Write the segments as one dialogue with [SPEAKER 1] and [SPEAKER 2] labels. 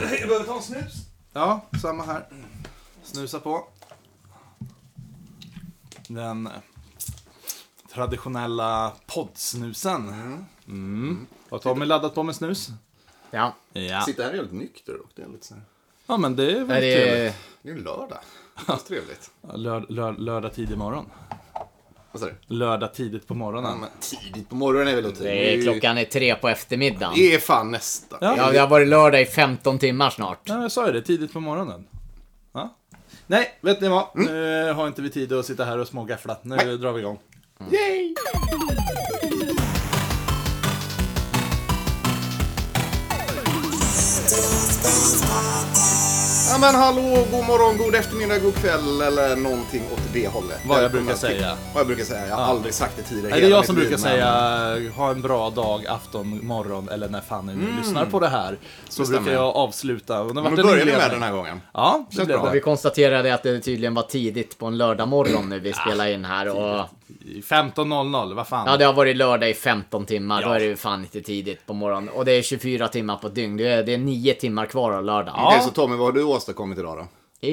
[SPEAKER 1] behöver ta en snus.
[SPEAKER 2] Ja, samma här. Snusa på. Den eh, traditionella poddsnusen. Mm. Har Tommy laddat på med snus?
[SPEAKER 3] Ja.
[SPEAKER 2] Ja.
[SPEAKER 3] Sitta här är jävligt nykter och det är lite så här.
[SPEAKER 2] Ja, men det är väl
[SPEAKER 3] Är
[SPEAKER 2] trevligt.
[SPEAKER 3] det... det är en lördag. Det är trevligt.
[SPEAKER 2] Lör, lör, lördag tidig morgon.
[SPEAKER 3] Vad sa du?
[SPEAKER 2] Lördag tidigt på
[SPEAKER 3] Ja,
[SPEAKER 2] morgonen.
[SPEAKER 3] men tidigt på morgonen är väl otur.
[SPEAKER 4] Det är, klockan är tre på eftermiddagen.
[SPEAKER 3] Det är fan nästa.
[SPEAKER 2] Ja.
[SPEAKER 4] Ja, det har varit lördag i 15 timmar snart.
[SPEAKER 2] Ja, jag sa ju det, tidigt på morgonen. Ja. Nej, vet ni vad? Nu har inte vi tid att sitta här och smågaffla. Nu drar vi igång.
[SPEAKER 3] Yay! Ja men hallå, god morgon, god eftermiddag, god kväll eller någonting åt det hållet.
[SPEAKER 2] Vad jag
[SPEAKER 3] Välkomna
[SPEAKER 2] brukar
[SPEAKER 3] till-
[SPEAKER 2] säga.
[SPEAKER 3] Vad jag brukar säga, jag har aldrig sagt det tidigare.
[SPEAKER 2] Nej, det är
[SPEAKER 3] hela
[SPEAKER 2] jag
[SPEAKER 3] mitt
[SPEAKER 2] som
[SPEAKER 3] liv,
[SPEAKER 2] brukar
[SPEAKER 3] men- eh,
[SPEAKER 2] säga ha en bra dag, afton, morgon eller när fan ni nu lyssnar på det här. Så
[SPEAKER 3] Mm. Det stämmer.
[SPEAKER 2] brukar jag avsluta. Och det
[SPEAKER 3] Men
[SPEAKER 2] vart
[SPEAKER 3] då
[SPEAKER 2] en
[SPEAKER 3] börjar vi med
[SPEAKER 2] inledning.
[SPEAKER 3] den här gången.
[SPEAKER 2] Ja, det
[SPEAKER 3] Känns
[SPEAKER 2] blev
[SPEAKER 3] bra.
[SPEAKER 2] det.
[SPEAKER 4] Vi konstaterade att det tydligen var tidigt på en lördag morgon nu vi spelar in här och...
[SPEAKER 2] 15.00, vad fan.
[SPEAKER 4] Ja, det har varit lördag i 15 timmar. Då
[SPEAKER 2] Ja.
[SPEAKER 4] är det ju fan inte tidigt på morgonen. Och det är 24 timmar på ett dygn. Det är, det är 9 timmar kvar av lördagen.
[SPEAKER 2] Ja.
[SPEAKER 3] Okej, så Tommy, vad har du åstadkommit idag då?
[SPEAKER 4] Det är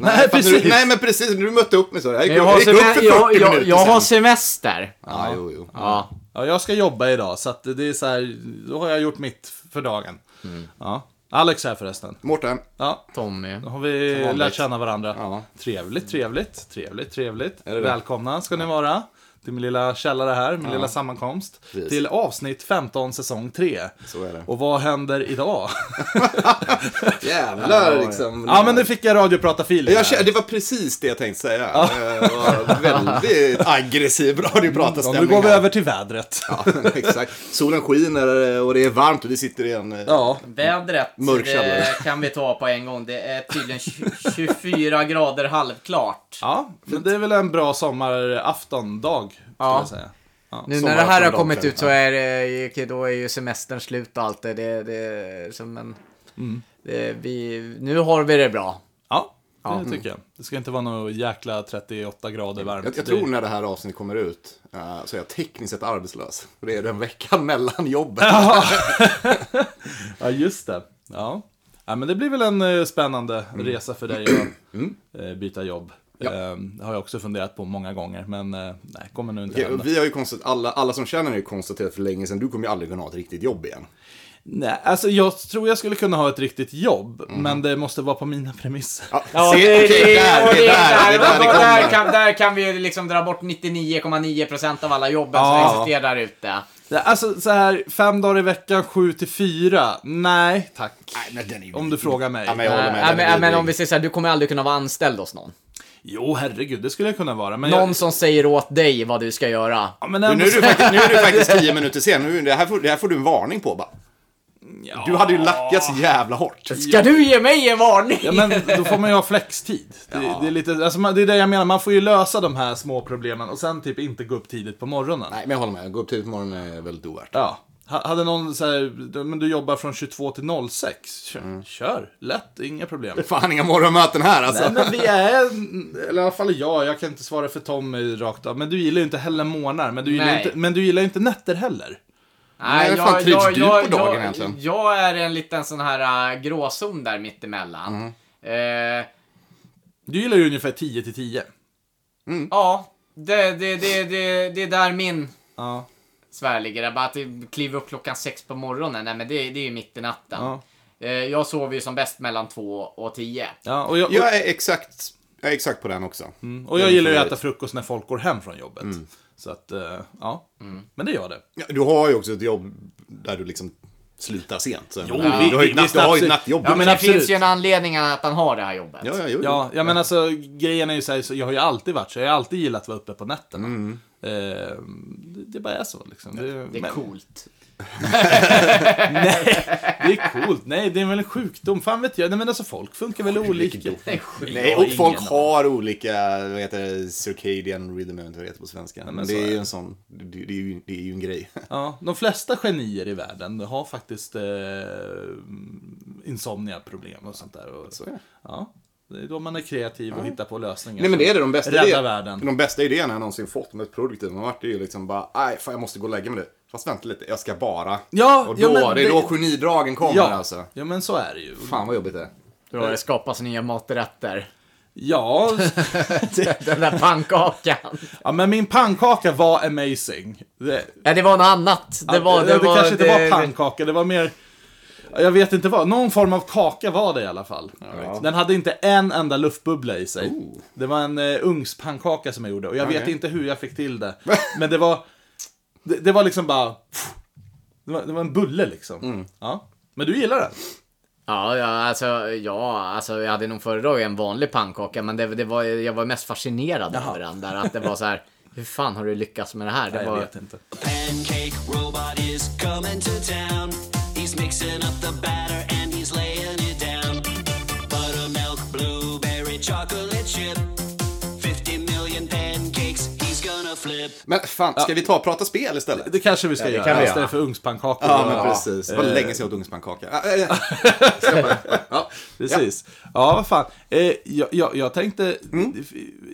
[SPEAKER 2] Nej,
[SPEAKER 3] Fan,
[SPEAKER 2] precis.
[SPEAKER 3] Du, nej men precis, du mötte upp mig så. Jag gick,
[SPEAKER 4] Men jag, har
[SPEAKER 3] jag gick upp för
[SPEAKER 4] semester,
[SPEAKER 3] 40
[SPEAKER 4] jag, jag,
[SPEAKER 3] minuter
[SPEAKER 4] jag har
[SPEAKER 3] sen.
[SPEAKER 4] semester.
[SPEAKER 3] Ja, jo, jo.
[SPEAKER 4] Ja.
[SPEAKER 2] Ja, jag ska jobba idag, så att det är så här, då har jag gjort mitt för dagen.
[SPEAKER 3] Mm.
[SPEAKER 2] Ja. Alex här förresten.
[SPEAKER 3] Mårten,
[SPEAKER 2] Ja,
[SPEAKER 4] Tommy.
[SPEAKER 2] då har vi
[SPEAKER 3] vanligt.
[SPEAKER 2] lärt känna varandra.
[SPEAKER 3] Ja.
[SPEAKER 2] Trevligt, trevligt, trevligt, trevligt.
[SPEAKER 3] det det?
[SPEAKER 2] Välkomna ska ni vara till min lilla källare här, min lilla sammankomst.
[SPEAKER 3] Precis.
[SPEAKER 2] Till avsnitt 15, säsong 3.
[SPEAKER 3] Så är det.
[SPEAKER 2] Och vad händer idag?
[SPEAKER 3] jävlar liksom.
[SPEAKER 2] ja, men nu fick jag radioprata-feeling.
[SPEAKER 3] Jag
[SPEAKER 2] här.
[SPEAKER 3] känner, det var precis det jag tänkte säga. Eh, Det var väldigt aggressiv
[SPEAKER 2] Ja, nu
[SPEAKER 3] radiopratarstämning.
[SPEAKER 2] går vi
[SPEAKER 3] här.
[SPEAKER 2] över till vädret.
[SPEAKER 3] Ja, exakt. Solen skiner eh, och det är varmt och vi sitter i en... eh,
[SPEAKER 2] Ja,
[SPEAKER 4] Vädret
[SPEAKER 3] Mörk källare.
[SPEAKER 4] det kan vi ta på en gång. Det är tydligen 20 24 grader halvklart.
[SPEAKER 2] ja men det är väl en bra sommaraftondag, skulle
[SPEAKER 4] Ja.
[SPEAKER 2] jag säga.
[SPEAKER 4] Nu när
[SPEAKER 3] Sommar
[SPEAKER 4] det här har
[SPEAKER 3] från
[SPEAKER 4] kommit
[SPEAKER 3] dagen.
[SPEAKER 4] ut så är det, okej, då är ju semestern slut och allt det. det, det är som en,
[SPEAKER 3] Mm.
[SPEAKER 4] det, vi, nu har vi det bra.
[SPEAKER 2] Ja, det tycker jag. Det ska inte vara någon jäkla 38 grader varmt.
[SPEAKER 3] Jag, jag
[SPEAKER 2] Det-
[SPEAKER 3] tror när det här avsnittet kommer ut eh, så är jag tekniskt sett arbetslös. Och det är den veckan mellan jobben.
[SPEAKER 2] Ja, just det. Ja. ja, men det blir väl en eh, spännande
[SPEAKER 3] Mm.
[SPEAKER 2] resa för dig att eh, byta jobb. Eh, Det har jag också funderat på många gånger, men eh, nej, kommer nog inte
[SPEAKER 3] Okej,
[SPEAKER 2] hända.
[SPEAKER 3] och Vi har ju konstat, alla, alla som känner dig konstaterat för länge sedan, du kommer ju aldrig kunna ha ett riktigt jobb igen.
[SPEAKER 2] Nej, alltså jag tror jag skulle kunna ha ett riktigt jobb,
[SPEAKER 3] Mm.
[SPEAKER 2] men det måste vara på mina premisser.
[SPEAKER 3] Ja, se, okej, där, det är där, det är där det kommer.
[SPEAKER 4] kan, där kan vi ju liksom dra bort 99,9% av alla jobben
[SPEAKER 2] Ja.
[SPEAKER 4] som existerar där ute.
[SPEAKER 2] Ja, Alltså så här, fem dagar i veckan, sju till fyra. Nej, tack.
[SPEAKER 3] Nej, men den är ju-
[SPEAKER 2] Om du frågar mig.
[SPEAKER 3] Mm. Ja, men jag håller med.
[SPEAKER 4] Äh,
[SPEAKER 3] den är
[SPEAKER 4] men, men
[SPEAKER 3] vidrig.
[SPEAKER 4] om vi säger så här, du kommer aldrig kunna vara anställd hos någon.
[SPEAKER 2] Jo, herregud, det skulle jag kunna vara. Men
[SPEAKER 4] Någon
[SPEAKER 2] jag...
[SPEAKER 4] som säger åt dig vad du ska göra.
[SPEAKER 2] Ja, men
[SPEAKER 3] Du,
[SPEAKER 2] ändå...
[SPEAKER 3] nu, är du faktiskt, nu är du faktiskt tio minuter sen. Nu, det, här får, det här får du en varning på bara. Du hade ju lackat så jävla hårt.
[SPEAKER 4] Ska du ge mig en varning?
[SPEAKER 2] Ja, men då får man ju ha flextid. Det, det, är lite, alltså, man- det är det jag menar, man får ju lösa de här små problemen och sen typ inte gå upp tidigt på morgonen.
[SPEAKER 3] Nej, men jag håller med. Gå upp tidigt på morgonen är väldigt ovärt.
[SPEAKER 2] Ja. Ha- Hade någon så här, du- men du jobbar från 22 till 06. Kör, kör. lätt, inga problem.
[SPEAKER 3] Fan, inga morgonmöten här alltså.
[SPEAKER 2] Nej, men vi är, eller i alla fall jag, jag kan inte svara för Tommy rakt av. Men du gillar ju inte heller månader, men du gillar, ju
[SPEAKER 4] Nej.
[SPEAKER 2] inte, men du gillar ju inte nätter heller.
[SPEAKER 3] Nej, fan trivs du på dagen egentligen?
[SPEAKER 4] Jag är en liten sån här äh, gråzon där mittemellan.
[SPEAKER 3] Mm.
[SPEAKER 4] Eh,
[SPEAKER 2] Du gillar ju ungefär 10 till 10.
[SPEAKER 4] ja, det, det, det, det, det är där min
[SPEAKER 2] Ja.
[SPEAKER 4] sfär ligger. Det är Bara att kliva upp klockan sex på morgonen, nej men det, det är ju mitt i natten.
[SPEAKER 2] Ja.
[SPEAKER 4] Eh, jag sover ju som bäst mellan två och tio.
[SPEAKER 2] Ja, och, jag, och,
[SPEAKER 3] Jag är exakt, jag är exakt på den också.
[SPEAKER 2] och jag gillar ju att äta frukost när folk går hem från jobbet. Så att, eh, ja. Men det gör det.
[SPEAKER 3] Ja, Du har ju också ett jobb där du liksom slutar sent. Så.
[SPEAKER 2] Jo,
[SPEAKER 3] du,
[SPEAKER 2] vi-
[SPEAKER 3] har ju ett
[SPEAKER 2] vi-
[SPEAKER 3] natt, du har ju ett
[SPEAKER 2] vi-
[SPEAKER 3] nattjobb.
[SPEAKER 2] Ja, men
[SPEAKER 4] det
[SPEAKER 2] absolut.
[SPEAKER 4] finns ju en anledning att han har det här jobbet.
[SPEAKER 3] ja, ja, jo, jo.
[SPEAKER 2] Ja, ja men alltså grejen är ju så, här, så jag har ju alltid varit så, jag har alltid gillat att vara uppe på nätterna.
[SPEAKER 3] Mm.
[SPEAKER 2] Eh, det, det bara är så liksom. Det,
[SPEAKER 4] Det är
[SPEAKER 2] men-
[SPEAKER 4] coolt.
[SPEAKER 2] Nej, det är coolt. Nej, det är väl en sjukdom. Fan vet jag. Nej men alltså folk funkar väl olika.
[SPEAKER 4] Det är sjukt.
[SPEAKER 3] Nej,
[SPEAKER 2] Jag har
[SPEAKER 3] och folk
[SPEAKER 2] ingen
[SPEAKER 3] har olika, vad heter det, circadian rhythm, jag vet inte vad det heter på svenska. men
[SPEAKER 2] så
[SPEAKER 3] det är
[SPEAKER 2] är
[SPEAKER 3] ju
[SPEAKER 2] det.
[SPEAKER 3] en sån, det, det, är ju, det är ju en grej.
[SPEAKER 2] Ja, de flesta genier i världen har faktiskt eh, insomnia-problem och sånt där. Och,
[SPEAKER 3] Så är det.
[SPEAKER 2] ja, det är då man är kreativ och hittar på lösningar.
[SPEAKER 3] Nej men det är det, de bästa,
[SPEAKER 2] Rädda
[SPEAKER 3] idé-
[SPEAKER 2] världen.
[SPEAKER 3] de bästa idéerna jag någonsin fått med ett produktivt man vart det är ju liksom bara, nej fan jag måste gå och lägga mig nu. Fast vänta lite, jag ska bara.
[SPEAKER 2] Ja,
[SPEAKER 3] och då,
[SPEAKER 2] ja, men
[SPEAKER 3] det är
[SPEAKER 2] det-
[SPEAKER 3] då genidragen kommer
[SPEAKER 2] Ja,
[SPEAKER 3] alltså.
[SPEAKER 2] ja, men så är det ju.
[SPEAKER 3] Fan vad jobbigt det är.
[SPEAKER 4] Då har det skapats nya maträtter.
[SPEAKER 2] Ja,
[SPEAKER 4] Den där pannkakan.
[SPEAKER 2] ja, men min pannkaka var amazing. Det,
[SPEAKER 4] Nej, det var något annat. Det, var,
[SPEAKER 2] det,
[SPEAKER 4] det, var,
[SPEAKER 2] kanske inte var
[SPEAKER 4] det-
[SPEAKER 2] pannkaka, det var mer... Jag vet inte vad, någon form av kaka var det i alla fall. Den hade inte en enda luftbubbla i sig. Det var en eh, ugnspannkaka som jag gjorde och jag vet
[SPEAKER 3] Okej.
[SPEAKER 2] inte hur jag fick till det. Men det var... Det, det var liksom bara... Det var, det var en bulle liksom.
[SPEAKER 4] Mm.
[SPEAKER 2] Ja. Men du gillar den?
[SPEAKER 4] Ja, ja, alltså, ja, alltså jag hade nog föredragit en vanlig pannkaka, men det, det var, jag var mest fascinerad över den. Där, att det var så här, hur fan har du lyckats med det här? Det
[SPEAKER 2] Nej, jag
[SPEAKER 4] var,
[SPEAKER 2] vet inte.
[SPEAKER 1] Pancake Robot is coming to town. He's mixing up the batter and he's laying it down. Buttermilk, blueberry, chocolate chip. 50 million pancakes, he's gonna flip.
[SPEAKER 3] Men fan, ska vi ta och prata spel istället?
[SPEAKER 2] Det kanske vi ska
[SPEAKER 4] det kan
[SPEAKER 2] göra
[SPEAKER 4] vi göra.
[SPEAKER 2] istället för ugnspannkakor.
[SPEAKER 3] Ja, men precis. Det var
[SPEAKER 2] Eh,
[SPEAKER 3] länge sedan jag åt ugnspannkaka. Ah, eh, ja.
[SPEAKER 2] Precis. Ja, vad fan. Eh, jag, jag, jag tänkte,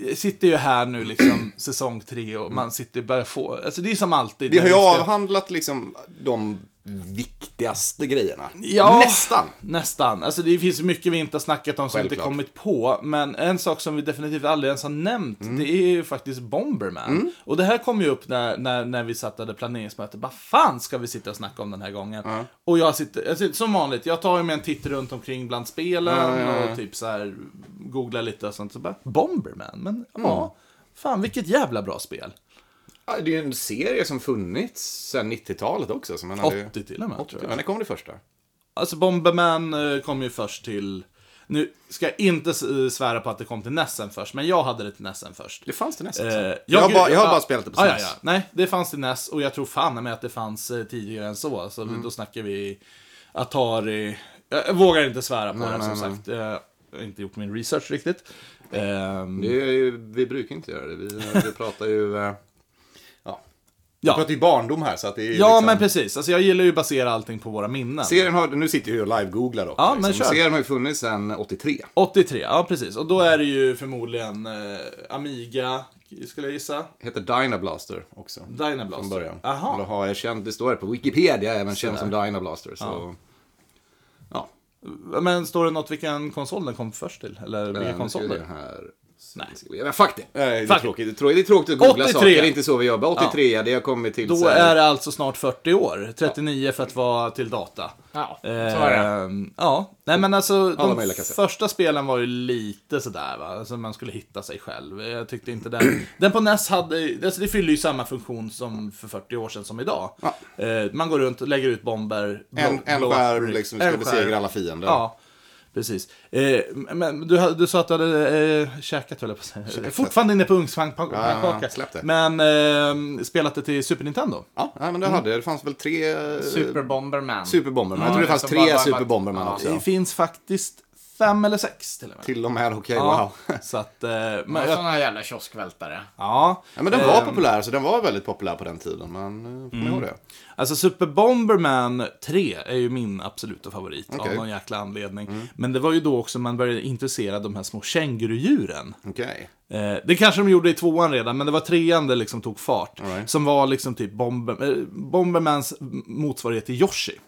[SPEAKER 2] jag sitter ju här nu liksom säsong tre och man sitter börjar få, alltså det är som alltid.
[SPEAKER 3] Vi har ju
[SPEAKER 2] när ska-
[SPEAKER 3] avhandlat liksom de viktigaste grejerna.
[SPEAKER 2] Ja,
[SPEAKER 3] Nästan.
[SPEAKER 2] Nästan. Alltså det finns mycket vi inte har snackat om som inte
[SPEAKER 3] Självklart.
[SPEAKER 2] kommit på. Men en sak som vi definitivt aldrig ens har nämnt,
[SPEAKER 3] Mm.
[SPEAKER 2] det är ju faktiskt Bomberman. Och det här kom ju upp när, när, när vi satt och hade planeringsmöte. Vad fan ska vi sitta och snacka om den här gången? Och jag sitter, jag sitter som vanligt, jag tar ju med en titt runt omkring bland spelen och typ så här googlar lite och sånt. Så bara, Bomberman, men
[SPEAKER 3] Mm.
[SPEAKER 2] ja. Fan, vilket jävla bra spel.
[SPEAKER 3] Ja, Det är ju en serie som funnits sedan 90-talet också. Så man hade ju-
[SPEAKER 2] 80 till och med,
[SPEAKER 3] 80,
[SPEAKER 2] tror jag.
[SPEAKER 3] men det kom det första.
[SPEAKER 2] Alltså Bomberman eh, kom ju först till... Nu ska jag inte eh, svära på att det kom till Nessen först, men jag hade det till Nessen först.
[SPEAKER 3] Det fanns det nästan.
[SPEAKER 2] Eh,
[SPEAKER 3] jag,
[SPEAKER 2] ja,
[SPEAKER 3] har
[SPEAKER 2] gud,
[SPEAKER 3] bara, jag har
[SPEAKER 2] ja.
[SPEAKER 3] bara spelat det på
[SPEAKER 2] ja, ja,
[SPEAKER 3] SNES.
[SPEAKER 2] ja. Nej, det fanns till NES och jag tror fan med att det fanns eh, tidigare än så. Så
[SPEAKER 3] Mm.
[SPEAKER 2] då snackar vi Atari. Jag vågar inte svära på det som sagt. Eh, Jag har inte gjort min research riktigt. Ehm,
[SPEAKER 3] Det är ju, vi brukar inte göra det. Vi, vi pratar ju... eh, Ja. Vi
[SPEAKER 2] Ja.
[SPEAKER 3] pratar ju barndom här, så att det är ju
[SPEAKER 2] ja,
[SPEAKER 3] liksom-
[SPEAKER 2] men precis. Alltså, jag gillar ju att basera allting på våra minnen.
[SPEAKER 3] Serien har, nu sitter jag ju och live-googlar också.
[SPEAKER 2] Ja, men kör.
[SPEAKER 3] Serien har ju funnits sedan 83.
[SPEAKER 2] 83, ja precis. Och då är det ju förmodligen eh, Amiga, skulle jag gissa.
[SPEAKER 3] Heter Dynablaster också.
[SPEAKER 2] Dynablaster.
[SPEAKER 3] Från början.
[SPEAKER 2] Aha.
[SPEAKER 3] Eller har jag känt, det står här på Wikipedia, även känd som Dynablaster. Så. Ja. Ja,
[SPEAKER 2] Men står det något vilken konsol den kom först till? Eller
[SPEAKER 3] nu
[SPEAKER 2] vilka
[SPEAKER 3] ska vi
[SPEAKER 2] konsoler?
[SPEAKER 3] se här.
[SPEAKER 2] Nej.
[SPEAKER 3] Ska vi- Men fuck det! Nej, Det är
[SPEAKER 2] Fuck.
[SPEAKER 3] tråkigt, det är tråkigt, det är tråkigt att googla
[SPEAKER 2] 83.
[SPEAKER 3] saker, det är inte så vi jobbar. 83, det har kommit till
[SPEAKER 2] Då
[SPEAKER 3] så här-
[SPEAKER 2] är det alltså snart 40 år. 39 för att vara till data.
[SPEAKER 4] ja, så var det.
[SPEAKER 2] Ehm, ja, nej men alltså de
[SPEAKER 3] möjliga kassetter.
[SPEAKER 2] första spelen var ju lite sådär va, alltså man skulle hitta sig själv. Jag tyckte inte den, den på NES hade, alltså det fyllde ju samma funktion som för 40 år sedan som idag. Eh, man går runt och lägger ut bomber. blå-
[SPEAKER 3] En, en
[SPEAKER 2] blå-
[SPEAKER 3] skärm liksom,
[SPEAKER 2] en
[SPEAKER 3] ska
[SPEAKER 2] skärm.
[SPEAKER 3] besegra alla fiender.
[SPEAKER 2] Ja, precis. Eh, men du, du sa att du hade eh, käkat, höll jag på att säga. Fortfarande inne på ugnspannkaka.
[SPEAKER 3] Ja, ja, släpp det.
[SPEAKER 2] Men eh, spelat det till Super Nintendo.
[SPEAKER 3] Ja, nej, men det hade jag. Det fanns väl tre eh,
[SPEAKER 4] Super Bomberman. Ja,
[SPEAKER 3] Superbomberman. jag tror det
[SPEAKER 4] det
[SPEAKER 3] fanns
[SPEAKER 4] som
[SPEAKER 3] tre
[SPEAKER 4] bara var-
[SPEAKER 3] Superbomberman
[SPEAKER 4] Ja.
[SPEAKER 3] också.
[SPEAKER 2] Det finns faktiskt fem eller sex till och med.
[SPEAKER 3] Till och med, okej,
[SPEAKER 2] ja,
[SPEAKER 3] wow.
[SPEAKER 2] Så att, eh, men,
[SPEAKER 4] Och
[SPEAKER 2] jag,
[SPEAKER 4] sådana jävla kioskvältare.
[SPEAKER 2] ja.
[SPEAKER 3] Ja, men den var populär, så den var väldigt populär på den tiden. Men eh, kommer ihåg det.
[SPEAKER 2] Alltså Super Bomberman 3 är ju min absoluta favorit av
[SPEAKER 3] Okej. Mm.
[SPEAKER 2] någon jäkla anledning. Men det var ju då också man började intressera de här små kängurudjuren.
[SPEAKER 3] Okej.
[SPEAKER 2] Eh, det kanske de gjorde i tvåan redan, men det var trean det liksom tog fart.
[SPEAKER 3] right.
[SPEAKER 2] Som var liksom typ Bomber, eh, Bombermans motsvarighet till Yoshi.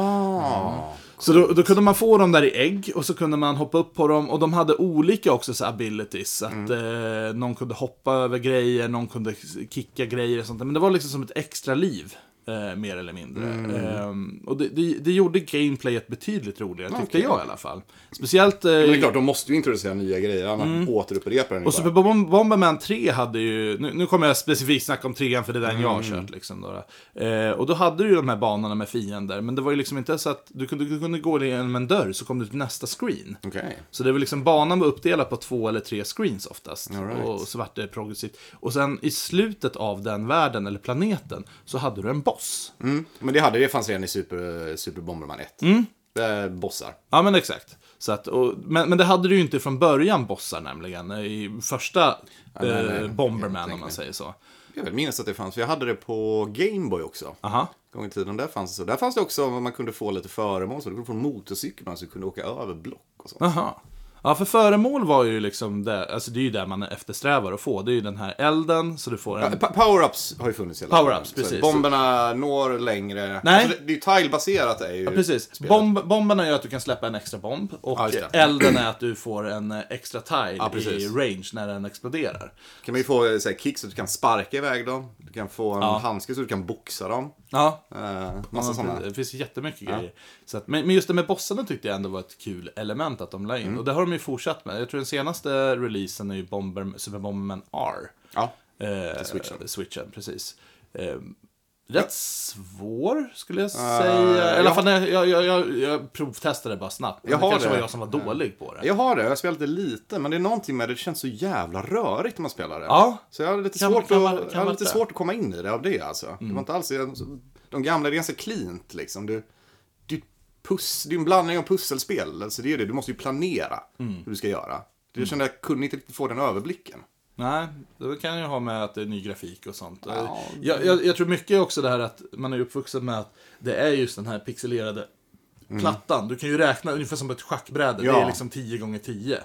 [SPEAKER 3] Ah.
[SPEAKER 2] Så då, då kunde man få dem där i ägg och så kunde man hoppa upp på dem och de hade olika också så här abilities. Att
[SPEAKER 3] Mm.
[SPEAKER 2] eh, någon kunde hoppa över grejer, någon kunde kicka grejer och sånt där. Men det var liksom som ett extra liv. Eh, mer eller mindre.
[SPEAKER 3] Mm.
[SPEAKER 2] Ehm, och det, det, det gjorde gameplayet betydligt roligare, tyckte
[SPEAKER 3] Okej.
[SPEAKER 2] jag i alla fall. Speciellt... eh,
[SPEAKER 3] Men det är klart, de måste ju introducera nya grejer, annars återupprepar den ju
[SPEAKER 2] och
[SPEAKER 3] bara.
[SPEAKER 2] Super Bomb- Bomberman 3 hade ju, nu, nu kommer jag specifikt snacka om 3 för det är den jag har
[SPEAKER 3] Mm.
[SPEAKER 2] kört liksom. Då, då. eh, och då hade du ju de här banorna med fiender, men det var ju liksom inte så att du kunde, du kunde gå igenom en dörr så kom du till nästa screen.
[SPEAKER 3] Okej.
[SPEAKER 2] Så det var liksom, banan var uppdelad på två eller tre screens oftast.
[SPEAKER 3] All right.
[SPEAKER 2] Och så vart det progressivt. Och sen i slutet av den världen, eller planeten, så hade du en boss.
[SPEAKER 3] Mm. Men det hade det fanns redan i Super, Super Bomberman 1. Det är bossar.
[SPEAKER 2] Ja, men exakt. Så att, och, men, men det hade du ju inte från början, bossar nämligen. I första
[SPEAKER 3] nej, nej.
[SPEAKER 2] eh,
[SPEAKER 3] Jag
[SPEAKER 2] Bomberman, om
[SPEAKER 3] tänker
[SPEAKER 2] man
[SPEAKER 3] mig.
[SPEAKER 2] säger så.
[SPEAKER 3] Jag vill minnas att det fanns, för jag hade det på Gameboy också.
[SPEAKER 2] Aha.
[SPEAKER 3] Gång i tiden, där fanns det så. Där fanns det också, man kunde få lite föremål, så du kunde få en motorcykel, man så kunde åka över block och sånt.
[SPEAKER 2] Jaha. Ja, för föremål var ju liksom det, alltså det är ju det man eftersträvar att få. Det är ju den här elden, så du får en...
[SPEAKER 3] Pa- Power-ups har ju funnits hela
[SPEAKER 2] Mm. Power-ups,
[SPEAKER 3] Så
[SPEAKER 2] precis.
[SPEAKER 3] Bomberna når längre.
[SPEAKER 2] Nej.
[SPEAKER 3] Alltså, det, det är ju tile-baserat är ju
[SPEAKER 2] Precis.
[SPEAKER 3] spelet.
[SPEAKER 2] Bomb, bomberna gör att du kan släppa en extra bomb och
[SPEAKER 3] Ja, just det.
[SPEAKER 2] elden är att du får en eh, extra tile
[SPEAKER 3] Ja, precis.
[SPEAKER 2] i range när den exploderar.
[SPEAKER 3] kan man ju få eh, så här, kicks så att du kan sparka iväg dem. Du kan få en handske så du kan boxa dem.
[SPEAKER 2] Ja,
[SPEAKER 3] Eh, massa sådana.
[SPEAKER 2] det finns jättemycket grejer. Så att, men men just det med bossarna tyckte jag ändå var ett kul element att de la in.
[SPEAKER 3] Mm.
[SPEAKER 2] Och det har de ju fortsatt med. Jag tror den senaste releasen är ju Bomber, Super Bomberman R.
[SPEAKER 3] Ja.
[SPEAKER 2] Eh,
[SPEAKER 3] Switchen.
[SPEAKER 2] Switchen, precis. Eh, rätt svår, skulle jag
[SPEAKER 3] Eh,
[SPEAKER 2] säga. I alla
[SPEAKER 3] jag-
[SPEAKER 2] fall, när jag, jag, jag, jag provtestade bara snabbt. Men
[SPEAKER 3] Jag
[SPEAKER 2] det
[SPEAKER 3] har
[SPEAKER 2] kanske
[SPEAKER 3] det. Mm.
[SPEAKER 2] var jag som var dålig på det.
[SPEAKER 3] Jag har det, jag har spelat det lite, men det är någonting med det, det känns så jävla rörigt när man spelar det.
[SPEAKER 2] Ja.
[SPEAKER 3] Så jag hade lite,
[SPEAKER 2] Kan-
[SPEAKER 3] svårt,
[SPEAKER 2] kan
[SPEAKER 3] att,
[SPEAKER 2] man- kan
[SPEAKER 3] jag hade
[SPEAKER 2] man
[SPEAKER 3] lite
[SPEAKER 2] inte?
[SPEAKER 3] svårt att komma in i det av det alltså.
[SPEAKER 2] Mm.
[SPEAKER 3] Det var inte alls, de gamla är ganska cleant liksom. Du, du puss, det är en blandning av pusselspel, alltså det är det, du måste ju planera
[SPEAKER 2] Mm.
[SPEAKER 3] hur du ska göra. Du kände att jag kunde inte riktigt få den överblicken.
[SPEAKER 2] Nej, det kan ju ha med att det är ny grafik och sånt.
[SPEAKER 3] Ja.
[SPEAKER 2] Jag, jag, jag tror mycket också det här att man är uppvuxen med att det är just den här pixelerade plattan. Du kan ju räkna ungefär som ett schackbräde. Det
[SPEAKER 3] Mm. Ja.
[SPEAKER 2] är liksom 10 gånger 10.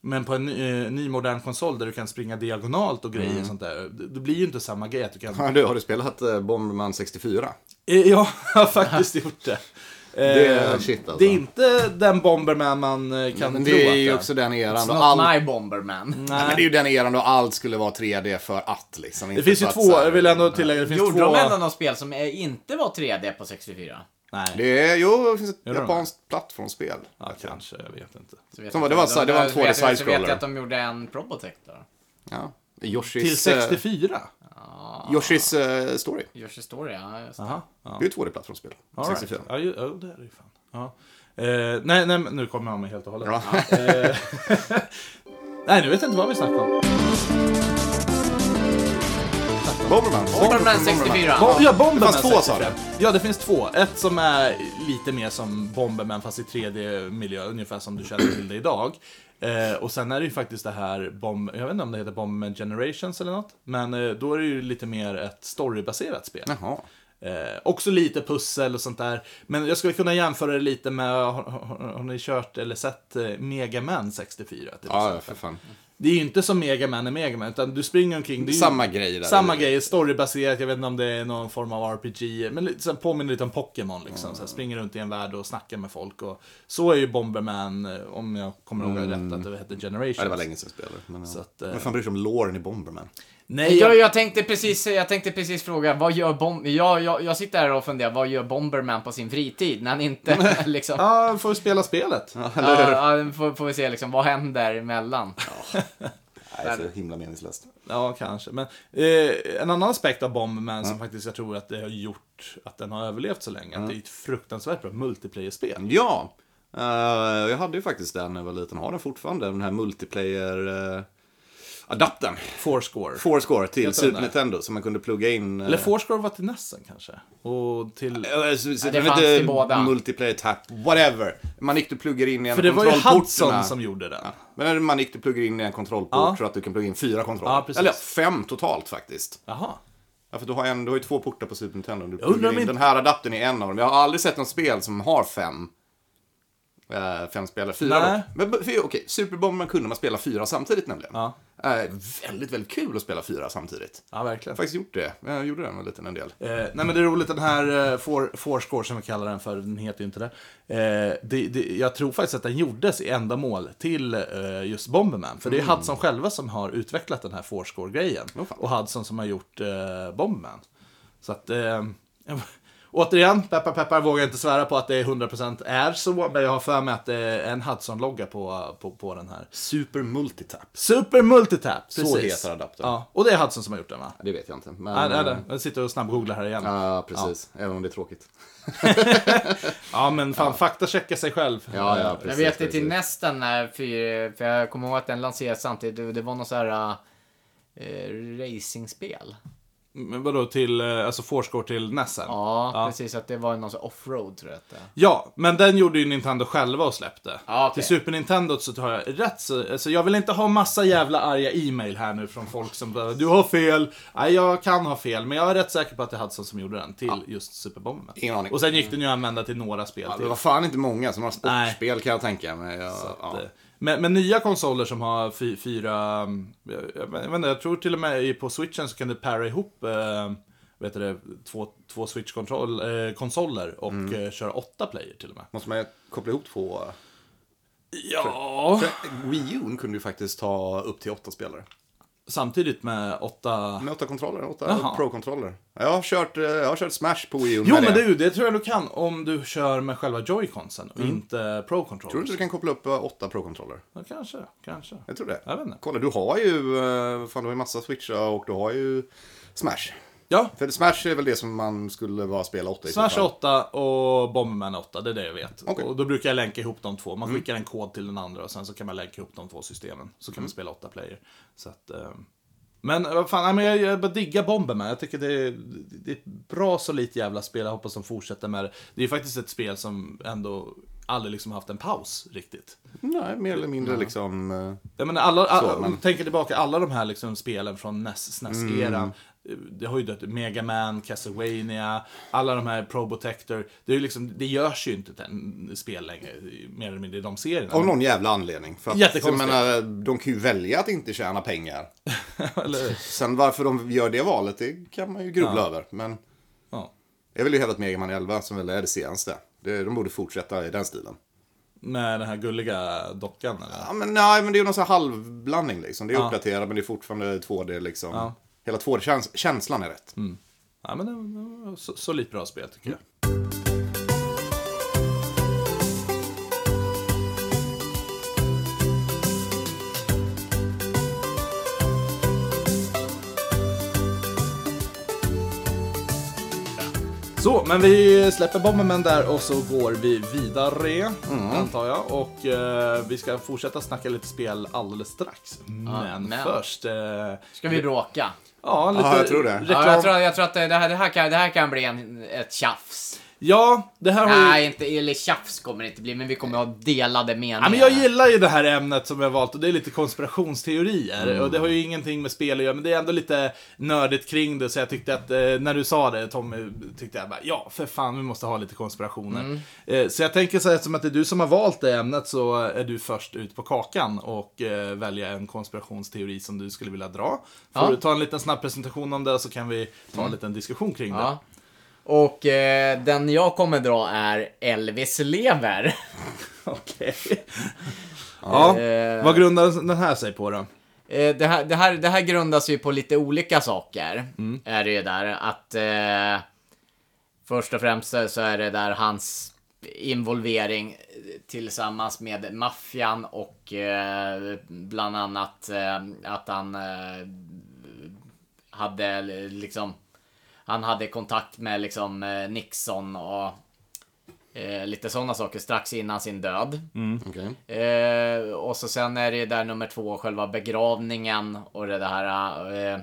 [SPEAKER 2] Men på en ny, eh, ny modern konsol där du kan springa diagonalt och
[SPEAKER 3] Mm.
[SPEAKER 2] grejer och sånt där. Det, det blir ju inte samma grej att du kan...
[SPEAKER 3] Ja, du, har du spelat eh, Bomberman 64?
[SPEAKER 2] Eh, Jag har faktiskt gjort det.
[SPEAKER 3] Det är
[SPEAKER 2] Eh,
[SPEAKER 3] shit, alltså.
[SPEAKER 2] Det är inte den Bomberman man eh, kan
[SPEAKER 3] Men
[SPEAKER 2] tro att
[SPEAKER 3] det är ju
[SPEAKER 2] är.
[SPEAKER 3] också den eran då
[SPEAKER 4] Not
[SPEAKER 3] allt...
[SPEAKER 4] my Bomberman.
[SPEAKER 3] Nej, men det är ju den eran då allt skulle vara 3D för att liksom.
[SPEAKER 2] Det finns ju två, jag vill ändå tillägga, det finns
[SPEAKER 4] Gjorde
[SPEAKER 2] två...
[SPEAKER 4] de ändå något spel som eh, inte var 3D på 64?
[SPEAKER 2] Nej,
[SPEAKER 3] Det är, jo, det finns ett
[SPEAKER 2] Gör de
[SPEAKER 3] japanskt plattformsspel.
[SPEAKER 2] ja, kanske, jag vet inte.
[SPEAKER 4] Så vet
[SPEAKER 3] Som
[SPEAKER 4] jag
[SPEAKER 3] var- det var
[SPEAKER 4] inte.
[SPEAKER 3] så- det var en
[SPEAKER 4] Då-
[SPEAKER 3] 2D
[SPEAKER 4] vet jag- Så vet
[SPEAKER 3] side-scroller.
[SPEAKER 4] jag att de gjorde en Probotech då.
[SPEAKER 3] Ja. Yoshis,
[SPEAKER 2] Till 64?
[SPEAKER 3] eh, Yoshis eh, Story.
[SPEAKER 4] Görs historia, ja, just det.
[SPEAKER 2] Jaha. Ja.
[SPEAKER 3] Det är ju ett 2D-plattformsspel.
[SPEAKER 2] All right.
[SPEAKER 3] 64.
[SPEAKER 2] Ja, ju, oh, det är det ju fan. Ja. Eh, nej, nej, men nu kommer jag av mig helt och hållet.
[SPEAKER 3] Ja.
[SPEAKER 2] Eh, nej, nu vet jag inte vad vi snackar om.
[SPEAKER 3] Bomberman.
[SPEAKER 4] Bomberman 64.
[SPEAKER 2] Bo- ja, Bomberman
[SPEAKER 3] Det fanns två, sa
[SPEAKER 2] 65. Ja, det finns två. Ett som är lite mer som Bomberman fast i 3D-miljö, ungefär som du känner till det idag. Eh, och sen är det ju faktiskt det här, bomb, jag vet inte om det heter Bomberman Generations eller något, men eh, då är det ju lite mer ett storybaserat spel.
[SPEAKER 3] Jaha.
[SPEAKER 2] Eh, också lite pussel och sånt där. Men jag skulle kunna jämföra det lite med, har, har, har ni kört eller sett eh, Mega Man 64? Till
[SPEAKER 3] Ja, ja,
[SPEAKER 2] exempel?
[SPEAKER 3] för fan.
[SPEAKER 2] Det är ju inte som Mega Man är Mega Man, utan du springer omkring. Det är ju
[SPEAKER 3] Samma grej där.
[SPEAKER 2] Samma grej, storybaserat, jag vet inte om det är någon form av RPG, men lite, så här, påminner lite om Pokémon liksom. Så här, springer runt i en värld och snackar med folk. Och, så är ju Bomberman, eh, om jag kommer ihåg rätt, att det hette Generations.
[SPEAKER 3] Mm. Ja, det var länge sedan jag spelade. Men,
[SPEAKER 2] Så
[SPEAKER 3] ja.
[SPEAKER 2] att, eh,
[SPEAKER 3] Vem fan bryr sig om låren i Bomberman?
[SPEAKER 2] Nej,
[SPEAKER 4] Jag,
[SPEAKER 2] jag,
[SPEAKER 4] jag, tänkte precis, jag tänkte precis fråga, vad gör Bom... Jag, jag, jag sitter här och funderar, vad gör Bomberman på sin fritid när han inte liksom... Ja,
[SPEAKER 2] ja, får spela spelet.
[SPEAKER 4] ja, får, får vi se liksom, vad händer emellan?
[SPEAKER 3] Nej, det är så himla meningslöst.
[SPEAKER 2] Ja, kanske. Men eh, en annan aspekt av Bomberman som faktiskt jag tror att det har gjort att den har överlevt så länge, att det är ett fruktansvärt bra
[SPEAKER 3] Mm.
[SPEAKER 2] multiplayer-spel.
[SPEAKER 3] Ja. eh, jag hade ju faktiskt den när jag var liten. Har den fortfarande. Den här multiplayer... eh, adaptern.
[SPEAKER 2] Fourscore.
[SPEAKER 3] Fourscore till
[SPEAKER 2] Heter den
[SPEAKER 3] Super
[SPEAKER 2] där?
[SPEAKER 3] Nintendo. Som man kunde plugga in... eh,
[SPEAKER 2] Eller Fourscore var till Nessen kanske. Och till...
[SPEAKER 3] Eh, så- så-
[SPEAKER 4] Ja, det
[SPEAKER 3] men
[SPEAKER 4] fanns
[SPEAKER 3] inte
[SPEAKER 4] till båda.
[SPEAKER 3] Multiplayer tap, whatever. Manik du pluggar in i en
[SPEAKER 2] För det var ju
[SPEAKER 3] kontrollporterna.
[SPEAKER 2] Hudson som gjorde den.
[SPEAKER 3] Men är det manik du pluggar in i en kontrollport
[SPEAKER 2] Ja.
[SPEAKER 3] så att du kan plugga in fyra kontroller.
[SPEAKER 2] Ja, precis.
[SPEAKER 3] Eller ja, fem totalt faktiskt.
[SPEAKER 2] Jaha.
[SPEAKER 3] Ja, för du har, en, du har ju två portar på Super Nintendo. Du
[SPEAKER 2] undrar
[SPEAKER 3] pluggar
[SPEAKER 2] om
[SPEAKER 3] in
[SPEAKER 2] inte-
[SPEAKER 3] den här adaptern i en av dem. Jag har aldrig sett något spel som har fem. eh, fem spelare, fyra
[SPEAKER 2] Nej.
[SPEAKER 3] dock. Men, men- för, okej, Super Bomberman kunde man spela fyra samtidigt nämligen.
[SPEAKER 2] Ja.
[SPEAKER 3] Eh, väldigt, väldigt kul att spela fyra samtidigt.
[SPEAKER 2] Ja,
[SPEAKER 3] Jag har
[SPEAKER 2] verkligen.
[SPEAKER 3] faktiskt gjort det. Jag gjorde den en liten en del.
[SPEAKER 2] Eh, nej men det är roligt, den här eh, Four- Fourscore som vi kallar den för, den heter ju inte det. Eh, det, det jag tror faktiskt att den gjordes i ändamål till eh, just Bomberman. För det är Hudson själva som har utvecklat den här Fourscore-grejen.
[SPEAKER 3] Åh, fan.
[SPEAKER 2] och Hudson som har gjort eh, Bomberman. Så att, eh, återigen, peppar peppar, vågar inte svära på att det är 100% är så. Men jag har för mig att det är en Hudson-logga på, på, på den här.
[SPEAKER 3] Super Multitap.
[SPEAKER 2] Super Multitap,
[SPEAKER 3] Så
[SPEAKER 2] precis.
[SPEAKER 3] heter adaptern.
[SPEAKER 2] Ja, och det är Hudson som har gjort den va? Mm.
[SPEAKER 3] Det vet jag inte. Men, eh,
[SPEAKER 2] Ja, det är det. Jag sitter och snabbgooglar här igen.
[SPEAKER 3] Ja, precis. Även om det är tråkigt.
[SPEAKER 2] Ja, men fan, faktachecka sig själv.
[SPEAKER 3] Ja, ja,
[SPEAKER 4] jag
[SPEAKER 3] precis.
[SPEAKER 4] vet det till
[SPEAKER 3] precis.
[SPEAKER 4] nästan när, för, för jag kommer ihåg att den lanserades samtidigt, det, det var något så här eh, racingspel.
[SPEAKER 2] Men vadå, till, eh, alltså Fourscore till Nessen?
[SPEAKER 4] Ja, precis, att det var någon så här offroad tror jag att det
[SPEAKER 2] Ja, men den gjorde ju Nintendo själva och släppte.
[SPEAKER 4] Ja, okej.
[SPEAKER 2] Till Super Nintendo så tar jag rätt så, alltså jag vill inte ha massa jävla arga e-mail här nu från folk som bara, du har fel, nej jag kan ha fel, men jag är rätt säker på att det är Hudson som gjorde den till just Super Bomberman.
[SPEAKER 3] Ingen aning.
[SPEAKER 2] Och sen gick den ju att använda till några spel
[SPEAKER 3] Ja,
[SPEAKER 2] till.
[SPEAKER 3] det var fan inte många som har
[SPEAKER 2] Nej.
[SPEAKER 3] sportspel kan jag tänka mig. Jag, ja.
[SPEAKER 2] Eh, Men, men nya konsoler som har fy, fyra, mm, jag, jag, vet inte, jag tror till och med i- på switchen så kan du para ihop eh, vet du det, två, två switch-konsoler eh, konsoler och
[SPEAKER 3] Mm.
[SPEAKER 2] eh, köra åtta player till och med.
[SPEAKER 3] Måste man koppla ihop två?
[SPEAKER 2] Ja,
[SPEAKER 3] För Wii U kunde ju faktiskt ta upp till åtta spelare.
[SPEAKER 2] samtidigt med åtta...
[SPEAKER 3] Med åtta kontroller, åtta
[SPEAKER 2] Jaha.
[SPEAKER 3] Pro-kontroller. Ja, Jag har kört, eh, jag har kört Smash på Wii U.
[SPEAKER 2] Jo
[SPEAKER 3] med
[SPEAKER 2] men
[SPEAKER 3] det.
[SPEAKER 2] du, det tror jag du kan om du kör med själva joyconsen och inte pro controllers
[SPEAKER 3] Mm. Tror du inte du kan koppla upp eh, åtta Pro-kontroller?
[SPEAKER 2] Ja, kanske, kanske.
[SPEAKER 3] Jag tror det.
[SPEAKER 2] Jag vet inte.
[SPEAKER 3] Kolla, du har ju, eh, fan du har ju massa switchar och du har ju Smash.
[SPEAKER 2] Ja,
[SPEAKER 3] För Smash är väl det som man skulle vara spela åtta i. så
[SPEAKER 2] Smash
[SPEAKER 3] fall.
[SPEAKER 2] 8 och Bomberman 8, det är det jag vet.
[SPEAKER 3] Okej. Mm.
[SPEAKER 2] Och då brukar jag länka ihop de två. Man skickar en kod till den andra och sen så kan man länka ihop de två systemen. Så kan
[SPEAKER 3] Mm.
[SPEAKER 2] man spela åtta player. Så att, eh, men vad fan, nej, men jag, jag bara diggar Bomberman. Jag tycker det är, det är ett bra solitt jävla spel. Jag hoppas de fortsätter med det. Det är faktiskt ett spel som ändå aldrig liksom haft en paus riktigt.
[SPEAKER 3] Nej, mer eller mindre liksom. eh,
[SPEAKER 2] Jag menar, alla, alla,
[SPEAKER 3] Så, men-
[SPEAKER 2] om du tänker tillbaka, alla de här liksom spelen från NES,
[SPEAKER 3] Mm.
[SPEAKER 2] NES-eran. E eh, Det har ju dött Mega Man, Castlevania, alla de här Probotector. Det, är ju liksom, det görs ju inte ten- spel längre, mer eller mindre, i de serierna.
[SPEAKER 3] Av någon jävla anledning. För att,
[SPEAKER 2] Jättekonstigt.
[SPEAKER 3] jag menar, de kan ju välja att inte tjäna pengar.
[SPEAKER 2] eller,
[SPEAKER 3] Sen varför de gör det valet, det kan man ju grubbla över. Men
[SPEAKER 2] ja.
[SPEAKER 3] jag vill ju hävda att Mega Man 11, som väl är det senaste, det, de borde fortsätta i den stilen.
[SPEAKER 2] Med den här gulliga dockan. Eller?
[SPEAKER 3] Ja, men nej, men det är ju någon sån här halvblandning liksom. Det är uppdaterat, men det är fortfarande 2D liksom. Hela 2D-känslan är rätt.
[SPEAKER 4] Mm.
[SPEAKER 2] Ja, men det var så, så lite bra spel tycker jag.
[SPEAKER 3] Mm.
[SPEAKER 2] Så, men vi släpper Bomberman där och så går vi vidare,
[SPEAKER 3] Mm.
[SPEAKER 2] antar jag. Och eh, vi ska fortsätta snacka lite spel alldeles strax. men,
[SPEAKER 4] men.
[SPEAKER 2] först... Eh,
[SPEAKER 4] Ska vi bråka?
[SPEAKER 2] ja, lite
[SPEAKER 3] jag tror det. Ja,
[SPEAKER 4] Ja, jag,
[SPEAKER 2] reklam.
[SPEAKER 4] tror, jag tror att det det här, det här, kan, det här kan bli en, ett tjafs.
[SPEAKER 2] Ja, det här har ju...
[SPEAKER 4] Nej, inte, eller tjafs kommer det inte bli, men vi kommer ha delade meningar.
[SPEAKER 2] Ja, men jag gillar ju det här ämnet som jag har valt och det är lite konspirationsteorier.
[SPEAKER 4] Mm.
[SPEAKER 2] Och det har ju ingenting med spel att göra, men det är ändå lite nördigt kring det. Så jag tyckte att eh, när du sa det Tommy, tyckte jag bara, ja för fan vi måste ha lite konspirationer.
[SPEAKER 4] Mm.
[SPEAKER 2] Eh, så jag tänker så här, eftersom att det är du som har valt det ämnet så är du först ut på kakan och eh, välja en konspirationsteori som du skulle vilja dra. Får
[SPEAKER 4] Ja. Mm.
[SPEAKER 2] du ta en liten snabb presentation om det så kan vi ta en liten diskussion kring det.
[SPEAKER 4] Ja. Och eh, den jag kommer dra är Elvis lever.
[SPEAKER 2] Okej. ja,
[SPEAKER 4] Eh.
[SPEAKER 2] vad grundar den här sig på då?
[SPEAKER 4] Eh, det, här, det, här, det här grundas ju på lite olika saker. Är det ju där att... Eh, först och främst så- så är det där hans involvering eh, tillsammans med maffian och eh, bland annat eh, att han eh, hade eh, liksom... Han hade kontakt med liksom eh, Nixon och eh, lite sådana saker strax innan sin död.
[SPEAKER 3] Okej.
[SPEAKER 4] Eh, och så sen är det där nummer två, själva begravningen och det där. Eh,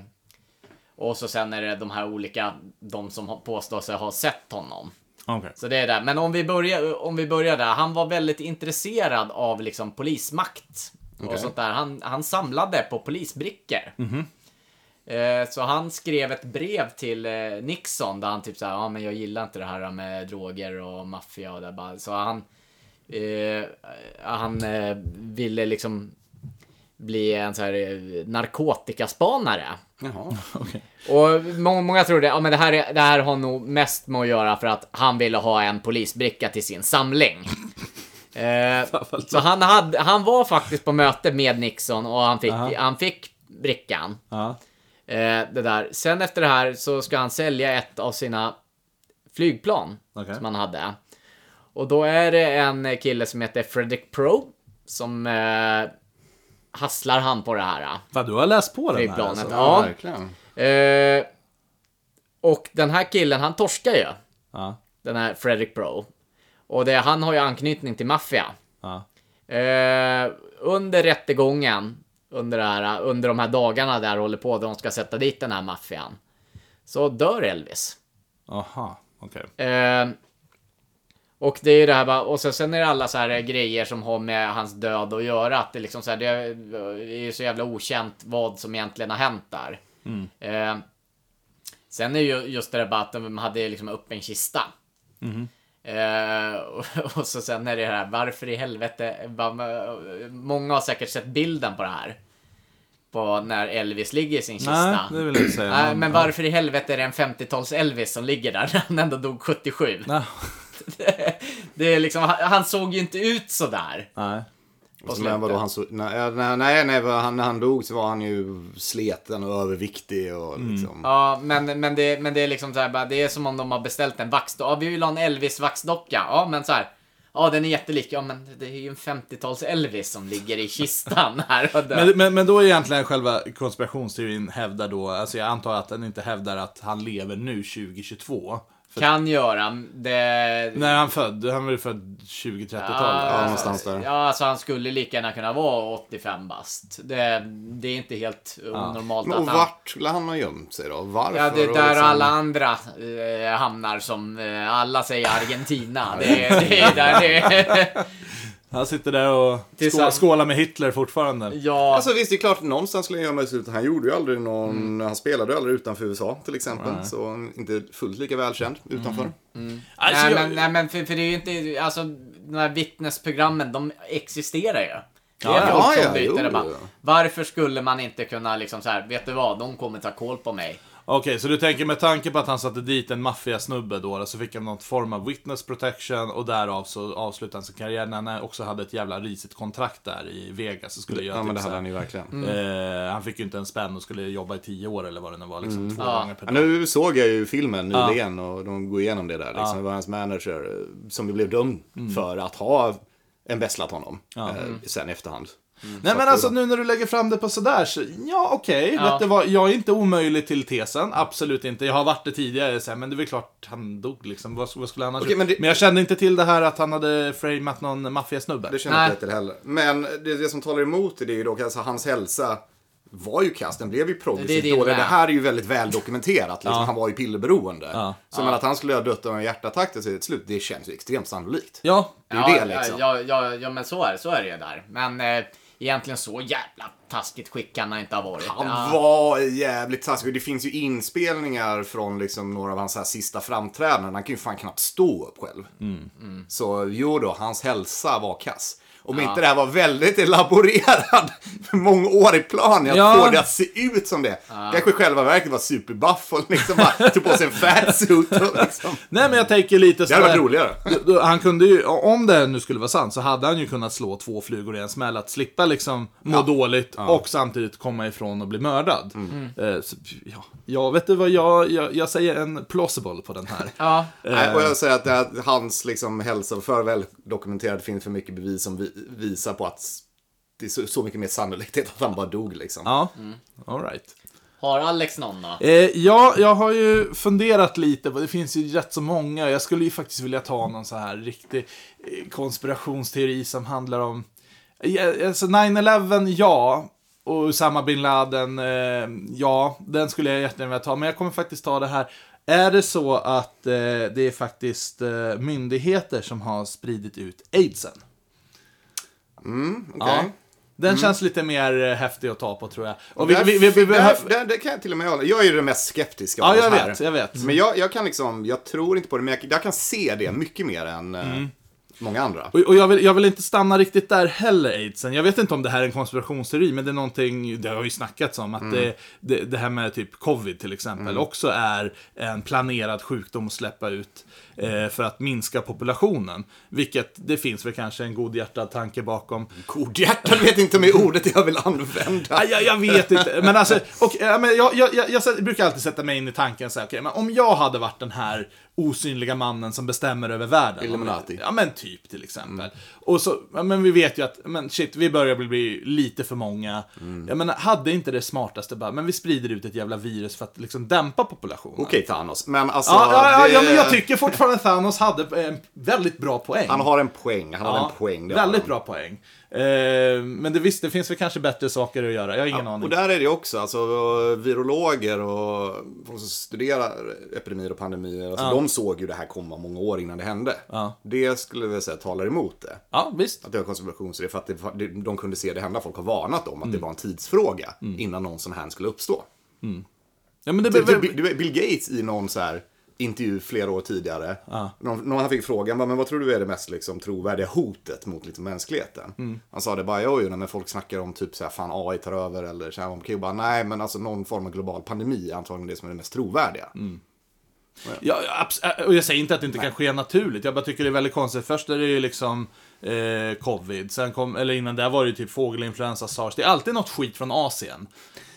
[SPEAKER 4] och så sen är det de här olika, de som har- påstår sig ha sett honom.
[SPEAKER 2] Okay.
[SPEAKER 4] Så det är det. Men om vi börjar, om vi börjar där. Han var väldigt intresserad av liksom polismakt.
[SPEAKER 3] Okej.
[SPEAKER 4] Och sånt där. Han, han samlade på polisbrickor. Eh, Så han skrev ett brev till eh, Nixon där han typ såhär, ja men jag gillar inte det här med droger och maffia och det bara. Så han, eh, han eh, ville liksom bli en så här eh, narkotikaspanare.
[SPEAKER 3] Jaha.
[SPEAKER 4] Och må- många tror det, ja men det här, är, det här har nog mest med att göra för att han ville ha en polisbricka till sin samling. Eh, så han, hade, han var faktiskt på möte med Nixon och han fick,
[SPEAKER 2] Aha.
[SPEAKER 4] han fick brickan.
[SPEAKER 2] Ja.
[SPEAKER 4] Eh, det där. Sen efter det här så ska han sälja ett av sina flygplan
[SPEAKER 2] Okej.
[SPEAKER 4] som han hade. Och då är det en kille som heter Fredrik Pro som eh, hasslar han på det här.
[SPEAKER 2] Fan, du har läst på den här
[SPEAKER 4] Flygplanet.
[SPEAKER 2] alltså.
[SPEAKER 3] Ja,
[SPEAKER 4] Ja.
[SPEAKER 3] verkligen.
[SPEAKER 4] Eh, och den här killen, han torskar ju.
[SPEAKER 2] Ja,
[SPEAKER 4] Den här Fredrik Bro. Och det, han har ju anknytning till maffia.
[SPEAKER 2] ja.
[SPEAKER 4] Eh, under rättegången, under, det här, under de här dagarna där håller på, där de ska sätta dit den här maffian. Så dör Elvis.
[SPEAKER 2] Aha, okej.
[SPEAKER 4] Eh, och det är ju det här bara, och sen, sen är det alla så här grejer som har med hans död att göra. Att det liksom så här, det är ju så jävla okänt vad som egentligen har hänt där.
[SPEAKER 2] Mm.
[SPEAKER 4] Ehm,
[SPEAKER 2] Mm-hmm.
[SPEAKER 4] Eh, sen är ju just det där bara att de hade liksom upp en kista. Eh, och, och så sen är det här, varför i helvete? Bara- Många har säkert sett bilden på det här. På när Elvis ligger i sin
[SPEAKER 2] Nej,
[SPEAKER 4] kista.
[SPEAKER 2] det vill jag inte säga.
[SPEAKER 4] Nej, men varför i helvete är det en 50-tals-Elvis som ligger där när han ändå dog 77?
[SPEAKER 2] Nej.
[SPEAKER 4] Det är liksom, han, han såg ju inte ut sådär.
[SPEAKER 2] Nej.
[SPEAKER 3] Och så,
[SPEAKER 4] släppte.
[SPEAKER 3] men vadå, han så, nej, nej, nej, nej vad han, när han dog så var han ju sleten och överviktig och
[SPEAKER 4] Mm.
[SPEAKER 3] liksom.
[SPEAKER 4] Ja, men, men, det, men det är liksom så här, bara, det är som om de har beställt en vaxdocka. Ja, vi vill ha en Elvis-vaxdocka. Ja, men så här. Ja, den är jättelik. Ja, men det är ju en 50-tals-Elvis som ligger i kistan här och dör.
[SPEAKER 2] Men, men, men då är egentligen själva konspirationsteorin hävdar då, alltså jag antar att den inte hävdar att han lever nu 2022. För
[SPEAKER 4] Kan göra. Det...
[SPEAKER 2] när han född, han var ju född 2030-talet.
[SPEAKER 3] Ja,
[SPEAKER 2] Ja.
[SPEAKER 3] någonstans där.
[SPEAKER 4] Ja, alltså han skulle lika gärna kunna vara 85 bast. Det, det är inte helt onormalt
[SPEAKER 3] Men,
[SPEAKER 4] att
[SPEAKER 3] och
[SPEAKER 4] han...
[SPEAKER 3] vart skulle han ha gömt sig då? Varför?
[SPEAKER 4] Ja, det är
[SPEAKER 3] och
[SPEAKER 4] där
[SPEAKER 3] liksom-
[SPEAKER 4] alla andra eh, hamnar som eh, alla säger Argentina. Det, är- det är där det är.
[SPEAKER 2] Han sitter där och skålar,
[SPEAKER 4] Tillsammans-
[SPEAKER 2] skålar med Hitler fortfarande.
[SPEAKER 4] Ja,
[SPEAKER 3] Alltså visst, det är klart någonstans skulle han gömma sig. Han gjorde ju aldrig någon,
[SPEAKER 2] Mm.
[SPEAKER 3] han spelade ju aldrig utanför USA till exempel. Så han är inte fullt lika välkänd utanför.
[SPEAKER 2] Alltså,
[SPEAKER 4] nej,
[SPEAKER 2] jag-
[SPEAKER 4] men, nej, men för, för det är ju inte, alltså de här vittnesprogrammen, de existerar ju. Det är
[SPEAKER 3] Ja,
[SPEAKER 4] folk
[SPEAKER 3] ja,
[SPEAKER 4] som byter
[SPEAKER 3] jo,
[SPEAKER 4] det bara.
[SPEAKER 3] jo.
[SPEAKER 4] Varför skulle man inte kunna liksom så här, vet du vad, de kommer ta koll på mig.
[SPEAKER 2] Okej, så du tänker med tanke på att han satte dit en maffiasnubbe då, så fick han någon form av witness protection och därav så avslutade han sin karriär när han också hade ett jävla risigt kontrakt där i Vegas. Så skulle göra
[SPEAKER 3] Ja, men det
[SPEAKER 2] typ så
[SPEAKER 3] hade
[SPEAKER 2] här-
[SPEAKER 3] han ju verkligen.
[SPEAKER 2] Eh, han fick ju inte en spänn och skulle jobba i tio år eller vad det nu var.
[SPEAKER 3] Mm.
[SPEAKER 2] Liksom, två
[SPEAKER 4] Ja.
[SPEAKER 2] gånger per
[SPEAKER 3] Ja,
[SPEAKER 2] dag.
[SPEAKER 3] nu såg jag ju filmen nyligen och de går igenom det där. Liksom. Det var hans manager eh, som ju blev dömd
[SPEAKER 2] Mm.
[SPEAKER 3] för att ha en bäslat honom eh, sen i efterhand.
[SPEAKER 2] Nej men alltså nu när du lägger fram det på sådär så, ja okej,
[SPEAKER 4] Ja.
[SPEAKER 2] vet du vad, jag är inte omöjlig till tesen, absolut inte. Jag har varit det tidigare, så här, men det är väl klart han dog liksom, vad, vad skulle han annars
[SPEAKER 3] Okej,
[SPEAKER 2] men,
[SPEAKER 3] men det-
[SPEAKER 2] men jag kände inte till det här att han hade framat någon maffiasnubbe.
[SPEAKER 3] Det känner
[SPEAKER 4] Nej.
[SPEAKER 3] jag inte till heller. Men det, det som talar emot det är ju dock alltså, hans hälsa var ju kass. Den blev ju
[SPEAKER 4] Det är
[SPEAKER 3] progressivt
[SPEAKER 4] din
[SPEAKER 3] dålig. Det
[SPEAKER 4] vän.
[SPEAKER 3] här är ju väldigt väl dokumenterat. Liksom. Han var ju pillerberoende. Så men att han skulle ha dött av en hjärtattack till sitt slut, det känns ju extremt sannolikt.
[SPEAKER 2] Ja,
[SPEAKER 3] Det är ju det liksom.
[SPEAKER 4] Ja, ja, ja, men så är det, så är det ju där. Men eh, egentligen så jävla taskigt skick kan han inte ha varit.
[SPEAKER 3] Han
[SPEAKER 4] Ja.
[SPEAKER 3] var jävligt taskig. Det finns ju inspelningar från liksom några av hans här sista framträdanden. Han kan ju fan knappt stå upp själv. Så jo då, hans hälsa var kass. Om inte det här var väldigt elaborerad mångårig plan i att
[SPEAKER 2] Ja.
[SPEAKER 3] få det att se ut som det. Kanske i själva verket var superbuff och liksom bara tog på sig en fatsuit. och Liksom.
[SPEAKER 2] nej men jag tänker lite
[SPEAKER 3] Det hade varit
[SPEAKER 2] sådär-
[SPEAKER 3] roligare.
[SPEAKER 2] Då- då- Han kunde ju, om det nu skulle vara sant, så hade han ju kunnat slå två flugor i en smäll. Att slippa liksom må dåligt och samtidigt komma ifrån och bli mördad.
[SPEAKER 3] Mm.
[SPEAKER 2] Eh, så, ja, jag vet du vad, jag, jag, jag säger en plausible på den här.
[SPEAKER 4] Ja.
[SPEAKER 3] Nej,
[SPEAKER 2] Eh.
[SPEAKER 3] och jag säger att det här, hans liksom, hälsa var för väl dokumenterad. Det finns för mycket bevis som vi, visar på att det är så, så mycket mer sannolikhet att han bara dog. Liksom.
[SPEAKER 2] Ja, all right.
[SPEAKER 4] Har Alex någon då?
[SPEAKER 2] Eh, ja, jag har ju funderat lite på, det finns ju rätt så många. Jag skulle ju faktiskt vilja ta någon så här riktig eh, konspirationsteori som handlar om... Eh, alltså 9-11, ja. Och Usama bin Laden, eh, ja. Den skulle jag jättegärna vilja ta, men jag kommer faktiskt ta det här. Är det så att eh, det är faktiskt eh, myndigheter som har spridit ut aidsen?
[SPEAKER 3] Mm, Okej. Mm.
[SPEAKER 2] Ja. Den känns lite mer eh, häftig att ta på tror jag. Och
[SPEAKER 3] Där-
[SPEAKER 2] behöver-
[SPEAKER 3] där, där, där kan jag till och med hålla. Jag är ju den mest skeptiska
[SPEAKER 2] Ja,
[SPEAKER 3] av oss
[SPEAKER 2] jag
[SPEAKER 3] här.
[SPEAKER 2] vet, jag vet.
[SPEAKER 3] Men jag, jag kan liksom, jag tror inte på det, men jag, jag kan se det mycket mer än eh,
[SPEAKER 2] Mm.
[SPEAKER 3] många andra.
[SPEAKER 2] Och, och jag, vill, jag vill inte stanna riktigt där heller, aidsen. Jag vet inte om det här är en konspirationsteori, men det är någonting, det har ju snackats om, att det, det, det här med typ covid till exempel också är en planerad sjukdom att släppa ut eh, för att minska populationen. Vilket, det finns väl kanske en godhjärtad tanke bakom.
[SPEAKER 3] Godhjärtad vet inte om det är ordet jag vill använda.
[SPEAKER 2] Aj, jag, jag vet inte. Men alltså, och, ja, men jag, jag, jag, jag sätter- brukar alltid sätta mig in i tanken så här, okej, men om jag hade varit den här osynliga mannen som bestämmer över världen.
[SPEAKER 3] Illuminati.
[SPEAKER 2] Ja, men typ till exempel. Och så, ja, men vi vet ju att, men shit, vi börjar bli, bli lite för många.
[SPEAKER 3] Mm.
[SPEAKER 2] Jag menar, hade inte det smartaste bara, men vi sprider ut ett jävla virus för att liksom dämpa populationen.
[SPEAKER 3] Okej Thanos, men alltså.
[SPEAKER 2] Ja, ja, ja,
[SPEAKER 3] det-
[SPEAKER 2] ja, men jag tycker fortfarande Thanos hade en väldigt bra poäng.
[SPEAKER 3] Han har en poäng, han har
[SPEAKER 2] Ja,
[SPEAKER 3] en poäng. det har
[SPEAKER 2] väldigt
[SPEAKER 3] han.
[SPEAKER 2] bra poäng. Eh, men det, visst, det finns väl kanske bättre saker att göra. Jag har ingen aning.
[SPEAKER 3] Och där är det också, alltså virologer och folk som studerar epidemier och pandemier, alltså, de såg ju det här komma många år innan det hände. Det skulle jag säga talar emot det.
[SPEAKER 2] Ja, visst.
[SPEAKER 3] Att det var konspirationsidé för att det, det, de kunde se det hända. Folk har varnat om att
[SPEAKER 2] Mm.
[SPEAKER 3] det var en tidsfråga innan någon sån här skulle uppstå.
[SPEAKER 2] Ja, men det,
[SPEAKER 3] Typ,
[SPEAKER 2] behöver-
[SPEAKER 3] Bill- Bill Gates i någon så här intervju flera år tidigare. Någon, någon han fick frågan, "Va, men vad tror du är det mest liksom, trovärdiga hotet mot liksom, mänskligheten?
[SPEAKER 2] Mm.
[SPEAKER 3] Han sa det bara, jo, jo, nej, men folk snackar om typ så här, fan AI tar över eller kärnvapenkrig. Och bara, Nej, men alltså någon form av global pandemi är antagligen det som är det mest trovärdiga.
[SPEAKER 2] Mm. Ja, ja, abs- äh, och jag säger inte att det inte kan ske naturligt. Jag bara tycker det är väldigt konstigt. Först är det ju liksom eh, covid, sen kom, eller innan där var det ju typ fågelinfluensa, sars. Det är alltid något skit från Asien.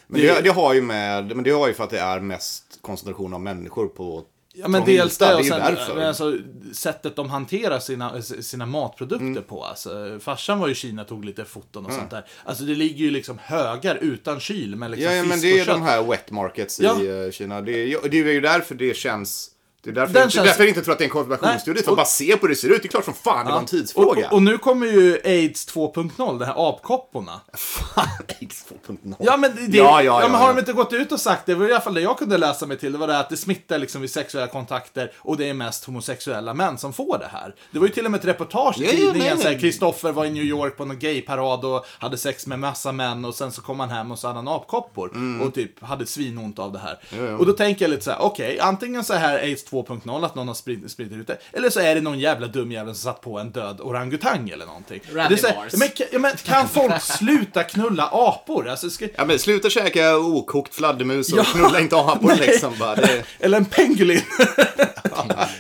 [SPEAKER 3] Men det, det har ju med, men det har ju för att det är mest koncentration av människor på
[SPEAKER 2] Ja, men
[SPEAKER 3] trång
[SPEAKER 2] dels
[SPEAKER 3] yta.
[SPEAKER 2] det
[SPEAKER 3] är
[SPEAKER 2] och
[SPEAKER 3] ju
[SPEAKER 2] sen
[SPEAKER 3] därför.
[SPEAKER 2] men alltså, sättet de hanterar sina, sina matprodukter
[SPEAKER 3] Mm.
[SPEAKER 2] på. Alltså, farsan var ju i Kina tog lite foton och sånt där. Alltså det ligger ju liksom högar utan kyl med liksom
[SPEAKER 3] Ja, ja men
[SPEAKER 2] fisk
[SPEAKER 3] det är ju
[SPEAKER 2] och kött.
[SPEAKER 3] de här wet markets
[SPEAKER 2] Ja.
[SPEAKER 3] i eh, Kina. Det är, ju- det är ju därför det känns... Det är därför,
[SPEAKER 2] Den
[SPEAKER 3] jag inte,
[SPEAKER 2] känns-
[SPEAKER 3] därför jag inte tror att det är en konspirationsstudie. För
[SPEAKER 2] och-
[SPEAKER 3] bara se på hur det ser ut. Det är klart som fan det var en
[SPEAKER 2] och,
[SPEAKER 3] tidsfråga.
[SPEAKER 2] och, och nu kommer ju aids 2.0, de här apkopporna.
[SPEAKER 3] Fan, X2.0.
[SPEAKER 2] Ja men, det,
[SPEAKER 3] ja, ja, ja,
[SPEAKER 2] men har
[SPEAKER 3] ja.
[SPEAKER 2] de inte gått ut och sagt det? Det var i alla fall det jag kunde läsa mig till. Det var det här att det smittar liksom vid sexuella kontakter och det är mest homosexuella män som får det här. Det var ju till och med ett reportage i
[SPEAKER 3] Ja, ja, nej,
[SPEAKER 2] tidningen.
[SPEAKER 3] nej.
[SPEAKER 2] så här, Kristoffer var i New York på någon gayparad och hade sex med massa män och sen så kom han hem och så hade han apkoppor
[SPEAKER 3] Mm.
[SPEAKER 2] och typ hade svinont av det här. Och då tänker jag lite så här: okej, antingen så här aids 2.0 att någon har spridit, spridit ut det. Eller så är det någon jävla dum jävel som satt på en död orangutang eller någonting.
[SPEAKER 4] Randy
[SPEAKER 2] det är så här,
[SPEAKER 4] Mars.
[SPEAKER 2] men, ka- ja, men kan folk sluta knulla apor? Alltså, ska,
[SPEAKER 3] Ja, men sluta käka okokt fladdermus och
[SPEAKER 2] Ja.
[SPEAKER 3] knulla inte apor liksom. Bara, det,
[SPEAKER 2] Eller en pengulin.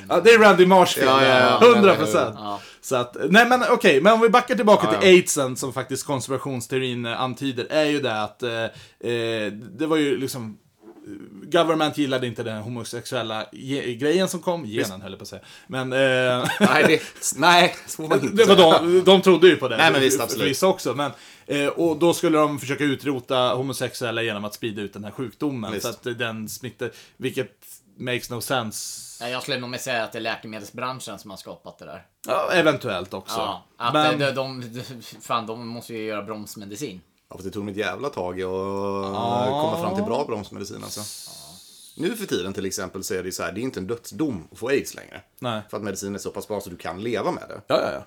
[SPEAKER 2] ja, det är Randy Marsh film.
[SPEAKER 3] Ja, ja, ja.
[SPEAKER 2] 100 procent.
[SPEAKER 4] Ja.
[SPEAKER 2] Så att, nej men okej, men om vi backar tillbaka
[SPEAKER 3] Ja, ja.
[SPEAKER 2] till aidsen som faktiskt konspirationsteorin eh, antyder, är ju det att eh, eh, det var ju liksom eh, Government gillade inte den homosexuella ge- grejen som kom, genen höll jag på att säga. Men eh,
[SPEAKER 3] nej, det, nej, så får man inte
[SPEAKER 2] det var
[SPEAKER 3] säga.
[SPEAKER 2] de, de trodde ju på det.
[SPEAKER 3] Nej, men visst, absolut.
[SPEAKER 2] Vissa också. Men, eh, och då skulle de försöka utrota homosexuella genom att sprida ut den här sjukdomen.
[SPEAKER 3] Visst.
[SPEAKER 2] Så att den smittar, vilket makes no sense.
[SPEAKER 4] Nej, Jag skulle nog med säga att det är läkemedelsbranschen som har skapat det där.
[SPEAKER 2] Ja, eventuellt också.
[SPEAKER 4] Ja, att
[SPEAKER 2] men,
[SPEAKER 4] de, de, de, fan, de måste ju göra bromsmedicin.
[SPEAKER 3] Ja, för det tog mig ett jävla tag att
[SPEAKER 2] Ah.
[SPEAKER 3] komma fram till bra bromsmedicin alltså. Nu för tiden till exempel så är det ju så här, det är inte en dödsdom att få aids längre.
[SPEAKER 2] Nej.
[SPEAKER 3] För att medicin är så pass bra så du kan leva med det.
[SPEAKER 2] Ja, ja, ja.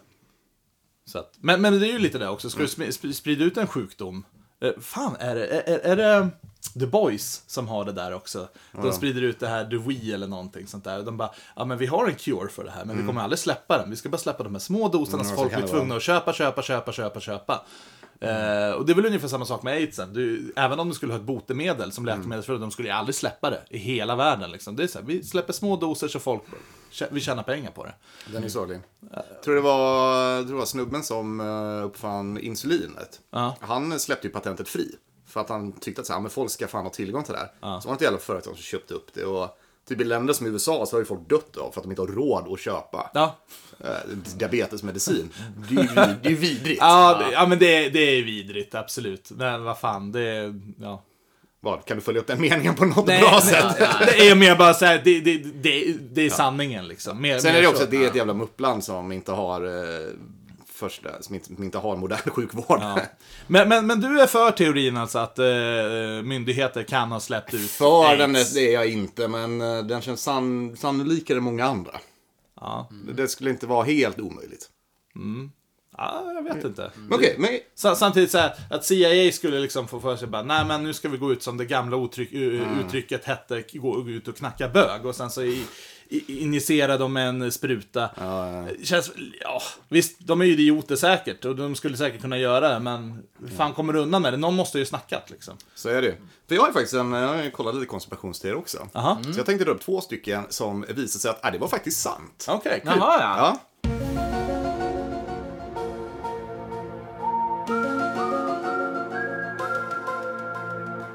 [SPEAKER 2] Så att, men, men det är ju lite det också. Ska du smi- sp- sprida ut en sjukdom? Eh, fan, är det, är, är det The Boys som har det där också? De sprider ut det här The We eller någonting sånt där. De bara, ja men vi har en cure för det här, men vi kommer aldrig släppa den. Vi ska bara släppa de här små doserna så
[SPEAKER 3] Mm, så
[SPEAKER 2] folk
[SPEAKER 3] kan
[SPEAKER 2] blir
[SPEAKER 3] det vara.
[SPEAKER 2] tvungna att köpa, köpa, köpa, köpa, köpa. Eh, och det är väl ungefär samma sak med aidsen. Du, även om du skulle ha ett botemedel som
[SPEAKER 3] Mm.
[SPEAKER 2] läkemedelsföretag, de skulle ju aldrig släppa det i hela världen. Liksom. Det är så här, vi släpper små doser så folk, vi tjänar pengar på det.
[SPEAKER 3] Den är sorglig. Tror det var, tror det var snubben som eh, uppfann insulinet.
[SPEAKER 2] Ja.
[SPEAKER 3] Han släppte ju patentet fri. För att han tyckte att så här, men folk ska fan ha tillgång till det här. Så var det ett jävla företag som köpte upp det. Och typ i länder som USA så har ju folk dött av för att de inte har råd att köpa
[SPEAKER 2] Ja,
[SPEAKER 3] eh, diabetesmedicin. Det är ju vid- det är ju vidrigt.
[SPEAKER 2] Ja, det, ja men det, det är vidrigt, absolut. Men vad fan, det... Ja.
[SPEAKER 3] Vad, kan du följa upp den meningen på något
[SPEAKER 2] Nej,
[SPEAKER 3] bra
[SPEAKER 2] nej,
[SPEAKER 3] sätt?
[SPEAKER 2] Det är mer bara såhär, det, det, det, det är sanningen liksom. Mer,
[SPEAKER 3] Sen
[SPEAKER 2] mer
[SPEAKER 3] är det också
[SPEAKER 2] så.
[SPEAKER 3] att det är ett jävla muppland som inte har eh, första, som inte, som inte har modern sjukvård.
[SPEAKER 2] Men, men, men du är för teorin alltså att eh, myndigheter kan ha släppt ut
[SPEAKER 3] För
[SPEAKER 2] aids.
[SPEAKER 3] den är, det är jag inte, men eh, den känns sann, sannolikare än många andra.
[SPEAKER 2] Ja.
[SPEAKER 3] Det skulle inte vara helt omöjligt.
[SPEAKER 2] ja, jag vet inte.
[SPEAKER 3] Men okej, men
[SPEAKER 2] Sa- Samtidigt så här, att CIA skulle liksom få för sig bara, nej men nu ska vi gå ut som det gamla uttryck, u- uttrycket hette, k- gå ut och knacka bög. Och sen så i, i, injicera dem med en spruta. Känns, ja, visst, de är ju idioter säkert och de skulle säkert kunna göra det, men hur fan kommer du undan med det? Någon måste ju snackat liksom.
[SPEAKER 3] så är det ju. För jag har ju faktiskt en, jag har ju kollat lite konspirationsteorier också.
[SPEAKER 2] Aha.
[SPEAKER 3] Så jag tänkte dra upp två stycken som visade sig att, ah, det var faktiskt sant.
[SPEAKER 2] Okej, kul.
[SPEAKER 4] Jaha, ja.
[SPEAKER 3] Ja.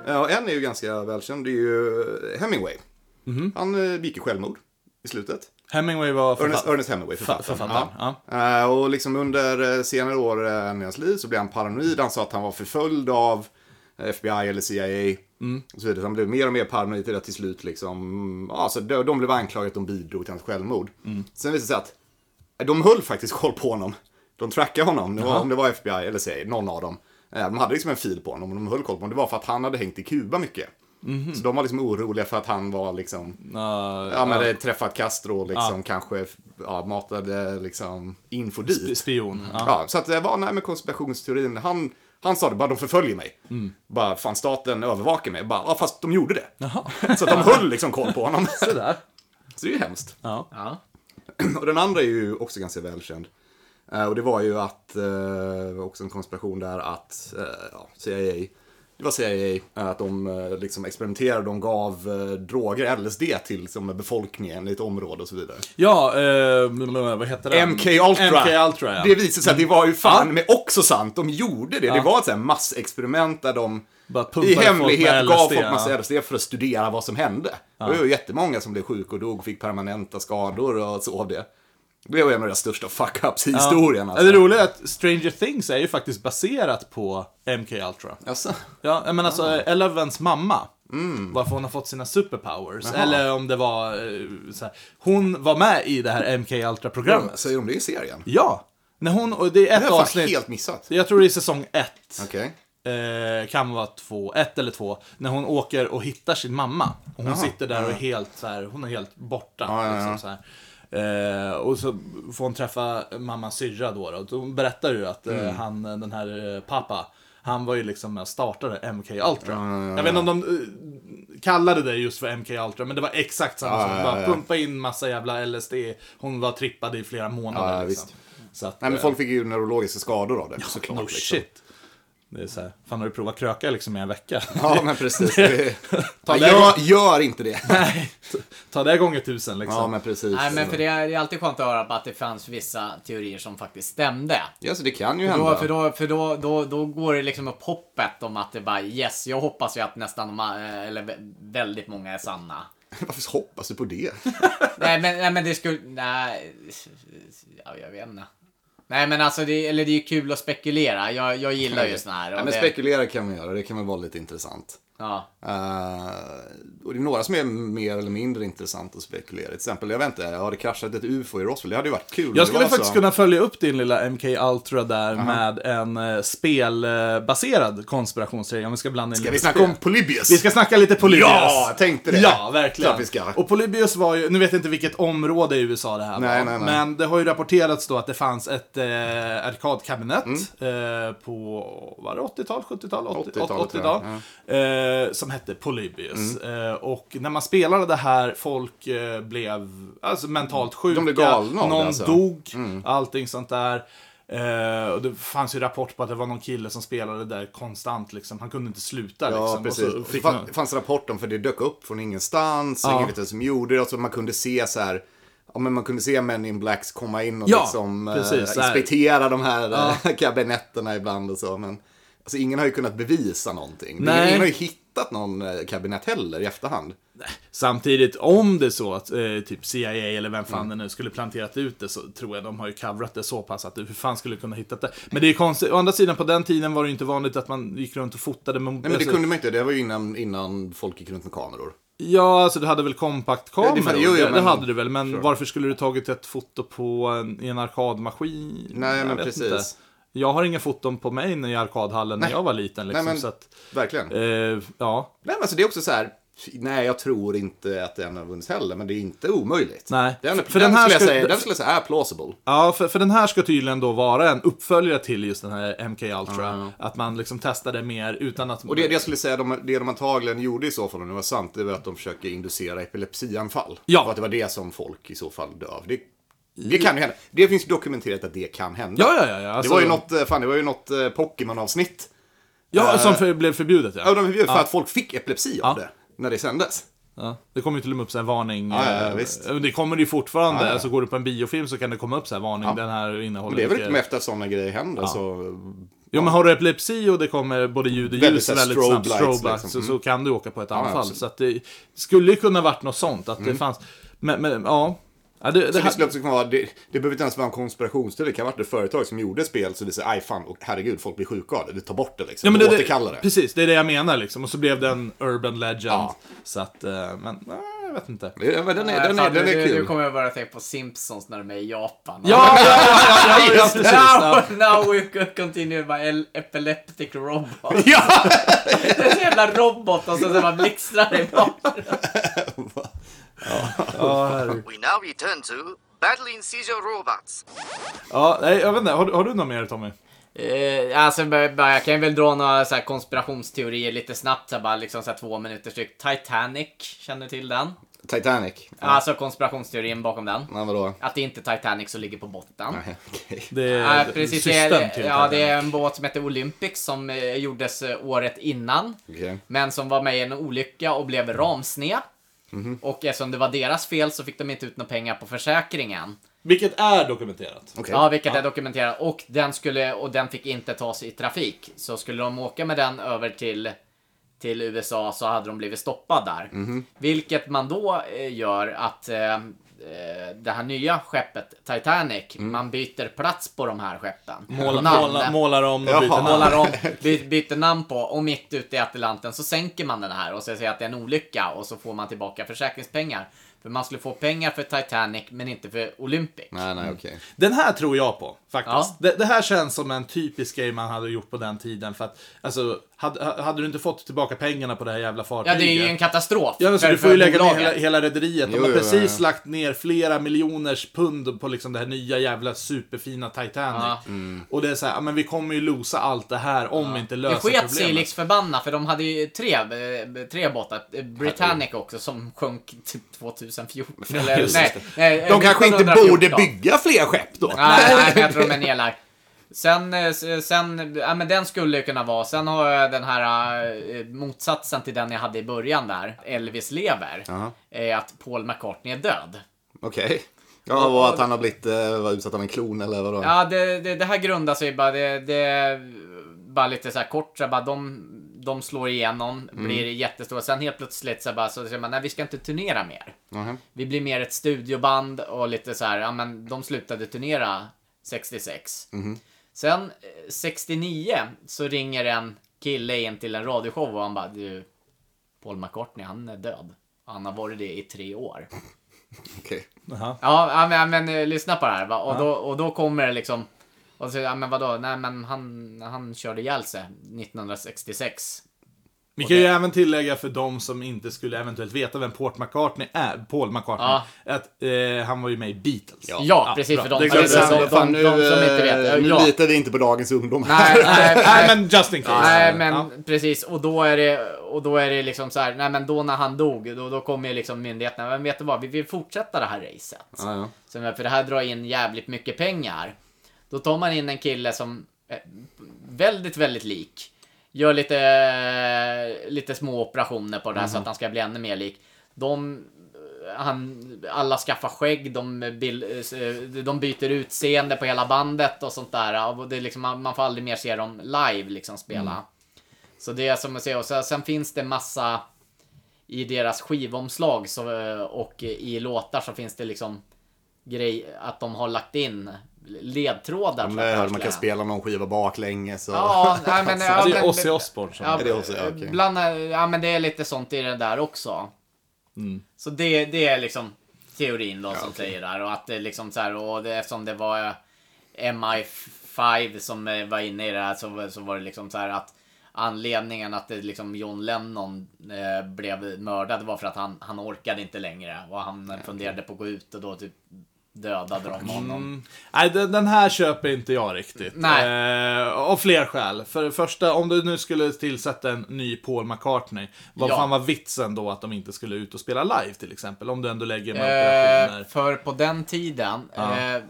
[SPEAKER 3] Ja, och en är ju ganska välkänd. Det är ju eh, Hemingway. Han eh, begick ju självmord i slutet.
[SPEAKER 2] Hemingway var
[SPEAKER 3] Ernest,
[SPEAKER 2] författare.
[SPEAKER 3] Ernest Hemingway,
[SPEAKER 2] Fa-
[SPEAKER 3] författaren.
[SPEAKER 2] författaren,
[SPEAKER 3] Eh, Och liksom under eh, senare år eh, i hans liv så blev han paranoid. Han sa att han var förföljd av eh, FBI eller CIA. Och så vidare. Så han blev mer och mer paranoid till det till slut liksom. Ja, så de, de blev anklagade att de bidrog till hans självmord. Sen visade det sig att eh, de höll faktiskt koll på honom. De trackade honom, det var, om det var FBI eller CIA, någon av dem. Eh, De hade liksom en fil på honom och de höll koll på honom. Det var för att han hade hängt i Kuba mycket. Så de var liksom oroliga för att han var liksom
[SPEAKER 2] Ja,
[SPEAKER 3] Ja, men det träffat Castro och liksom kanske ja, matade liksom info dit.
[SPEAKER 2] Spion. Ja.
[SPEAKER 3] Ja, så att det var, nej men konspirationsteorin, han, han sa det bara, de förföljer mig. Bara, fan staten övervakar mig. Bara, ja fast de gjorde det. Så att de höll liksom koll på honom.
[SPEAKER 2] Sådär.
[SPEAKER 3] Så det är ju hemskt.
[SPEAKER 2] Ja.
[SPEAKER 4] Ja.
[SPEAKER 3] Och den andra är ju också ganska välkänd. Eh, Och det var ju att, eh, också en konspiration där att eh, ja, CIA, det var CIA, eh, att de eh, liksom experimenterade, de gav eh, droger, LSD till liksom, befolkningen i ett område och så vidare.
[SPEAKER 2] Ja, eh, vad heter den?
[SPEAKER 3] MK Ultra.
[SPEAKER 2] MK Ultra, ja.
[SPEAKER 3] Det visade sig att det var ju fan med också sant, de gjorde det. Det var ett så här massexperiment där de
[SPEAKER 2] Bara pumpade
[SPEAKER 3] i
[SPEAKER 2] folk med
[SPEAKER 3] hemlighet
[SPEAKER 2] LSD,
[SPEAKER 3] gav folk
[SPEAKER 2] ja.
[SPEAKER 3] massa LSD för att studera vad som hände. Det var ju jättemånga som blev sjuka och dog och fick permanenta skador och så av det. Det var en av de största fuck-ups i historien. alltså.
[SPEAKER 2] Ja, Det roliga är att Stranger Things är ju faktiskt baserat på MK Ultra.
[SPEAKER 3] Alltså,
[SPEAKER 2] Ja, men alltså
[SPEAKER 3] Ah.
[SPEAKER 2] eh, Elevens mamma.
[SPEAKER 3] Mm.
[SPEAKER 2] Varför hon har fått sina superpowers. Eller om det var eh, så här, Hon var med i det här MK Ultra-programmet.
[SPEAKER 3] säger de det i serien?
[SPEAKER 2] Ja! När hon, och det är
[SPEAKER 3] Det
[SPEAKER 2] ett
[SPEAKER 3] har jag fan
[SPEAKER 2] avsnitt.
[SPEAKER 3] helt missat.
[SPEAKER 2] Jag tror det är säsong ett.
[SPEAKER 3] Okej.
[SPEAKER 2] Eh, kan vara två, ett eller två. När hon åker och hittar sin mamma. Och hon sitter där och är helt så här, hon är helt borta.
[SPEAKER 3] ja,
[SPEAKER 2] liksom, Så här. Eh, och så får hon träffa mammas syrra då. då. Och Hon berättar ju att
[SPEAKER 3] Mm.
[SPEAKER 2] eh, han, den här eh, pappa, han var ju liksom med och startade MK Ultra. Jag vet inte om de eh, kallade det just för MK Ultra, men det var exakt samma sak.
[SPEAKER 3] ja,
[SPEAKER 2] Bara
[SPEAKER 3] ja.
[SPEAKER 2] pumpa in massa jävla LSD. Hon var trippad i flera månader.
[SPEAKER 3] Ja, ja,
[SPEAKER 2] liksom.
[SPEAKER 3] visst.
[SPEAKER 2] Så att,
[SPEAKER 3] Nej, men
[SPEAKER 2] eh,
[SPEAKER 3] folk fick ju neurologiska skador av det, såklart.
[SPEAKER 2] No
[SPEAKER 3] liksom.
[SPEAKER 2] shit. Det är så här, fan har du provat kröka liksom i en vecka?
[SPEAKER 3] Ja, men precis. Det...
[SPEAKER 2] Ta
[SPEAKER 3] Nej,
[SPEAKER 2] det
[SPEAKER 3] gör, gör inte det.
[SPEAKER 2] Nej, ta det gånger tusen liksom.
[SPEAKER 3] Ja, men precis.
[SPEAKER 4] Nej, men för det är det är alltid skönt att höra på att det fanns vissa teorier som faktiskt stämde.
[SPEAKER 3] Ja, så det kan ju
[SPEAKER 4] Då,
[SPEAKER 3] hända.
[SPEAKER 4] för då, för då, då, då går det liksom upp hoppet om att det bara yes, jag hoppas ju att nästan de, här- eh, eller vä- väldigt många är sanna.
[SPEAKER 3] Varför hoppas du på det?
[SPEAKER 4] nej, men, nej men det skulle, nej, ja, jag vet inte. Nej men alltså, det, eller det är ju kul att spekulera. Jag, jag gillar ju såna här. och
[SPEAKER 3] Nej, men
[SPEAKER 4] det-
[SPEAKER 3] spekulera kan man göra, det kan väl vara lite intressant.
[SPEAKER 4] ja.
[SPEAKER 3] Eh, och det är några som är mer eller mindre intressant att spekulera. Till exempel, jag vet inte, har det kraschat ett UFO i Roswell? Det hade ju varit kul. om det
[SPEAKER 2] Jag skulle
[SPEAKER 3] var så.
[SPEAKER 2] faktiskt kunna följa upp din lilla MK Ultra där med en eh, spelbaserad konspirationsteori. Om vi ska blanda in
[SPEAKER 3] Ska
[SPEAKER 2] lite
[SPEAKER 3] vi snacka
[SPEAKER 2] spel.
[SPEAKER 3] om Polybius?
[SPEAKER 2] Vi ska snacka lite Polybius.
[SPEAKER 3] Ja, jag tänkte det.
[SPEAKER 2] Ja, verkligen.
[SPEAKER 3] Klart vi ska.
[SPEAKER 2] Och Polybius var ju, nu vet jag inte vilket område i USA det här
[SPEAKER 3] Nej,
[SPEAKER 2] var.
[SPEAKER 3] nej, nej.
[SPEAKER 2] Men det har ju rapporterats då att det fanns ett eh, arkadkabinett eh, på, var det 80-tal, 70-tal, 80, 80,
[SPEAKER 3] 80-talet,
[SPEAKER 2] 80
[SPEAKER 3] Mm. ja. Mm.
[SPEAKER 2] eh, Som hette Polybius. Eh, och när man spelade det här, folk eh, blev alltså, mentalt sjuka.
[SPEAKER 3] blev galna av det,
[SPEAKER 2] Någon
[SPEAKER 3] alltså.
[SPEAKER 2] dog, allting sånt där. Eh, och det fanns ju rapport på att det var någon kille som spelade där konstant liksom. Han kunde inte sluta
[SPEAKER 3] Ja,
[SPEAKER 2] liksom.
[SPEAKER 3] precis.
[SPEAKER 2] Och så fick
[SPEAKER 3] det
[SPEAKER 2] man-
[SPEAKER 3] fan- fanns rapport om, för det dök upp från ingenstans, och
[SPEAKER 2] Ja.
[SPEAKER 3] ingen vet vem som gjorde det, och så man kunde se så här, ja men man kunde se Men in Blacks komma in och
[SPEAKER 2] Ja,
[SPEAKER 3] liksom eh,
[SPEAKER 2] precis, så här.
[SPEAKER 3] inspektera de här eh, kabinetterna ibland och så, men alltså ingen har ju kunnat bevisa någonting.
[SPEAKER 2] Nej.
[SPEAKER 3] Ingen har ju hittat någon eh, kabinett heller i efterhand.
[SPEAKER 2] Samtidigt, om det är så att eh, typ CIA eller vem fan
[SPEAKER 3] Mm.
[SPEAKER 2] det nu skulle planterat ut det så tror jag de har ju coverat det så pass att du hur fan skulle kunna hitta det. Men det är ju konstigt, å andra sidan på den tiden var det ju inte vanligt att man gick runt och fotade med alltså,
[SPEAKER 3] Nej men det kunde man inte, det var ju innan, innan folk gick runt med kameror.
[SPEAKER 2] Ja, alltså du hade väl
[SPEAKER 3] Ja, det
[SPEAKER 2] kompaktkameror?
[SPEAKER 3] fan- jo, jo,
[SPEAKER 2] det, det
[SPEAKER 3] men-
[SPEAKER 2] hade du väl, men varför skulle du tagit ett foto på en, i en arkadmaskin?
[SPEAKER 3] Nej,
[SPEAKER 2] Jag
[SPEAKER 3] men
[SPEAKER 2] vet
[SPEAKER 3] precis.
[SPEAKER 2] inte. Jag har inga foton på mig när i arkadhallen när jag var liten. Liksom,
[SPEAKER 3] Nej, men-
[SPEAKER 2] så att,
[SPEAKER 3] Verkligen.
[SPEAKER 2] eh, ja,
[SPEAKER 3] Nej men alltså det är också så här, nej jag tror inte att den har vunnits heller, men det är inte omöjligt.
[SPEAKER 2] Nej,
[SPEAKER 3] Den,
[SPEAKER 2] för
[SPEAKER 3] den,
[SPEAKER 2] den här
[SPEAKER 3] skulle jag
[SPEAKER 2] skulle-
[SPEAKER 3] säga, den skulle jag säga är plausible.
[SPEAKER 2] Ja, för, för den här ska tydligen då vara en uppföljare till just den här MK Ultra. Att man liksom testade mer utan att...
[SPEAKER 3] Och det, det jag skulle säga, de, det de antagligen gjorde i så fall, om det var sant, det var att de försöker inducera epilepsianfall.
[SPEAKER 2] Ja.
[SPEAKER 3] Och att det var det som folk i så fall döv. Det, det kan ju hända. Det finns dokumenterat att det kan hända.
[SPEAKER 2] Ja, ja, ja. ja.
[SPEAKER 3] det
[SPEAKER 2] Alltså,
[SPEAKER 3] var ju något, eh, fan, det var ju något eh, Pokémon-avsnitt.
[SPEAKER 2] Ja, som för, blev förbjudet ja.
[SPEAKER 3] Eh, Ja, de förbjöd för att folk fick epilepsi av det, när det sändes.
[SPEAKER 2] ja. Det kommer ju till och med upp så här varning.
[SPEAKER 3] Ja, ja,
[SPEAKER 2] eh,
[SPEAKER 3] visst.
[SPEAKER 2] Det kommer det ju fortfarande.
[SPEAKER 3] Ja, ja.
[SPEAKER 2] Alltså går du på en biofilm så kan det komma upp så här varning. Den här innehåller...
[SPEAKER 3] Och det är väl
[SPEAKER 2] mycket-
[SPEAKER 3] inte med efter att sådana grejer händer, så... eh,
[SPEAKER 2] Jo, men har du epilepsi och det kommer både ljud och ljus
[SPEAKER 3] Väldigt
[SPEAKER 2] väldigt,
[SPEAKER 3] så här strobe
[SPEAKER 2] snabbt,
[SPEAKER 3] lights,
[SPEAKER 2] strobe
[SPEAKER 3] liksom.
[SPEAKER 2] lights, så, så kan du åka på ett anfall.
[SPEAKER 3] absolut.
[SPEAKER 2] så att det skulle ju kunna varit något sånt. Att det fanns... Men, men ja. ja det, det,
[SPEAKER 3] Det,
[SPEAKER 2] här-
[SPEAKER 3] skulle också kunna vara, det, det behöver inte ens vara en konspirationsteori, det kan ha varit ett företag som gjorde spel så det säger aj fan, och herregud, folk blir sjuka av det, vi tar bort det liksom,
[SPEAKER 2] Ja, men det,
[SPEAKER 3] återkallar det.
[SPEAKER 2] Precis, det är det jag menar liksom. Och så blev det en urban legend.
[SPEAKER 3] Ja.
[SPEAKER 2] Så att, eh, men, eh, jag vet inte.
[SPEAKER 3] Ja, men den är,
[SPEAKER 4] Nej,
[SPEAKER 3] den är,
[SPEAKER 4] fan,
[SPEAKER 3] den
[SPEAKER 4] nu,
[SPEAKER 3] är
[SPEAKER 4] nu,
[SPEAKER 3] kul.
[SPEAKER 4] nu kommer jag bara tänka på Simpsons när de är i Japan.
[SPEAKER 2] Ja, ja, ja, ja, ja,
[SPEAKER 3] Just
[SPEAKER 2] ja
[SPEAKER 3] det.
[SPEAKER 2] precis. Ja.
[SPEAKER 4] Now, now we could continue by el- epileptic robot.
[SPEAKER 3] Ja!
[SPEAKER 4] Det är en jävla robot och så så bara blixtrar det bort.
[SPEAKER 2] Ja, herregud.
[SPEAKER 5] We now return to battling seizure robots.
[SPEAKER 2] ja, nej, jag vet inte. Har, du- har du något mer Tommy?
[SPEAKER 4] Eh, alltså, b- b- jag kan väl dra några så här konspirationsteorier lite snabbt, så här, bara liksom så här två minuter styck. Titanic, känner du till den?
[SPEAKER 3] Titanic. Ja.
[SPEAKER 4] Alltså konspirationsteorin bakom den.
[SPEAKER 3] Nej, vadå?
[SPEAKER 4] Att det inte är Titanic som ligger på botten.
[SPEAKER 3] Nej, okej.
[SPEAKER 2] Det är
[SPEAKER 4] Ja, precis. Det
[SPEAKER 2] system
[SPEAKER 4] är,
[SPEAKER 2] till
[SPEAKER 4] ja, det
[SPEAKER 2] Titanic.
[SPEAKER 4] är en båt som heter Olympics som eh, gjordes eh, året innan.
[SPEAKER 3] Okej.
[SPEAKER 4] Men som var med i en olycka och blev ramsned. Och eftersom det var deras fel så fick de inte ut några pengar på försäkringen.
[SPEAKER 2] Vilket är dokumenterat.
[SPEAKER 3] Okej.
[SPEAKER 4] Ja, vilket är dokumenterat. Och den, skulle, och den fick inte tas i trafik. Så skulle de åka med den över till, till USA så hade de blivit stoppad där. Vilket man då eh, gör att eh, eh, det här nya skeppet Titanic, man byter plats på de här skeppen.
[SPEAKER 2] Måla,
[SPEAKER 4] Namn.
[SPEAKER 2] måla, målar om och
[SPEAKER 3] Jaha.
[SPEAKER 2] byter namn.
[SPEAKER 4] Målar om, by, byter namn på och mitt ute i Atlanten så sänker man den här och så säger att det är en olycka och så får man tillbaka försäkringspengar. För man skulle få pengar för Titanic men inte för Olympic.
[SPEAKER 3] Nej, nej, okej.
[SPEAKER 4] Mm.
[SPEAKER 2] Den här tror jag på, faktiskt.
[SPEAKER 4] Ja.
[SPEAKER 2] Det, det här känns som en typisk grej man hade gjort på den tiden. För att, alltså, hade, ha- hade du inte fått tillbaka pengarna på det här jävla
[SPEAKER 4] Ja,
[SPEAKER 2] fartyget.
[SPEAKER 4] det är ju en katastrof.
[SPEAKER 2] Ja, men så
[SPEAKER 4] för-
[SPEAKER 2] du får ju
[SPEAKER 4] för
[SPEAKER 2] lägga ner
[SPEAKER 4] bolagen.
[SPEAKER 2] hela, hela rederiet. De
[SPEAKER 3] Jo,
[SPEAKER 2] har
[SPEAKER 3] jo,
[SPEAKER 2] precis
[SPEAKER 3] ja, ja.
[SPEAKER 2] lagt ner flera miljoners pund på liksom det här nya jävla superfina Titanic.
[SPEAKER 4] Ja.
[SPEAKER 3] Mm.
[SPEAKER 2] Och det är så här, ja, men vi kommer ju losa allt det här om vi inte
[SPEAKER 4] Det
[SPEAKER 2] löser
[SPEAKER 4] sket
[SPEAKER 2] problemet.
[SPEAKER 4] sig liksom. liks förbannat för de hade ju tre, eh, tre båtar. Eh, Britannic också som sjönk typ 2014. Eller,
[SPEAKER 2] just
[SPEAKER 4] nej,
[SPEAKER 2] det.
[SPEAKER 4] nej,
[SPEAKER 3] De kanske inte
[SPEAKER 4] 1914.
[SPEAKER 3] borde bygga fler skepp då.
[SPEAKER 4] Nej, nej, men jag tror de är nedlagd. Sen, eh, s- sen, ja men den skulle ju kunna vara. Sen har jag den här eh, motsatsen till den jag hade i början där. Elvis lever.
[SPEAKER 3] Jaha.
[SPEAKER 4] Är att Paul McCartney är död.
[SPEAKER 3] Okej. Ja, och att han har blivit eh, var utsatt av en klon eller vadå?
[SPEAKER 4] Ja, det, det, det här grundar sig bara, det, det bara lite så här kort, så här bara de, de slår igenom, blir jättestora. Sen helt plötsligt så här bara, så säger man, nej vi ska inte turnera mer.
[SPEAKER 3] Nähä.
[SPEAKER 4] Vi blir mer ett studioband och lite så här, ja men de slutade turnera 66. Sen eh, 69 så ringer en kille in till en radioshow och han bara, du, Paul McCartney han är död. Han har varit det i tre år.
[SPEAKER 3] Okej.
[SPEAKER 2] Jaha.
[SPEAKER 4] Ja, ja, men, ja, men eh, lyssna på det här. Va? Och, då, och då kommer det liksom... Och så, ja, men vadå? Nej, men han, han körde ihjäl sig 1966.
[SPEAKER 2] Vi kan ju även tillägga för de som inte skulle eventuellt veta vem Port McCartney är, Paul McCartney, att eh, han var ju med i Beatles.
[SPEAKER 4] Ja, precis.
[SPEAKER 2] bra.
[SPEAKER 4] För de,
[SPEAKER 2] Det är klart,
[SPEAKER 4] precis,
[SPEAKER 2] det är
[SPEAKER 4] de,
[SPEAKER 2] sant.
[SPEAKER 4] de,
[SPEAKER 3] Fan,
[SPEAKER 4] de, som inte vet.
[SPEAKER 3] eh,
[SPEAKER 4] eh,
[SPEAKER 3] Nu
[SPEAKER 4] Ja.
[SPEAKER 3] litar vi inte på dagens ungdom.
[SPEAKER 4] Nej, nej,
[SPEAKER 2] Nej,
[SPEAKER 4] nej.
[SPEAKER 2] men just in case.
[SPEAKER 4] Nej men
[SPEAKER 2] Ja.
[SPEAKER 4] precis, och då är det, och då är det liksom så här, nej men då när han dog, då, då kommer ju liksom myndigheterna, men vet du vad, vi vill fortsätta det här racet.
[SPEAKER 3] Ja, ja.
[SPEAKER 4] Som är- För det här drar in jävligt mycket pengar. Då tar man in en kille som är väldigt, väldigt lik. Gör lite, eh, lite små operationer på det här så att han ska bli ännu mer lik. De, eh, han, alla skaffar skägg, de, bil, eh, de byter utseende på hela bandet och sånt där. Och det är liksom, man man får aldrig mer se dem live liksom spela.
[SPEAKER 3] Mm.
[SPEAKER 4] Så det är som att säga, och så- sen finns det massa i deras skivomslag så, eh, och i låtar så finns det liksom grej att de har lagt in ledtrådar.
[SPEAKER 3] Om
[SPEAKER 4] för
[SPEAKER 3] det
[SPEAKER 4] att
[SPEAKER 3] är
[SPEAKER 4] det
[SPEAKER 3] hört,
[SPEAKER 4] ska-
[SPEAKER 3] man kan spela någon skiva baklänges och...
[SPEAKER 4] Ja, nej, men, ja,
[SPEAKER 2] Alltså, det är
[SPEAKER 4] men-
[SPEAKER 2] Ozzy Osbourne som...
[SPEAKER 4] Ja,
[SPEAKER 3] Är det också? Ja, okej.
[SPEAKER 4] bland, ja, men det är lite sånt i det där också.
[SPEAKER 2] Mm.
[SPEAKER 4] Så det, det är liksom teorin då som säger där. Och att det liksom så här, och det, eftersom det var eh, MI5 som eh, var inne i det här så, var- så var det liksom så här att anledningen att det liksom John Lennon eh, blev mördad var för att han, han orkade inte längre. Och han funderade på att gå ut och då typ dödade
[SPEAKER 2] Mm.
[SPEAKER 4] de honom.
[SPEAKER 2] Nej, den, den här köper inte jag riktigt.
[SPEAKER 4] Nej.
[SPEAKER 2] Eh, av fler skäl. För det första, om du nu skulle tillsätta en ny Paul McCartney, vad
[SPEAKER 4] Ja.
[SPEAKER 2] fan var vitsen då att de inte skulle ut och spela live till exempel? Om du ändå lägger med
[SPEAKER 4] Eh,
[SPEAKER 2] operationer.
[SPEAKER 4] för på den tiden eh,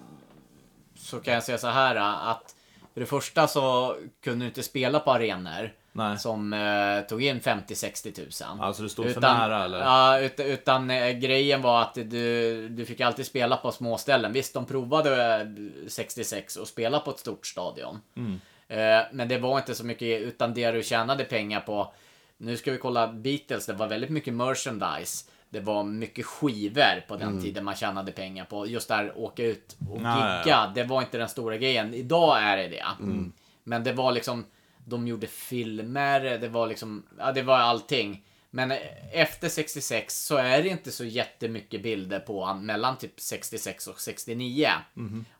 [SPEAKER 4] så kan jag säga så här eh, att för det första så kunde du inte spela på arenor
[SPEAKER 2] Nej.
[SPEAKER 4] som eh, tog in 50-60 tusen.
[SPEAKER 2] Alltså, det stod för nära, eller?
[SPEAKER 4] Ja, ut, utan eh, grejen var att du, du fick alltid spela på småställen. Visst, de provade eh, 66 och spela på ett stort stadion.
[SPEAKER 2] Mm.
[SPEAKER 4] Eh, men det var inte så mycket, utan det du tjänade pengar på. Nu ska vi kolla Beatles, det var väldigt mycket merchandise. Det var mycket skivor på den tiden man tjänade pengar på. Just där åka ut och
[SPEAKER 2] Mm. Ja, ja, ja.
[SPEAKER 4] gigga, det var inte den stora grejen. Idag är det det.
[SPEAKER 2] Mm.
[SPEAKER 4] Men det var liksom, de gjorde filmer, det var liksom, ja det var allting. Men efter 66 så är det inte så jättemycket bilder på
[SPEAKER 2] Mhm.
[SPEAKER 4] han mellan typ 66 och 69.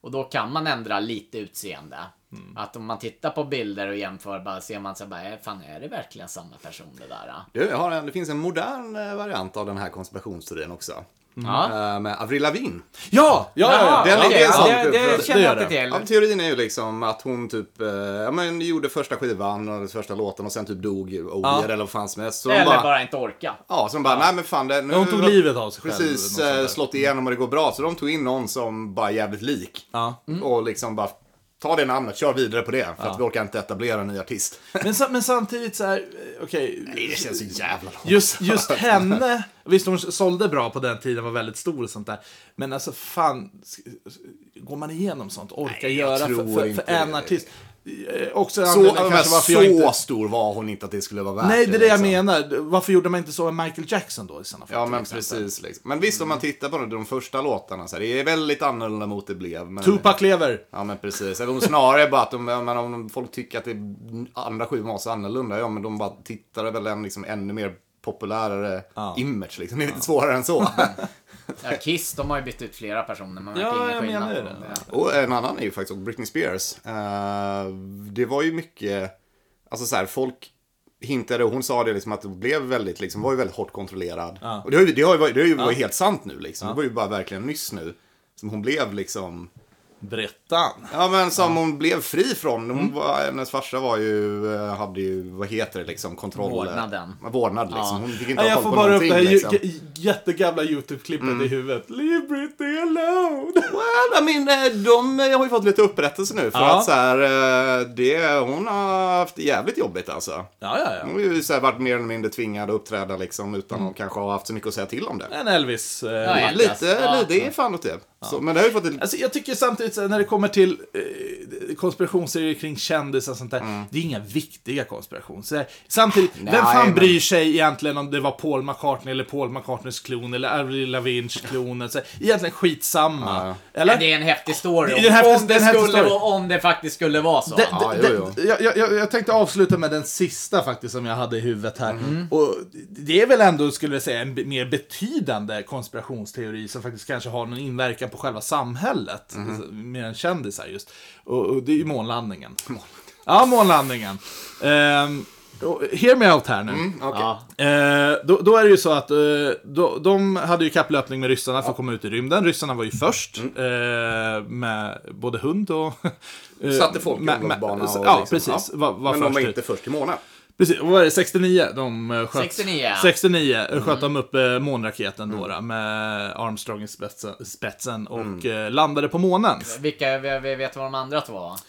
[SPEAKER 4] Och då kan man ändra lite utseende.
[SPEAKER 2] Mm.
[SPEAKER 4] Att om man tittar på bilder och jämför bara ser man så här, bara, "Eh, fan är det verkligen samma person det där? ah?"
[SPEAKER 3] Du, jag har en, det finns en modern eh, variant av den här konspirationsteorin också.
[SPEAKER 4] Ja.
[SPEAKER 3] Eh, Med Avril Lavigne.
[SPEAKER 2] Ja! Ja, ja, ja.
[SPEAKER 4] Jaha,
[SPEAKER 3] Den är-
[SPEAKER 4] okej,
[SPEAKER 3] det är sant.
[SPEAKER 4] ja, det, det,
[SPEAKER 2] Det
[SPEAKER 4] känner
[SPEAKER 2] gör
[SPEAKER 4] jag inte till.
[SPEAKER 3] Ja, teorin är ju liksom att hon typ eh, ja, men gjorde första skivan och första låten och sen typ dog i
[SPEAKER 2] Ja.
[SPEAKER 3] oger eller vad fan som helst. Så hon
[SPEAKER 4] Eller
[SPEAKER 3] bara,
[SPEAKER 4] bara, inte orka.
[SPEAKER 3] Ja, så de bara, nej men fan det, nu,
[SPEAKER 2] Hon tog livet av sig själv.
[SPEAKER 3] Precis,
[SPEAKER 2] eller något sånt
[SPEAKER 3] eh,
[SPEAKER 2] där.
[SPEAKER 3] slått igenom och det går bra. Så de tog in någon som bara är jävligt lik.
[SPEAKER 2] Ja. Mm.
[SPEAKER 3] Och liksom bara, ta det namnet, kör vidare på det. För att vi orkar inte etablera en ny artist.
[SPEAKER 2] Men, sa- men samtidigt så här, eh, okej.
[SPEAKER 3] Nej, det känns ju jävla långt.
[SPEAKER 2] Just, just henne, visst hon sålde bra på den tiden, var väldigt stor och sånt där. Men alltså fan, sk- går man igenom sånt? Orkar
[SPEAKER 3] Nej, jag
[SPEAKER 2] göra för,
[SPEAKER 3] tror
[SPEAKER 2] för,
[SPEAKER 3] inte
[SPEAKER 2] för en
[SPEAKER 3] det.
[SPEAKER 2] artist? Eh, Också
[SPEAKER 3] Så,
[SPEAKER 2] anledningen
[SPEAKER 3] men,
[SPEAKER 2] kanske varför
[SPEAKER 3] så
[SPEAKER 2] jag inte...
[SPEAKER 3] stor var hon inte att det skulle vara värt
[SPEAKER 2] Nej, det är det jag
[SPEAKER 3] liksom.
[SPEAKER 2] menar. Varför gjorde man inte så med Michael Jackson då i sådana fall?
[SPEAKER 3] Ja,
[SPEAKER 2] till
[SPEAKER 3] men
[SPEAKER 2] exempel?
[SPEAKER 3] precis. Liksom. Men visst, om
[SPEAKER 2] Mm.
[SPEAKER 3] man tittar på de första låtarna så här, det är väldigt annorlunda mot det blev. Men...
[SPEAKER 2] Tupac lever.
[SPEAKER 3] Ja men precis. Eller om snarare bara att de, ja, men om folk tycker att det andra skivan var så annorlunda, ja men de bara tittar väl en liksom ännu mer populärare image liksom. Det är lite svårare än
[SPEAKER 2] Mm.
[SPEAKER 3] så.
[SPEAKER 4] Ja, Kiss, de har ju bytt ut flera personer. Man
[SPEAKER 2] Ja,
[SPEAKER 4] märker ingen
[SPEAKER 2] jag
[SPEAKER 4] skillnad.
[SPEAKER 2] menar ju
[SPEAKER 4] på
[SPEAKER 2] det.
[SPEAKER 4] dem.
[SPEAKER 3] Och en annan är ju faktiskt Britney Spears. Eh, det var ju mycket, alltså så här, folk hintade och hon sa det liksom att hon blev väldigt, liksom, var ju väldigt hårt kontrollerad.
[SPEAKER 2] Ja.
[SPEAKER 3] Och det har ju, det har ju, varit- det har ju varit helt sant nu liksom. Det var ju bara verkligen nyss nu. Som hon blev liksom,
[SPEAKER 2] Brettan.
[SPEAKER 3] Ja men som hon blev fri från.
[SPEAKER 2] Mm.
[SPEAKER 3] Hon var, hennes farsa var ju, eh, hade ju, vad heter det liksom, kontroll.
[SPEAKER 4] Vårdnaden.
[SPEAKER 3] Ja, Vårdnad liksom. Hon fick inte
[SPEAKER 2] Nej,
[SPEAKER 3] ha
[SPEAKER 2] jag
[SPEAKER 3] koll
[SPEAKER 2] får
[SPEAKER 3] på
[SPEAKER 2] bara upp
[SPEAKER 3] någonting
[SPEAKER 2] det här ju-
[SPEAKER 3] liksom. Mm.
[SPEAKER 2] j- jättegamla YouTube-klippet i huvudet. Leave Britney alone!
[SPEAKER 3] Well, I mean, eh, de eh, har ju fått lite upprättelse nu för
[SPEAKER 2] Ja.
[SPEAKER 3] att så här, eh, det, hon har haft det jävligt jobbigt alltså.
[SPEAKER 2] Ja, ja, ja.
[SPEAKER 3] Hon har ju så här, varit mer eller mindre tvingad att uppträda liksom utan
[SPEAKER 2] Mm.
[SPEAKER 3] att kanske ha haft så mycket att säga till om det.
[SPEAKER 2] En Elvis. Eh,
[SPEAKER 4] Ja, ja.
[SPEAKER 3] Lite,
[SPEAKER 4] Ja.
[SPEAKER 3] lite, det är fan åt det. Så, men det har ju fått ett...
[SPEAKER 2] Alltså, jag tycker samtidigt så här, när det kommer till eh, konspirationsserier kring kändisar och sånt där. Det är inga viktiga konspirationsserier. Samtidigt, vem fan
[SPEAKER 3] men-
[SPEAKER 2] bryr sig egentligen om det var Paul McCartney eller Paul McCartneys klon eller Avril Lavignes klon? Alltså, egentligen skitsamma. Eller?
[SPEAKER 4] Men det är en häftig story.
[SPEAKER 2] Det är en häftig-
[SPEAKER 4] om,
[SPEAKER 2] det
[SPEAKER 4] det
[SPEAKER 2] är en häftig
[SPEAKER 4] skulle,
[SPEAKER 2] story.
[SPEAKER 4] vara- om det faktiskt skulle vara så.
[SPEAKER 2] Det-
[SPEAKER 3] Alltså, Ja,
[SPEAKER 2] det-
[SPEAKER 3] jo,
[SPEAKER 2] det- jag- jag- jag- Jag tänkte avsluta med den sista faktiskt som jag hade i huvudet
[SPEAKER 3] Mm.
[SPEAKER 2] här. Och det är väl ändå, skulle jag säga, en be- mer betydande konspirationsteori som faktiskt kanske har någon inverkan på själva samhället.
[SPEAKER 3] Mm.
[SPEAKER 2] Alltså, Mer än kändisar just. Och, och det är ju månlandningen. Ja, månlandningen. Ehm, och hear me out här nu.
[SPEAKER 3] Mm, Okej.
[SPEAKER 4] ja.
[SPEAKER 2] Eh, då, då är det ju så att eh, då, de hade ju kapplöpning med ryssarna för att komma ut i rymden. Ryssarna var ju
[SPEAKER 3] Mm.
[SPEAKER 2] först eh, med både hund och... eh,
[SPEAKER 3] Satte folk i
[SPEAKER 2] med- med-
[SPEAKER 3] omloppsbana och
[SPEAKER 2] Ja,
[SPEAKER 3] liksom,
[SPEAKER 2] precis.
[SPEAKER 3] ja.
[SPEAKER 2] Var, var
[SPEAKER 3] Men
[SPEAKER 2] först
[SPEAKER 3] de var
[SPEAKER 2] ut.
[SPEAKER 3] inte först i månaden.
[SPEAKER 2] Precis, vad var det? 69 de eh, sköt?
[SPEAKER 4] 69.
[SPEAKER 2] 69 eh,
[SPEAKER 4] Mm.
[SPEAKER 2] sköt de upp eh, månraketen
[SPEAKER 3] Mm.
[SPEAKER 2] då, då med Armstrong i spetsen, spetsen och
[SPEAKER 3] Mm.
[SPEAKER 2] eh, landade på månen.
[SPEAKER 4] Vilka, vi, vi vet vad de andra två var?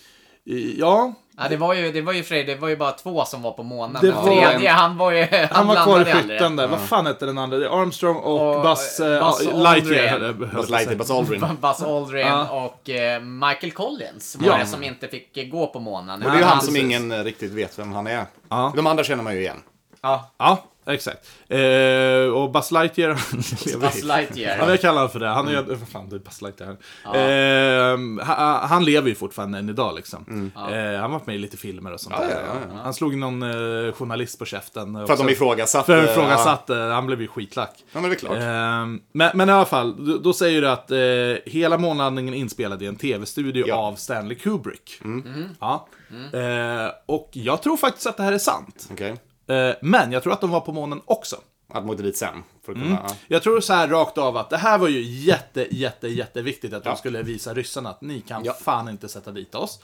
[SPEAKER 2] I- Ja,
[SPEAKER 4] Ja, det var ju, det var ju Frej, det var ju bara två som var på månen.
[SPEAKER 2] Det
[SPEAKER 4] Den
[SPEAKER 2] var-
[SPEAKER 4] tredje, han var ju, han,
[SPEAKER 2] han var kvar i
[SPEAKER 4] landade aldrig.
[SPEAKER 2] skytten där. Vad fan hette den andra? Det är Armstrong och,
[SPEAKER 4] Och,
[SPEAKER 2] Buzz, eh,
[SPEAKER 4] Buzz
[SPEAKER 2] Lightyear.
[SPEAKER 4] Aldrin.
[SPEAKER 2] höll jag- höll jag på
[SPEAKER 3] Buzz
[SPEAKER 2] att säga.
[SPEAKER 3] Lightyear, Buzz Aldrin.
[SPEAKER 4] Buzz Aldrin
[SPEAKER 2] Ja.
[SPEAKER 4] och eh, Michael Collins var
[SPEAKER 2] Ja.
[SPEAKER 4] det som inte fick eh, gå på månen.
[SPEAKER 3] Och det är ju
[SPEAKER 2] Ja,
[SPEAKER 3] han som
[SPEAKER 2] precis.
[SPEAKER 3] ingen eh, riktigt vet vem han är.
[SPEAKER 2] Ja.
[SPEAKER 3] De andra känner man ju igen.
[SPEAKER 4] Ja,
[SPEAKER 2] Ja, exakt. Eh, och Buzz Lightyear...
[SPEAKER 4] Buzz
[SPEAKER 2] Ja, men
[SPEAKER 4] Lightyear. Mm.
[SPEAKER 2] jag kallar honom för det. Han är ju... Vad fan, det är Buzz Lightyear. Eh, han, han lever ju fortfarande än idag liksom.
[SPEAKER 3] Mm.
[SPEAKER 2] Eh, han har varit med i lite filmer och sånt där. Han slog någon eh, journalist på käften.
[SPEAKER 3] För att de ifrågasatte.
[SPEAKER 2] För att ifrågasatte. Han blev ju skitlack.
[SPEAKER 3] Ja, men det är klart.
[SPEAKER 2] Ehm, men, men i alla fall, då, då säger du att eh, hela månlandningen är inspelad i en tv-studio
[SPEAKER 3] Ja. Mm.
[SPEAKER 2] av Stanley Kubrick.
[SPEAKER 4] Mm.
[SPEAKER 2] Ja. Eh, och jag tror faktiskt att det här är sant.
[SPEAKER 3] Okej.
[SPEAKER 2] Eh, men jag tror att de var på månen också.
[SPEAKER 3] Att man åkte dit sen. För att
[SPEAKER 2] Mm.
[SPEAKER 3] kunna, ja.
[SPEAKER 2] Jag tror så här rakt av att det här var ju jätte, jätte, jätteviktigt att
[SPEAKER 3] Ja.
[SPEAKER 2] de skulle visa ryssarna att ni kan
[SPEAKER 3] Ja.
[SPEAKER 2] fan inte sätta dit oss.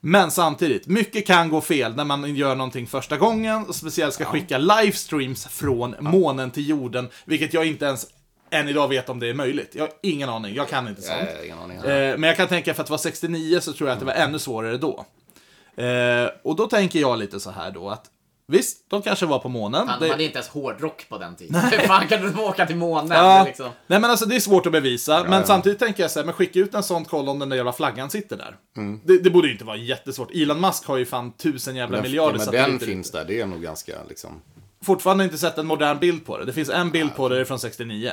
[SPEAKER 2] Men samtidigt, mycket kan gå fel när man gör någonting första gången och speciellt ska skicka livestreams från månen till jorden, vilket jag inte ens än idag vet om det är möjligt. Jag har ingen aning, jag kan inte sånt.
[SPEAKER 3] Eh, ingen aning.
[SPEAKER 2] Eh, men jag kan tänka för att det var 69 så tror jag att det var ännu svårare då. Eh, och då tänker jag lite så här då att visst, de kanske var på månen.
[SPEAKER 4] Han
[SPEAKER 2] Det-
[SPEAKER 4] hade inte ens hårdrock på den tiden. Hur fan kan du åka till månen?
[SPEAKER 2] Ja.
[SPEAKER 4] Liksom.
[SPEAKER 2] Nej men alltså det är svårt att bevisa, men
[SPEAKER 3] ja.
[SPEAKER 2] samtidigt tänker jag så här, men skicka ut en sån koll om den där jävla flaggan sitter där.
[SPEAKER 3] Mm.
[SPEAKER 2] Det, det borde ju inte vara jättesvårt. Elon Musk har ju fan tusen jävla
[SPEAKER 3] Den,
[SPEAKER 2] miljarder
[SPEAKER 3] men den
[SPEAKER 2] satelliter.
[SPEAKER 3] finns där, det är nog ganska liksom...
[SPEAKER 2] Fortfarande inte sett en modern bild på det. Det finns en bild på det, det är från 69.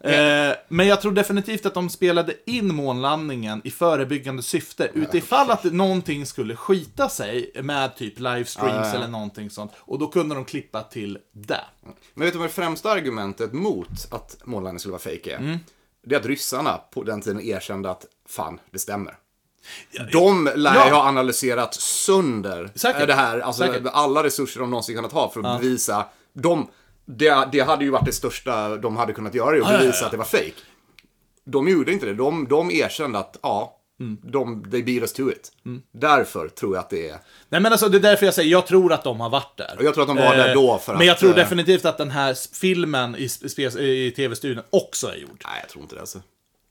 [SPEAKER 2] Eh, men jag tror definitivt att de spelade in månlandningen i förebyggande syfte. Utifall att någonting skulle skita sig med typ livestreams
[SPEAKER 3] Ja, ja, ja.
[SPEAKER 2] eller någonting sånt. Och då kunde de klippa till det.
[SPEAKER 3] Men vet du vad det främsta argumentet mot att
[SPEAKER 2] Mm.
[SPEAKER 3] månlandningen skulle vara fejk är? Det är att ryssarna på den tiden erkände att fan, det stämmer. Typ. De lär
[SPEAKER 2] Ja.
[SPEAKER 3] ju ha analyserat sönder
[SPEAKER 2] Säkert.
[SPEAKER 3] det här. Alltså
[SPEAKER 2] Säkert.
[SPEAKER 3] alla resurser de någonsin kunnat ha för att bevisa. De, det, det hade ju varit det största de hade kunnat göra, ju, att
[SPEAKER 2] ja, ja,
[SPEAKER 3] bevisa
[SPEAKER 2] ja.
[SPEAKER 3] att det var fake. De gjorde inte det. De, de erkände att, ja,
[SPEAKER 2] Mm.
[SPEAKER 3] de, they beat us to it. Därför tror jag att det är...
[SPEAKER 2] Nej men alltså det är därför jag säger, jag tror att de har varit där.
[SPEAKER 3] Och jag tror att de var där då för
[SPEAKER 2] Men jag
[SPEAKER 3] att,
[SPEAKER 2] tror
[SPEAKER 3] eh,
[SPEAKER 2] definitivt att den här s- filmen i, spe- i tv-studion också är gjord.
[SPEAKER 3] Nej, jag tror inte det. Alltså.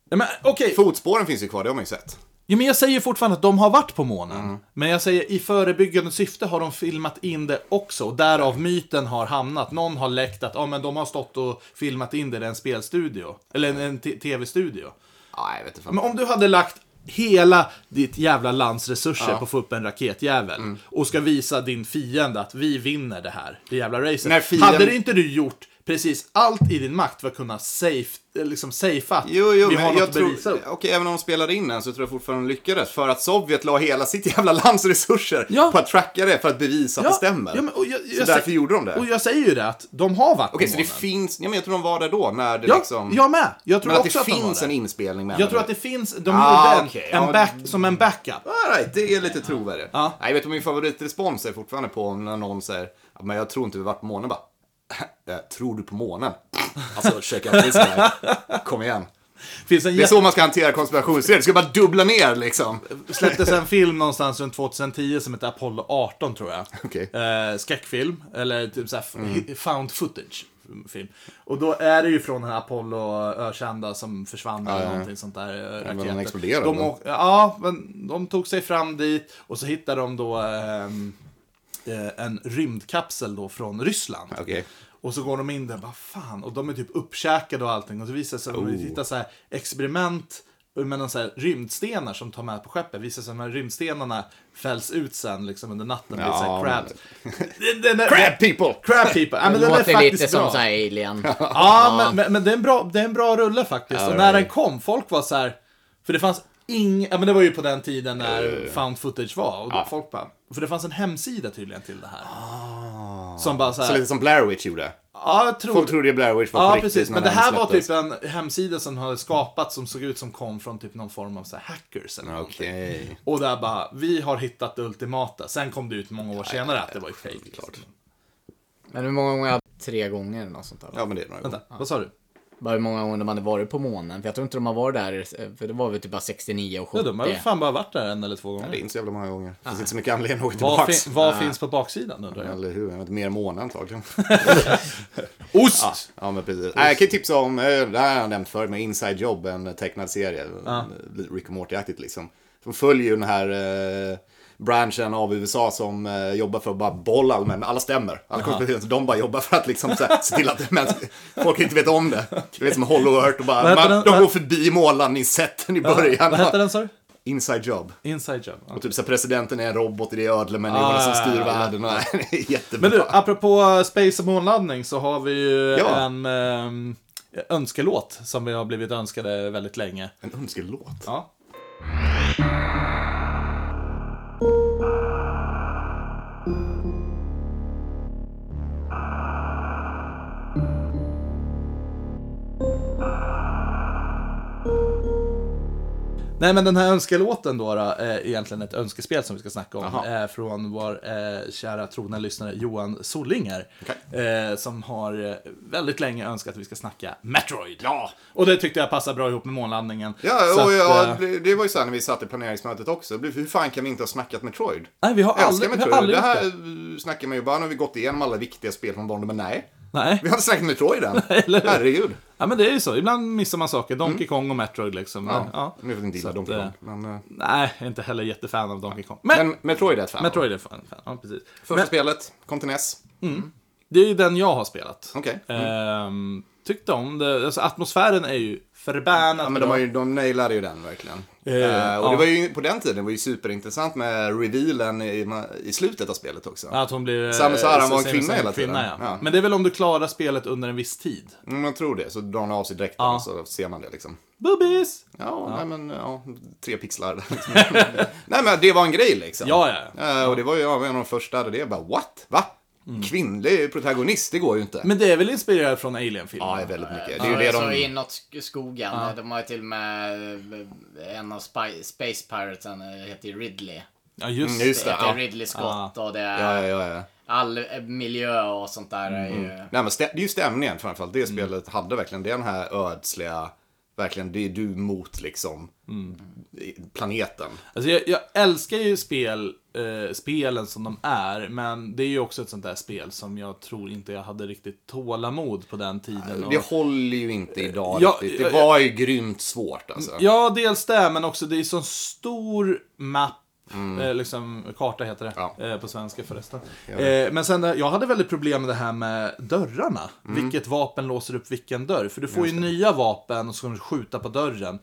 [SPEAKER 2] Ja, men okej,
[SPEAKER 3] Fotspåren finns ju kvar, det har man ju sett.
[SPEAKER 2] ja, men jag säger fortfarande att de har varit på månen.
[SPEAKER 3] Mm.
[SPEAKER 2] Men jag säger i förebyggande syfte har de filmat in det också. Och därav myten har hamnat. Någon har läckt att ah, men de har stått och filmat in det i en spelstudio. Eller en, en t- tv-studio.
[SPEAKER 3] Nej, jag vet inte. fan.
[SPEAKER 2] Men om du hade lagt hela ditt jävla lands resurser på att få upp en raketjävel
[SPEAKER 3] Mm.
[SPEAKER 2] och ska visa din fiende att vi vinner det här, det jävla racet.
[SPEAKER 3] När fienden-
[SPEAKER 2] Hade det inte du gjort precis allt i din makt för att kunna safe, liksom safea att
[SPEAKER 3] Jo, jo,
[SPEAKER 2] vi har
[SPEAKER 3] men
[SPEAKER 2] något
[SPEAKER 3] jag
[SPEAKER 2] att
[SPEAKER 3] tror...
[SPEAKER 2] bevisa upp?
[SPEAKER 3] Okej, även om de spelade in den så tror jag fortfarande de lyckades. För att Sovjet la hela sitt jävla lands resurser
[SPEAKER 2] Ja.
[SPEAKER 3] på att tracka det för att bevisa att det stämmer.
[SPEAKER 2] Ja, men, och jag, jag,
[SPEAKER 3] så
[SPEAKER 2] sä-
[SPEAKER 3] därför gjorde de det.
[SPEAKER 2] Och
[SPEAKER 3] Okej,
[SPEAKER 2] jag säger ju det att de har varit på
[SPEAKER 3] så det
[SPEAKER 2] månen.
[SPEAKER 3] finns... Ja, men jag tror de var där då, när det
[SPEAKER 2] Ja,
[SPEAKER 3] liksom...
[SPEAKER 2] jag med. Jag tror
[SPEAKER 3] men att det
[SPEAKER 2] också att, de var
[SPEAKER 3] finns
[SPEAKER 2] där.
[SPEAKER 3] en inspelning med
[SPEAKER 2] Jag tror
[SPEAKER 3] henne.
[SPEAKER 2] att det finns, de
[SPEAKER 3] Ah,
[SPEAKER 2] gjorde en,
[SPEAKER 3] okej,
[SPEAKER 2] en
[SPEAKER 3] ja.
[SPEAKER 2] back, som en backup.
[SPEAKER 3] All right, det är lite trovärdigt.
[SPEAKER 2] Ja.
[SPEAKER 3] Nej, vet du vad min favoritrespons är fortfarande på när någon säger "Ja, men jag tror inte vi varit på månen bara. "Eh, Tror du på månen? Alltså, check out this guy. Kom igen.
[SPEAKER 2] Finns en
[SPEAKER 3] Det är så man ska hantera konspirationsteorier. Du ska bara dubbla ner liksom.
[SPEAKER 2] släpptes en film någonstans runt 2010 som heter Apollo 18 tror jag.
[SPEAKER 3] Okej. Mm.
[SPEAKER 2] Eh, skräckfilm, eller typ såhär f- found footage. Film. Och då är det ju från den här Apollo ökända som försvann eller någonting sånt där. eh,
[SPEAKER 3] men de
[SPEAKER 2] raketer.
[SPEAKER 3] exploderade,
[SPEAKER 2] De
[SPEAKER 3] va?
[SPEAKER 2] åk- ja, men de tog sig fram dit och så hittade de då ehm, eh, en rymdkapsel då från Ryssland.
[SPEAKER 3] Okej.
[SPEAKER 2] Och så går de in där, bara fan, och de är typ uppkäkade och allting. Och så visar det sig,
[SPEAKER 3] Oh.
[SPEAKER 2] om vi tittar så här, experiment med någon så här rymdstenar som tar med på skeppet. Visar sig att de här rymdstenarna fälls ut sen liksom under natten. Ja,
[SPEAKER 3] Ja,
[SPEAKER 2] så här
[SPEAKER 3] men-
[SPEAKER 2] crab. Den- den är-
[SPEAKER 3] Crab people!
[SPEAKER 2] Crab people! Ja, men den är
[SPEAKER 4] låter
[SPEAKER 2] faktiskt
[SPEAKER 4] lite
[SPEAKER 2] bra.
[SPEAKER 4] som så här alien.
[SPEAKER 2] Ja, men, men, men det, är en bra, det är en bra rulle faktiskt.
[SPEAKER 3] Ja,
[SPEAKER 2] och när
[SPEAKER 3] det är-
[SPEAKER 2] den kom, folk var så här... För det fanns ing... Ja, men det var ju på den tiden när found footage var. Och då folk bara... För det fanns en hemsida tydligen till det här. Som bara så
[SPEAKER 3] Ah. Så
[SPEAKER 2] här...
[SPEAKER 3] lite som Blair Witch gjorde.
[SPEAKER 2] ja, jag tror...
[SPEAKER 3] Folk trodde Blair Witch var på
[SPEAKER 2] Ja,
[SPEAKER 3] riktigt.
[SPEAKER 2] precis.
[SPEAKER 3] när
[SPEAKER 2] Men det här
[SPEAKER 3] den
[SPEAKER 2] var typ
[SPEAKER 3] släpptes.
[SPEAKER 2] en hemsida som hade skapats som såg ut som kom från typ någon form av så här hackers eller någonting.
[SPEAKER 3] Okej.
[SPEAKER 2] Och där bara, vi har hittat det ultimata. Sen kom det ut många år senare att det var ju fejk. liksom.
[SPEAKER 4] Men hur många gånger? Tre gånger eller något sånt där. va?
[SPEAKER 3] Ja, men det är några gånger.
[SPEAKER 2] Vänta, vad sa du?
[SPEAKER 4] Bara hur många gånger de hade varit på månen. För jag tror inte de har varit där, eh, för det var väl typ bara 69 och
[SPEAKER 2] Ja,
[SPEAKER 4] 70.
[SPEAKER 2] de har väl fan bara varit där en eller två
[SPEAKER 3] Det är
[SPEAKER 2] gånger.
[SPEAKER 3] inte så jävla många gånger. Det finns inte så mycket anledning att gå
[SPEAKER 2] Vad,
[SPEAKER 3] tillbaka.
[SPEAKER 2] fin- vad finns på baksidan undrar jag?
[SPEAKER 3] Eller hur? Jag vet, mer än månad antagligen.
[SPEAKER 2] Ost!
[SPEAKER 3] Ja, men precis. Nej, jag kan ju tipsa om, eh, det här har jag nämnt förr, med Inside Job, en tecknad serie. eh, Lite Rick and Morty-aktigt liksom. Som följer ju den här eh, branschen av USA som eh, jobbar för att bara bolla men alla stämmer. Alla konspirationer, de bara jobbar för att liksom så här, se till att men, folk inte vet om det. Det är som Hollow Earth och
[SPEAKER 2] Vad
[SPEAKER 3] bara,
[SPEAKER 2] heter
[SPEAKER 3] man,
[SPEAKER 2] den?
[SPEAKER 3] de går förbi månlandningssätten i början.
[SPEAKER 2] Vad hette den sa du?
[SPEAKER 3] Inside Job.
[SPEAKER 2] Inside job. Ja.
[SPEAKER 3] Och typ så här, presidenten är en robot i det är ödlemänniskorna
[SPEAKER 2] Ah,
[SPEAKER 3] som styr
[SPEAKER 2] ja, ja, ja.
[SPEAKER 3] världen. Och, det är jättebra.
[SPEAKER 2] Men du, apropå eh, space och månlandning så har vi ju
[SPEAKER 3] Ja.
[SPEAKER 2] en ehm, önskelåt som vi har blivit önskade väldigt länge.
[SPEAKER 3] En önskelåt.
[SPEAKER 2] Ja. Nej men den här önskelåten då, då är egentligen ett önskespel som vi ska snacka om.
[SPEAKER 3] Jaha.
[SPEAKER 2] Eh, från vår eh, kära trogna lyssnare Johan Solinger. Eh, som har eh, väldigt länge önskat att vi ska snacka Metroid.
[SPEAKER 3] Ja.
[SPEAKER 2] Och det tyckte jag passar bra ihop med månlandningen. Så
[SPEAKER 3] Ja, och
[SPEAKER 2] att,
[SPEAKER 3] ja,
[SPEAKER 2] eh,
[SPEAKER 3] det- det var ju så här när vi satt i planeringsmötet också. Det blev, Hur fan kan vi inte ha snackat Metroid?
[SPEAKER 2] Nej, vi har
[SPEAKER 3] Jag
[SPEAKER 2] aldrig,
[SPEAKER 3] älskar
[SPEAKER 2] vi har
[SPEAKER 3] Metroid.
[SPEAKER 2] aldrig
[SPEAKER 3] det
[SPEAKER 2] gjort
[SPEAKER 3] här
[SPEAKER 2] det.
[SPEAKER 3] eh, snackar man ju bara när vi gått igenom alla viktiga spel från barndomen, men nej.
[SPEAKER 2] Nej.
[SPEAKER 3] Vi har inte snackat Metroid än.
[SPEAKER 2] eller hur?
[SPEAKER 3] Herregud.
[SPEAKER 2] Ja, men det är ju så. Ibland missar man saker. Donkey
[SPEAKER 3] Mm.
[SPEAKER 2] Kong och Metroid liksom. Ja. Ja.
[SPEAKER 3] Nu vet jag inte
[SPEAKER 2] Så
[SPEAKER 3] gilla Donkey
[SPEAKER 2] att,
[SPEAKER 3] Kong.
[SPEAKER 2] eh,
[SPEAKER 3] Men, eh,
[SPEAKER 2] Nej, jag är inte heller jättefan av Donkey Kong. Men,
[SPEAKER 3] men Metroid är ett fan.
[SPEAKER 2] Metroid är fan. fan. Ja, precis.
[SPEAKER 3] Första
[SPEAKER 2] Men,
[SPEAKER 3] spelet, kom till NES.
[SPEAKER 2] det är ju den jag har spelat.
[SPEAKER 3] Okej. Mm.
[SPEAKER 2] Ehm, tyckte om det. Alltså, atmosfären är ju förbannat
[SPEAKER 3] Ja, men de, har ju, de nailade ju den verkligen.
[SPEAKER 2] Eh,
[SPEAKER 3] Eh, och
[SPEAKER 2] ja.
[SPEAKER 3] det var ju på den tiden var ju superintressant med revealen i, i slutet av spelet också.
[SPEAKER 2] Att hon blir... eh,
[SPEAKER 3] Samus Aran var en
[SPEAKER 2] Samus
[SPEAKER 3] kvinna
[SPEAKER 2] Aran
[SPEAKER 3] hela tiden.
[SPEAKER 2] kvinna, ja.
[SPEAKER 3] Ja.
[SPEAKER 2] Men det är väl om du klarar spelet under en viss tid.
[SPEAKER 3] Mm, jag tror det. Så drar hon av sig dräkten och så ser man det liksom.
[SPEAKER 2] Bubbies!
[SPEAKER 3] Ja, Nej, men ja, tre pixlar. nej, men det var en grej liksom.
[SPEAKER 2] Ja, ja, ja.
[SPEAKER 3] Eh, och det var ju ja, en av de första, där det är bara what? Va? kvinnlig protagonist, det går ju inte.
[SPEAKER 2] Men det är väl inspirerat från Alien-filmen?
[SPEAKER 3] ja, väldigt mycket. Det är
[SPEAKER 4] Ja,
[SPEAKER 3] ju det
[SPEAKER 4] så
[SPEAKER 3] de...
[SPEAKER 4] inåt sk- skogen. De har ju till och med eh, en av Spy- Space Piratesen eh, heter ju Ridley.
[SPEAKER 2] Ja, just
[SPEAKER 3] Mm, just
[SPEAKER 4] Det
[SPEAKER 3] det.
[SPEAKER 4] heter
[SPEAKER 3] ja.
[SPEAKER 4] Ridley Scott och det är
[SPEAKER 3] Ja, ja, ja, ja.
[SPEAKER 4] all eh, miljö och sånt där är ju...
[SPEAKER 3] Nej, men stä- det är ju stämningen framförallt.
[SPEAKER 2] Mm.
[SPEAKER 3] Det spelet hade verkligen den här ödsliga, verkligen det är du mot liksom
[SPEAKER 2] Mm.
[SPEAKER 3] i- planeten.
[SPEAKER 2] Alltså jag, jag älskar ju spel, eh, spelen som de är, men det är ju också ett sånt där spel som jag tror inte jag hade riktigt tålamod på den tiden.
[SPEAKER 3] Det
[SPEAKER 2] och-
[SPEAKER 3] håller ju inte idag
[SPEAKER 2] Ja,
[SPEAKER 3] riktigt. Det
[SPEAKER 2] ja, ja.
[SPEAKER 3] var ju grymt svårt alltså.
[SPEAKER 2] Ja, dels det, men också det är så stor mapp. Eh, liksom, karta heter det
[SPEAKER 3] Mm. Ja.
[SPEAKER 2] eh, på svenska förresten.
[SPEAKER 3] det.
[SPEAKER 2] Eh, men sen, eh, jag hade väldigt problem med det här med dörrarna.
[SPEAKER 3] Mm.
[SPEAKER 2] Vilket vapen låser upp vilken dörr? För du får ju nya vapen och så ska du skjuta på dörren.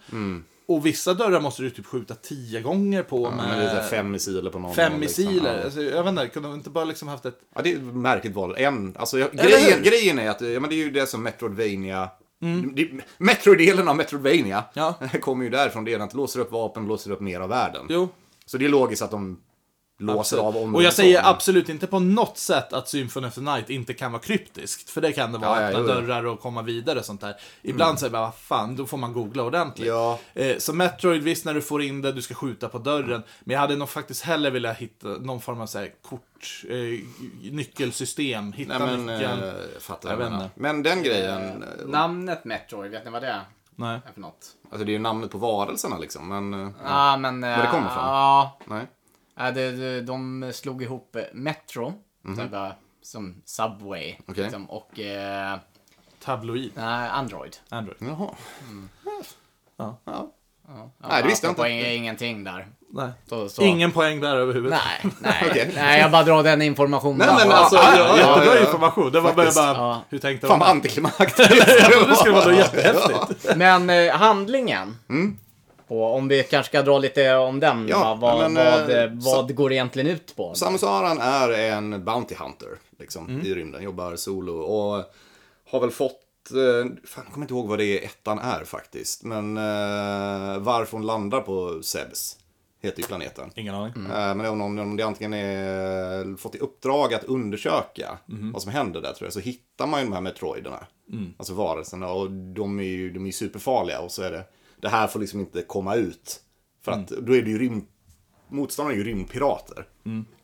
[SPEAKER 2] Och vissa dörrar måste du typ skjuta tio gånger på
[SPEAKER 3] Mm. Ja, men det är så här
[SPEAKER 2] med
[SPEAKER 3] fem missiler på någon.
[SPEAKER 2] fem
[SPEAKER 3] och liksom.
[SPEAKER 2] missiler.
[SPEAKER 3] Ja.
[SPEAKER 2] Alltså, jag vet inte, kunde de inte bara liksom haft ett...
[SPEAKER 3] Ja, det är ett märkligt val. En, alltså, jag,
[SPEAKER 2] Eller
[SPEAKER 3] grejen,
[SPEAKER 2] hur?
[SPEAKER 3] grejen är att ja, men det är ju det som Metroidvania... Mm. Metrodelen av Metroidvania
[SPEAKER 2] Ja.
[SPEAKER 3] kommer ju därifrån. Det är att det låser upp vapen, låser upp mer av världen.
[SPEAKER 2] Jo.
[SPEAKER 3] Så det är logiskt att de låser
[SPEAKER 2] Absolut.
[SPEAKER 3] av om
[SPEAKER 2] Och jag
[SPEAKER 3] om-
[SPEAKER 2] säger absolut inte på något sätt att Symphony of the Night inte kan vara kryptiskt. För det kan det vara,
[SPEAKER 3] Ja, ja,
[SPEAKER 2] öppna
[SPEAKER 3] jo, ja. Mm.
[SPEAKER 2] dörrar och komma vidare och sånt där. Ibland säger man, vad fan, då får man googla ordentligt.
[SPEAKER 3] Ja.
[SPEAKER 2] Eh, så Metroid, visst när du får in det, du ska skjuta på dörren. Men jag hade nog faktiskt hellre velat hitta någon form av så här, kort, eh, nyckelsystem. Hitta
[SPEAKER 3] Nej, men,
[SPEAKER 2] nyckeln.
[SPEAKER 3] eh, jag fattar
[SPEAKER 2] Jag
[SPEAKER 3] vad
[SPEAKER 2] vet
[SPEAKER 3] jag menar.
[SPEAKER 2] inte.
[SPEAKER 3] Men den grejen, eh,
[SPEAKER 4] Namnet Metroid, vet ni vad det är?
[SPEAKER 2] Nej.
[SPEAKER 4] är för något?
[SPEAKER 3] alltså det är ju namnet på varelserna liksom. Men, eh,
[SPEAKER 4] Ja, ah, men... Var
[SPEAKER 3] det kommer ifrån?
[SPEAKER 4] Ja.
[SPEAKER 3] nej.
[SPEAKER 4] Ja, det, det, de slog ihop eh, Metro, så här bara, som Subway,
[SPEAKER 3] Mhm. Okej.
[SPEAKER 4] liksom, och eh,
[SPEAKER 2] Tabloid.
[SPEAKER 4] nej, Android.
[SPEAKER 2] Android.
[SPEAKER 3] Jaha.
[SPEAKER 2] Mm. Ja.
[SPEAKER 3] Ja.
[SPEAKER 4] Ja,
[SPEAKER 3] Nej, det visste jag
[SPEAKER 4] apropå
[SPEAKER 3] inte.
[SPEAKER 4] ing- Alltså, ingenting där.
[SPEAKER 2] Nej.
[SPEAKER 4] Så, så.
[SPEAKER 2] Ingen poäng där överhuvudtaget.
[SPEAKER 4] Nej, nej,
[SPEAKER 3] Okej.
[SPEAKER 4] nej, jag bara drar den informationen.
[SPEAKER 3] Nej, men
[SPEAKER 4] Ja.
[SPEAKER 3] alltså,
[SPEAKER 2] Ja,
[SPEAKER 3] ja,
[SPEAKER 2] jättebra
[SPEAKER 3] ja, ja.
[SPEAKER 2] information. Det var bara,
[SPEAKER 3] Faktiskt.
[SPEAKER 2] bara
[SPEAKER 4] Ja.
[SPEAKER 2] hur tänkte
[SPEAKER 3] Fan
[SPEAKER 2] de?
[SPEAKER 3] vad antiklimaktiskt det
[SPEAKER 2] Det skulle vara
[SPEAKER 3] var.
[SPEAKER 2] något jättehäftigt.
[SPEAKER 4] Men eh, handlingen. Och om vi kanske ska dra lite om den.
[SPEAKER 3] Mm. Ja,
[SPEAKER 4] va? vad
[SPEAKER 3] men,
[SPEAKER 4] vad,
[SPEAKER 3] eh,
[SPEAKER 4] eh, vad går det egentligen ut på?
[SPEAKER 3] Samus Aran är en Bounty Hunter liksom, i rymden. Jobbar solo och har väl fått, eh, fan, jag kommer inte ihåg vad det är ettan är faktiskt. Men eh, varför hon landar på Sebs heter ju planeten.
[SPEAKER 2] Ingen aning.
[SPEAKER 3] Eh, Men om, någon- om det antingen är eh, fått i uppdrag att undersöka vad som händer där tror jag, så hittar man ju de här metroiderna. Alltså varelserna och de är ju de är ju superfarliga och så är det, det här får liksom inte komma ut. För att då är det ju rymd, motståndarna är ju rymdpirater.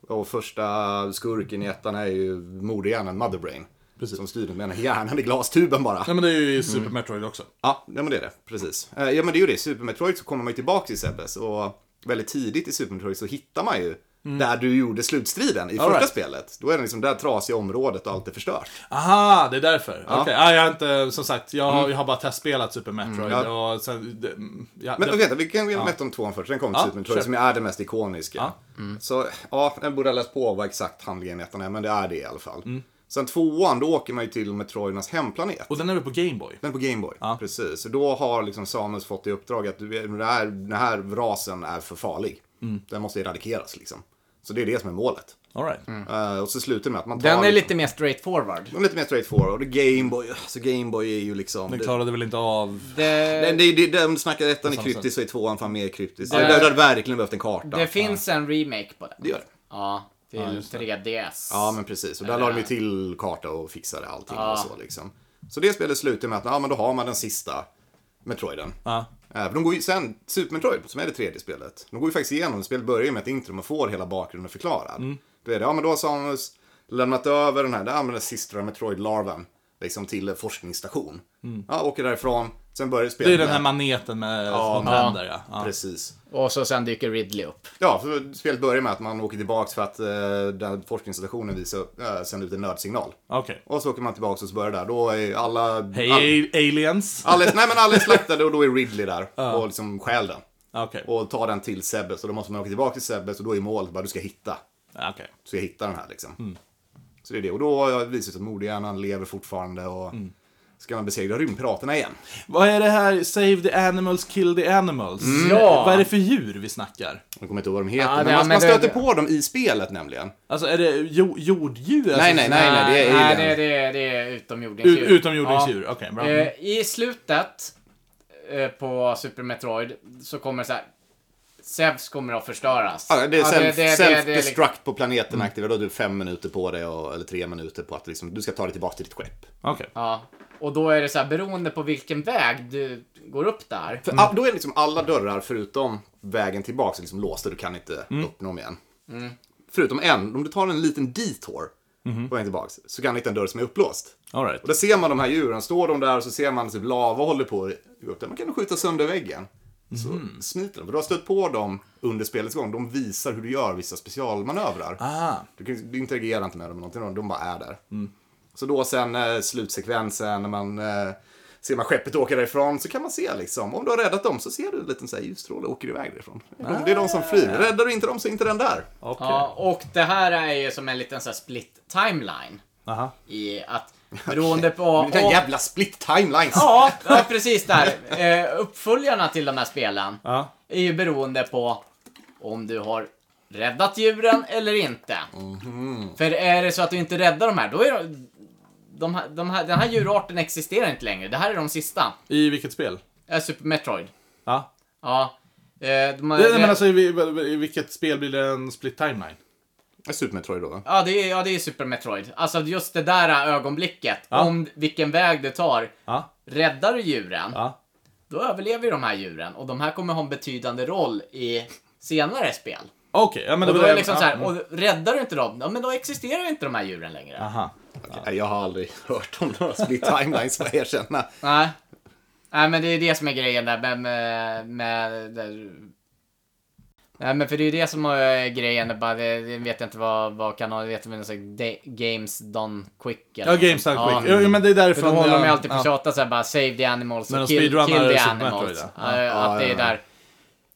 [SPEAKER 3] Och första skurken i ettan är ju mordhjärnan Motherbrain. Som styr den med en hjärnan i glastuben bara.
[SPEAKER 2] Nej men det är
[SPEAKER 3] Mm.
[SPEAKER 2] ju Super Metroid också.
[SPEAKER 3] Ja, ja men det är det. Precis. Eh, Ja, men det är ju det. I Super Metroid så kommer man ju tillbaka till Sebbes och väldigt tidigt i Super Metroid så hittar man ju där du gjorde slutstriden i första
[SPEAKER 2] Mm. right.
[SPEAKER 3] spelet. Då är det liksom det här trasiga området och allt är förstört.
[SPEAKER 2] Aha, det är därför. Okej, ja, jag har inte, som sagt, jag, har jag har bara testspelat Super Metroid
[SPEAKER 3] Mm,
[SPEAKER 2] och sen... Det, mm, ja,
[SPEAKER 3] Men
[SPEAKER 2] det,
[SPEAKER 3] vänta, vi kan ja. mäta om tvåan först. Den kom till
[SPEAKER 2] Ja,
[SPEAKER 3] Super Metroid
[SPEAKER 2] kör.
[SPEAKER 3] som är det mest ikoniska. Mm. Så ja, jag borde ha läst på vad exakt handlingen i ettan är, men det är det i alla fall.
[SPEAKER 2] Mm.
[SPEAKER 3] Sen tvåan, då åker man ju till Metroidernas hemplanet.
[SPEAKER 2] och den är väl på Gameboy?
[SPEAKER 3] Den på Gameboy, precis. Och då har liksom Samus fått i uppdrag att du, den, här, den här rasen är för farlig. Den måste eradikeras liksom. Så det är det som är målet.
[SPEAKER 2] Alright.
[SPEAKER 3] Eh, och så slutar det med att man tar...
[SPEAKER 4] den är
[SPEAKER 3] liksom-
[SPEAKER 4] lite mer straightforward.
[SPEAKER 3] den är lite mer straightforward. Och det är Gameboy, så Gameboy är ju liksom...
[SPEAKER 2] Den
[SPEAKER 3] det-
[SPEAKER 2] klarade väl inte av...
[SPEAKER 4] Det,
[SPEAKER 3] Nej,
[SPEAKER 4] det,
[SPEAKER 3] det, det, det, de snackar ettan är
[SPEAKER 2] samma
[SPEAKER 3] kryptisk och i tvåan fan mer kryptisk.
[SPEAKER 4] Det-
[SPEAKER 3] Det, det hade verkligen behövt en karta.
[SPEAKER 4] finns en remake på den.
[SPEAKER 3] Det gör det.
[SPEAKER 4] Ja, till 3DS.
[SPEAKER 3] Ja, men precis. Och där la
[SPEAKER 2] Eh.
[SPEAKER 3] de ju till karta och fixade allting och så liksom. Så det spelet slutar med att ja, men då har man den sista Metroiden.
[SPEAKER 2] Ja.
[SPEAKER 3] Eh, för De går ju sen, Super Metroid, som är det tredje spelet, de går ju faktiskt igenom, spelet börjar ju med ett intro, man får hela bakgrunden förklarad.
[SPEAKER 2] Mm.
[SPEAKER 3] Då är det, ja men då har Samus lämnat över den här, där använder sista Metroid-larven, liksom till en forskningsstation. Ja, åker därifrån, sen börjar spelet
[SPEAKER 2] Mm. Det är den
[SPEAKER 3] med-
[SPEAKER 2] här maneten med ja, händer, ja. ja.
[SPEAKER 3] Precis.
[SPEAKER 4] Och så sen dyker Ridley upp.
[SPEAKER 3] Ja, för spelet börjar med att man åker tillbaks för att eh, den forskningsstationen visar, eh, sänder ut en nödsignal.
[SPEAKER 2] Okej.
[SPEAKER 3] Och så åker man tillbaka och så börjar där. Då är alla...
[SPEAKER 2] Hej
[SPEAKER 3] all,
[SPEAKER 2] a- aliens!
[SPEAKER 3] alla, nej men alla är slaktade och då är Ridley där och liksom stjäl den.
[SPEAKER 2] Okej.
[SPEAKER 3] Och tar den till Sebbes och då måste man åka tillbaka till Sebbes och då är målet bara du ska hitta.
[SPEAKER 2] Ja, Okej.
[SPEAKER 3] Du ska hitta den här liksom.
[SPEAKER 4] Mm.
[SPEAKER 3] Så det är det. Och då har det visat sig att mordhjärnan lever fortfarande och
[SPEAKER 4] Mm.
[SPEAKER 3] ska man besegra rymdpiraterna igen.
[SPEAKER 2] Vad är det här Save the Animals, Kill the Animals?
[SPEAKER 3] Mm.
[SPEAKER 4] Ja.
[SPEAKER 2] Vad är det för djur vi snackar?
[SPEAKER 3] Jag kommer inte ihåg vad de heter,
[SPEAKER 4] Ja,
[SPEAKER 3] men,
[SPEAKER 4] det-
[SPEAKER 3] man,
[SPEAKER 4] men
[SPEAKER 3] man
[SPEAKER 4] det-
[SPEAKER 3] stöter på dem i spelet nämligen.
[SPEAKER 2] Alltså är det jo- jorddjur?
[SPEAKER 3] Nej,
[SPEAKER 2] alltså,
[SPEAKER 3] nej, nej, nej, det är
[SPEAKER 4] nej,
[SPEAKER 3] alien.
[SPEAKER 4] det, det, det är utomjordingsdjur.
[SPEAKER 2] U- utomjordingsdjur? Okej, bra. Mm.
[SPEAKER 4] Eh, I slutet eh, på Super Metroid så kommer det så här Zeus kommer att förstöras.
[SPEAKER 3] Ja, det är
[SPEAKER 4] Ja,
[SPEAKER 3] self,
[SPEAKER 4] det- det- liksom- det- Mm.
[SPEAKER 3] self-destruct på planeten aktiva. Då har du fem minuter på dig, och, eller tre minuter på att liksom, du ska ta dig tillbaka till ditt skepp.
[SPEAKER 2] Okej.
[SPEAKER 4] Ja, och då är det så här beroende på vilken väg du går upp där.
[SPEAKER 3] För, ah, Då är liksom alla dörrar förutom vägen tillbaka liksom låsta. Du kan inte öppna dem igen. Förutom en, om du tar en liten detour på vägen tillbaka så kan du hitta en dörr som är upplåst.
[SPEAKER 2] All right.
[SPEAKER 3] Och där ser man de här djuren, står de där och så ser man typ lava håller på att gå upp där. Man kan skjuta sönder väggen. Så smiter de. För du har stött på dem under spelets gång. De visar hur du gör vissa specialmanövrar.
[SPEAKER 4] Ah.
[SPEAKER 2] Aha.
[SPEAKER 3] Du, kan, du interagerar inte med dem eller någonting, de bara är där. Så då sen eh, slutsekvensen när man eh, ser man skeppet åka därifrån så kan man se liksom, om du har räddat dem så ser du en liten så här ljusstråle åker iväg därifrån. Det
[SPEAKER 2] Ah.
[SPEAKER 3] är de- Det är de som flyr. Räddar du inte dem så är inte den där.
[SPEAKER 2] Okej.
[SPEAKER 4] Ja, och det här är ju som en liten så här split timeline.
[SPEAKER 2] Aha.
[SPEAKER 4] I att beroende på...
[SPEAKER 3] Men Det är jävla split timelines.
[SPEAKER 4] Ja, ja, precis där. Eh, uppföljarna till de här spelen
[SPEAKER 2] Ja.
[SPEAKER 4] är ju beroende på om du har räddat djuren eller inte.
[SPEAKER 2] Mhm.
[SPEAKER 4] För är det så att du inte räddar de här, då är de... De här, de här, den här djurarten existerar inte längre. Det här är de sista.
[SPEAKER 2] I vilket spel?
[SPEAKER 4] Eh, Super Metroid.
[SPEAKER 2] Ja.
[SPEAKER 4] Ja. Eh, de har,
[SPEAKER 2] Nej, nej, men alltså, i, i, i vilket spel blir det en split timeline?
[SPEAKER 3] Super Metroid då. va?
[SPEAKER 4] Ja, det är, ja, det är Super Metroid. Alltså just det där ögonblicket,
[SPEAKER 2] Ja.
[SPEAKER 4] om vilken väg du tar.
[SPEAKER 2] Ja.
[SPEAKER 4] Räddar du djuren,
[SPEAKER 2] Ja.
[SPEAKER 4] då överlever ju de här djuren och de här kommer ha en betydande roll i senare spel.
[SPEAKER 2] Okej, ja men
[SPEAKER 4] Och
[SPEAKER 2] det
[SPEAKER 4] då
[SPEAKER 2] var
[SPEAKER 4] är det liksom
[SPEAKER 2] ja,
[SPEAKER 4] så här,
[SPEAKER 2] mm.
[SPEAKER 4] och räddar du inte dem, ja, men då existerar ju inte de här djuren längre.
[SPEAKER 2] Aha.
[SPEAKER 3] Nej, Jag har aldrig hört om några split timelines, får jag erkänna.
[SPEAKER 4] Nej. Nej, men det är det som är grejen där med... med, med där. Nej, men för det är ju det som är grejen. det är Bara, det, jag vet inte vad, vad kanalen heter, men det är så här, De- Games Done Quick. eller
[SPEAKER 2] Ja,
[SPEAKER 4] något
[SPEAKER 2] Games
[SPEAKER 4] sånt.
[SPEAKER 2] Done Quick.
[SPEAKER 4] Ja.
[SPEAKER 2] Ja, men det är
[SPEAKER 4] För
[SPEAKER 2] därifrån...
[SPEAKER 4] då håller de ju
[SPEAKER 2] jag-
[SPEAKER 4] alltid på att tjata såhär bara save the animals
[SPEAKER 2] Men
[SPEAKER 4] och
[SPEAKER 2] de
[SPEAKER 4] kill,
[SPEAKER 2] speedrunnar
[SPEAKER 4] kill the
[SPEAKER 2] Super Metroid,
[SPEAKER 4] animals.
[SPEAKER 2] ja.
[SPEAKER 4] Ja,
[SPEAKER 3] Ja,
[SPEAKER 4] Att det
[SPEAKER 3] ja,
[SPEAKER 4] är där.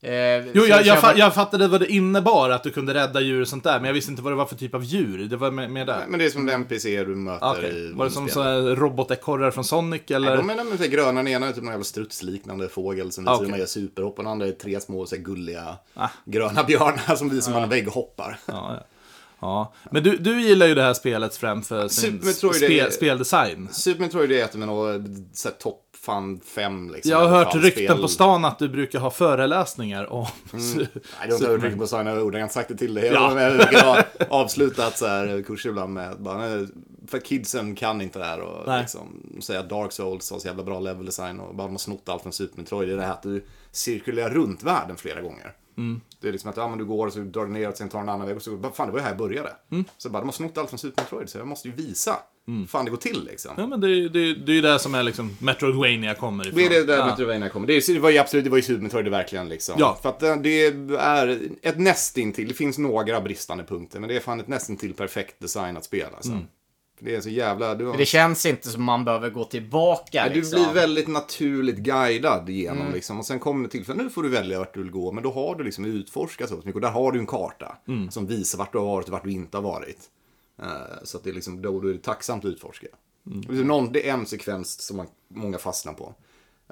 [SPEAKER 4] Eh,
[SPEAKER 2] Jo,
[SPEAKER 4] så
[SPEAKER 2] jag, jag,
[SPEAKER 4] kör man-
[SPEAKER 2] fa- jag fattade vad det innebar att du kunde rädda djur och sånt där, men jag visste inte vad det var för typ av djur. Det var med, med där.
[SPEAKER 3] Men det är som den NPC du möter
[SPEAKER 2] Okej.
[SPEAKER 3] i
[SPEAKER 2] Var det som
[SPEAKER 3] spelet.
[SPEAKER 2] såna här robotekorrar från Sonic eller?
[SPEAKER 3] Nej, de är nämligen så här gröna, den ena är typ någon jävla strutsliknande fågel som
[SPEAKER 2] Ah,
[SPEAKER 3] visar
[SPEAKER 2] okej. Ah.
[SPEAKER 3] hur man gör superhopp och den andra är tre små så här gulliga gröna björnar som visar hur man vägghoppar.
[SPEAKER 2] Ja, ja. ja. Men du, du gillar ju det här spelet främför sin
[SPEAKER 3] Super Metroid
[SPEAKER 2] spe,
[SPEAKER 3] är-
[SPEAKER 2] speldesign.
[SPEAKER 3] Super Metroid är ett av mina eh, så här topp fan fem liksom.
[SPEAKER 2] Jag har hört
[SPEAKER 3] fan,
[SPEAKER 2] rykten
[SPEAKER 3] spel. Mm.
[SPEAKER 2] på stan att du brukar ha föreläsningar om...
[SPEAKER 3] Nej, det har inte hört rykten på stan, jag har ordagrant sagt det till dig. Jag
[SPEAKER 2] Ja.
[SPEAKER 3] har med- jag har avslutat så här kurser ibland med att bara, "Nej, för kidsen kan inte det här och
[SPEAKER 2] Nej.
[SPEAKER 3] liksom, säga att Dark Souls har så jävla bra level design och bara de har snott allt från Super Metroid. Det är det här att du cirkulerar runt världen flera gånger.
[SPEAKER 2] Mm.
[SPEAKER 3] Det är liksom att ja, men du går och så drar du neråt, sen tar du en annan väg och så bara, fan det var ju här jag började.
[SPEAKER 2] Mm.
[SPEAKER 3] Så bara, de har snott allt från Super Metroid så jag måste ju visa hur fan det går till liksom.
[SPEAKER 2] Ja, men det, är- det, är- det är ju där som är liksom Metroidvania kommer ifrån.
[SPEAKER 3] Det är det där
[SPEAKER 2] ja.
[SPEAKER 3] Metroidvania kommer. Det, är, det var ju absolut, det var ju Super Metroid verkligen liksom.
[SPEAKER 2] Ja.
[SPEAKER 3] För att det- det är ett nästintill, det finns några bristande punkter, men det är fan ett nästintill perfekt designat spel alltså.
[SPEAKER 2] Mm.
[SPEAKER 3] För det är så jävla... Du, har-
[SPEAKER 4] Men Det känns inte som man behöver gå tillbaka
[SPEAKER 3] Nej,
[SPEAKER 4] liksom.
[SPEAKER 3] du blir väldigt naturligt guidad genom
[SPEAKER 2] Mm.
[SPEAKER 3] liksom. Och sen kommer det till, för nu får du välja vart du vill gå, men då har du liksom utforskat så mycket. Och där har du en karta
[SPEAKER 2] Mm.
[SPEAKER 3] som visar vart du har varit och vart du inte har varit. Eh, så att det är liksom, då är det tacksamt att utforska.
[SPEAKER 2] Mm.
[SPEAKER 3] Det är Någon, det är en sekvens som man, många fastnar på.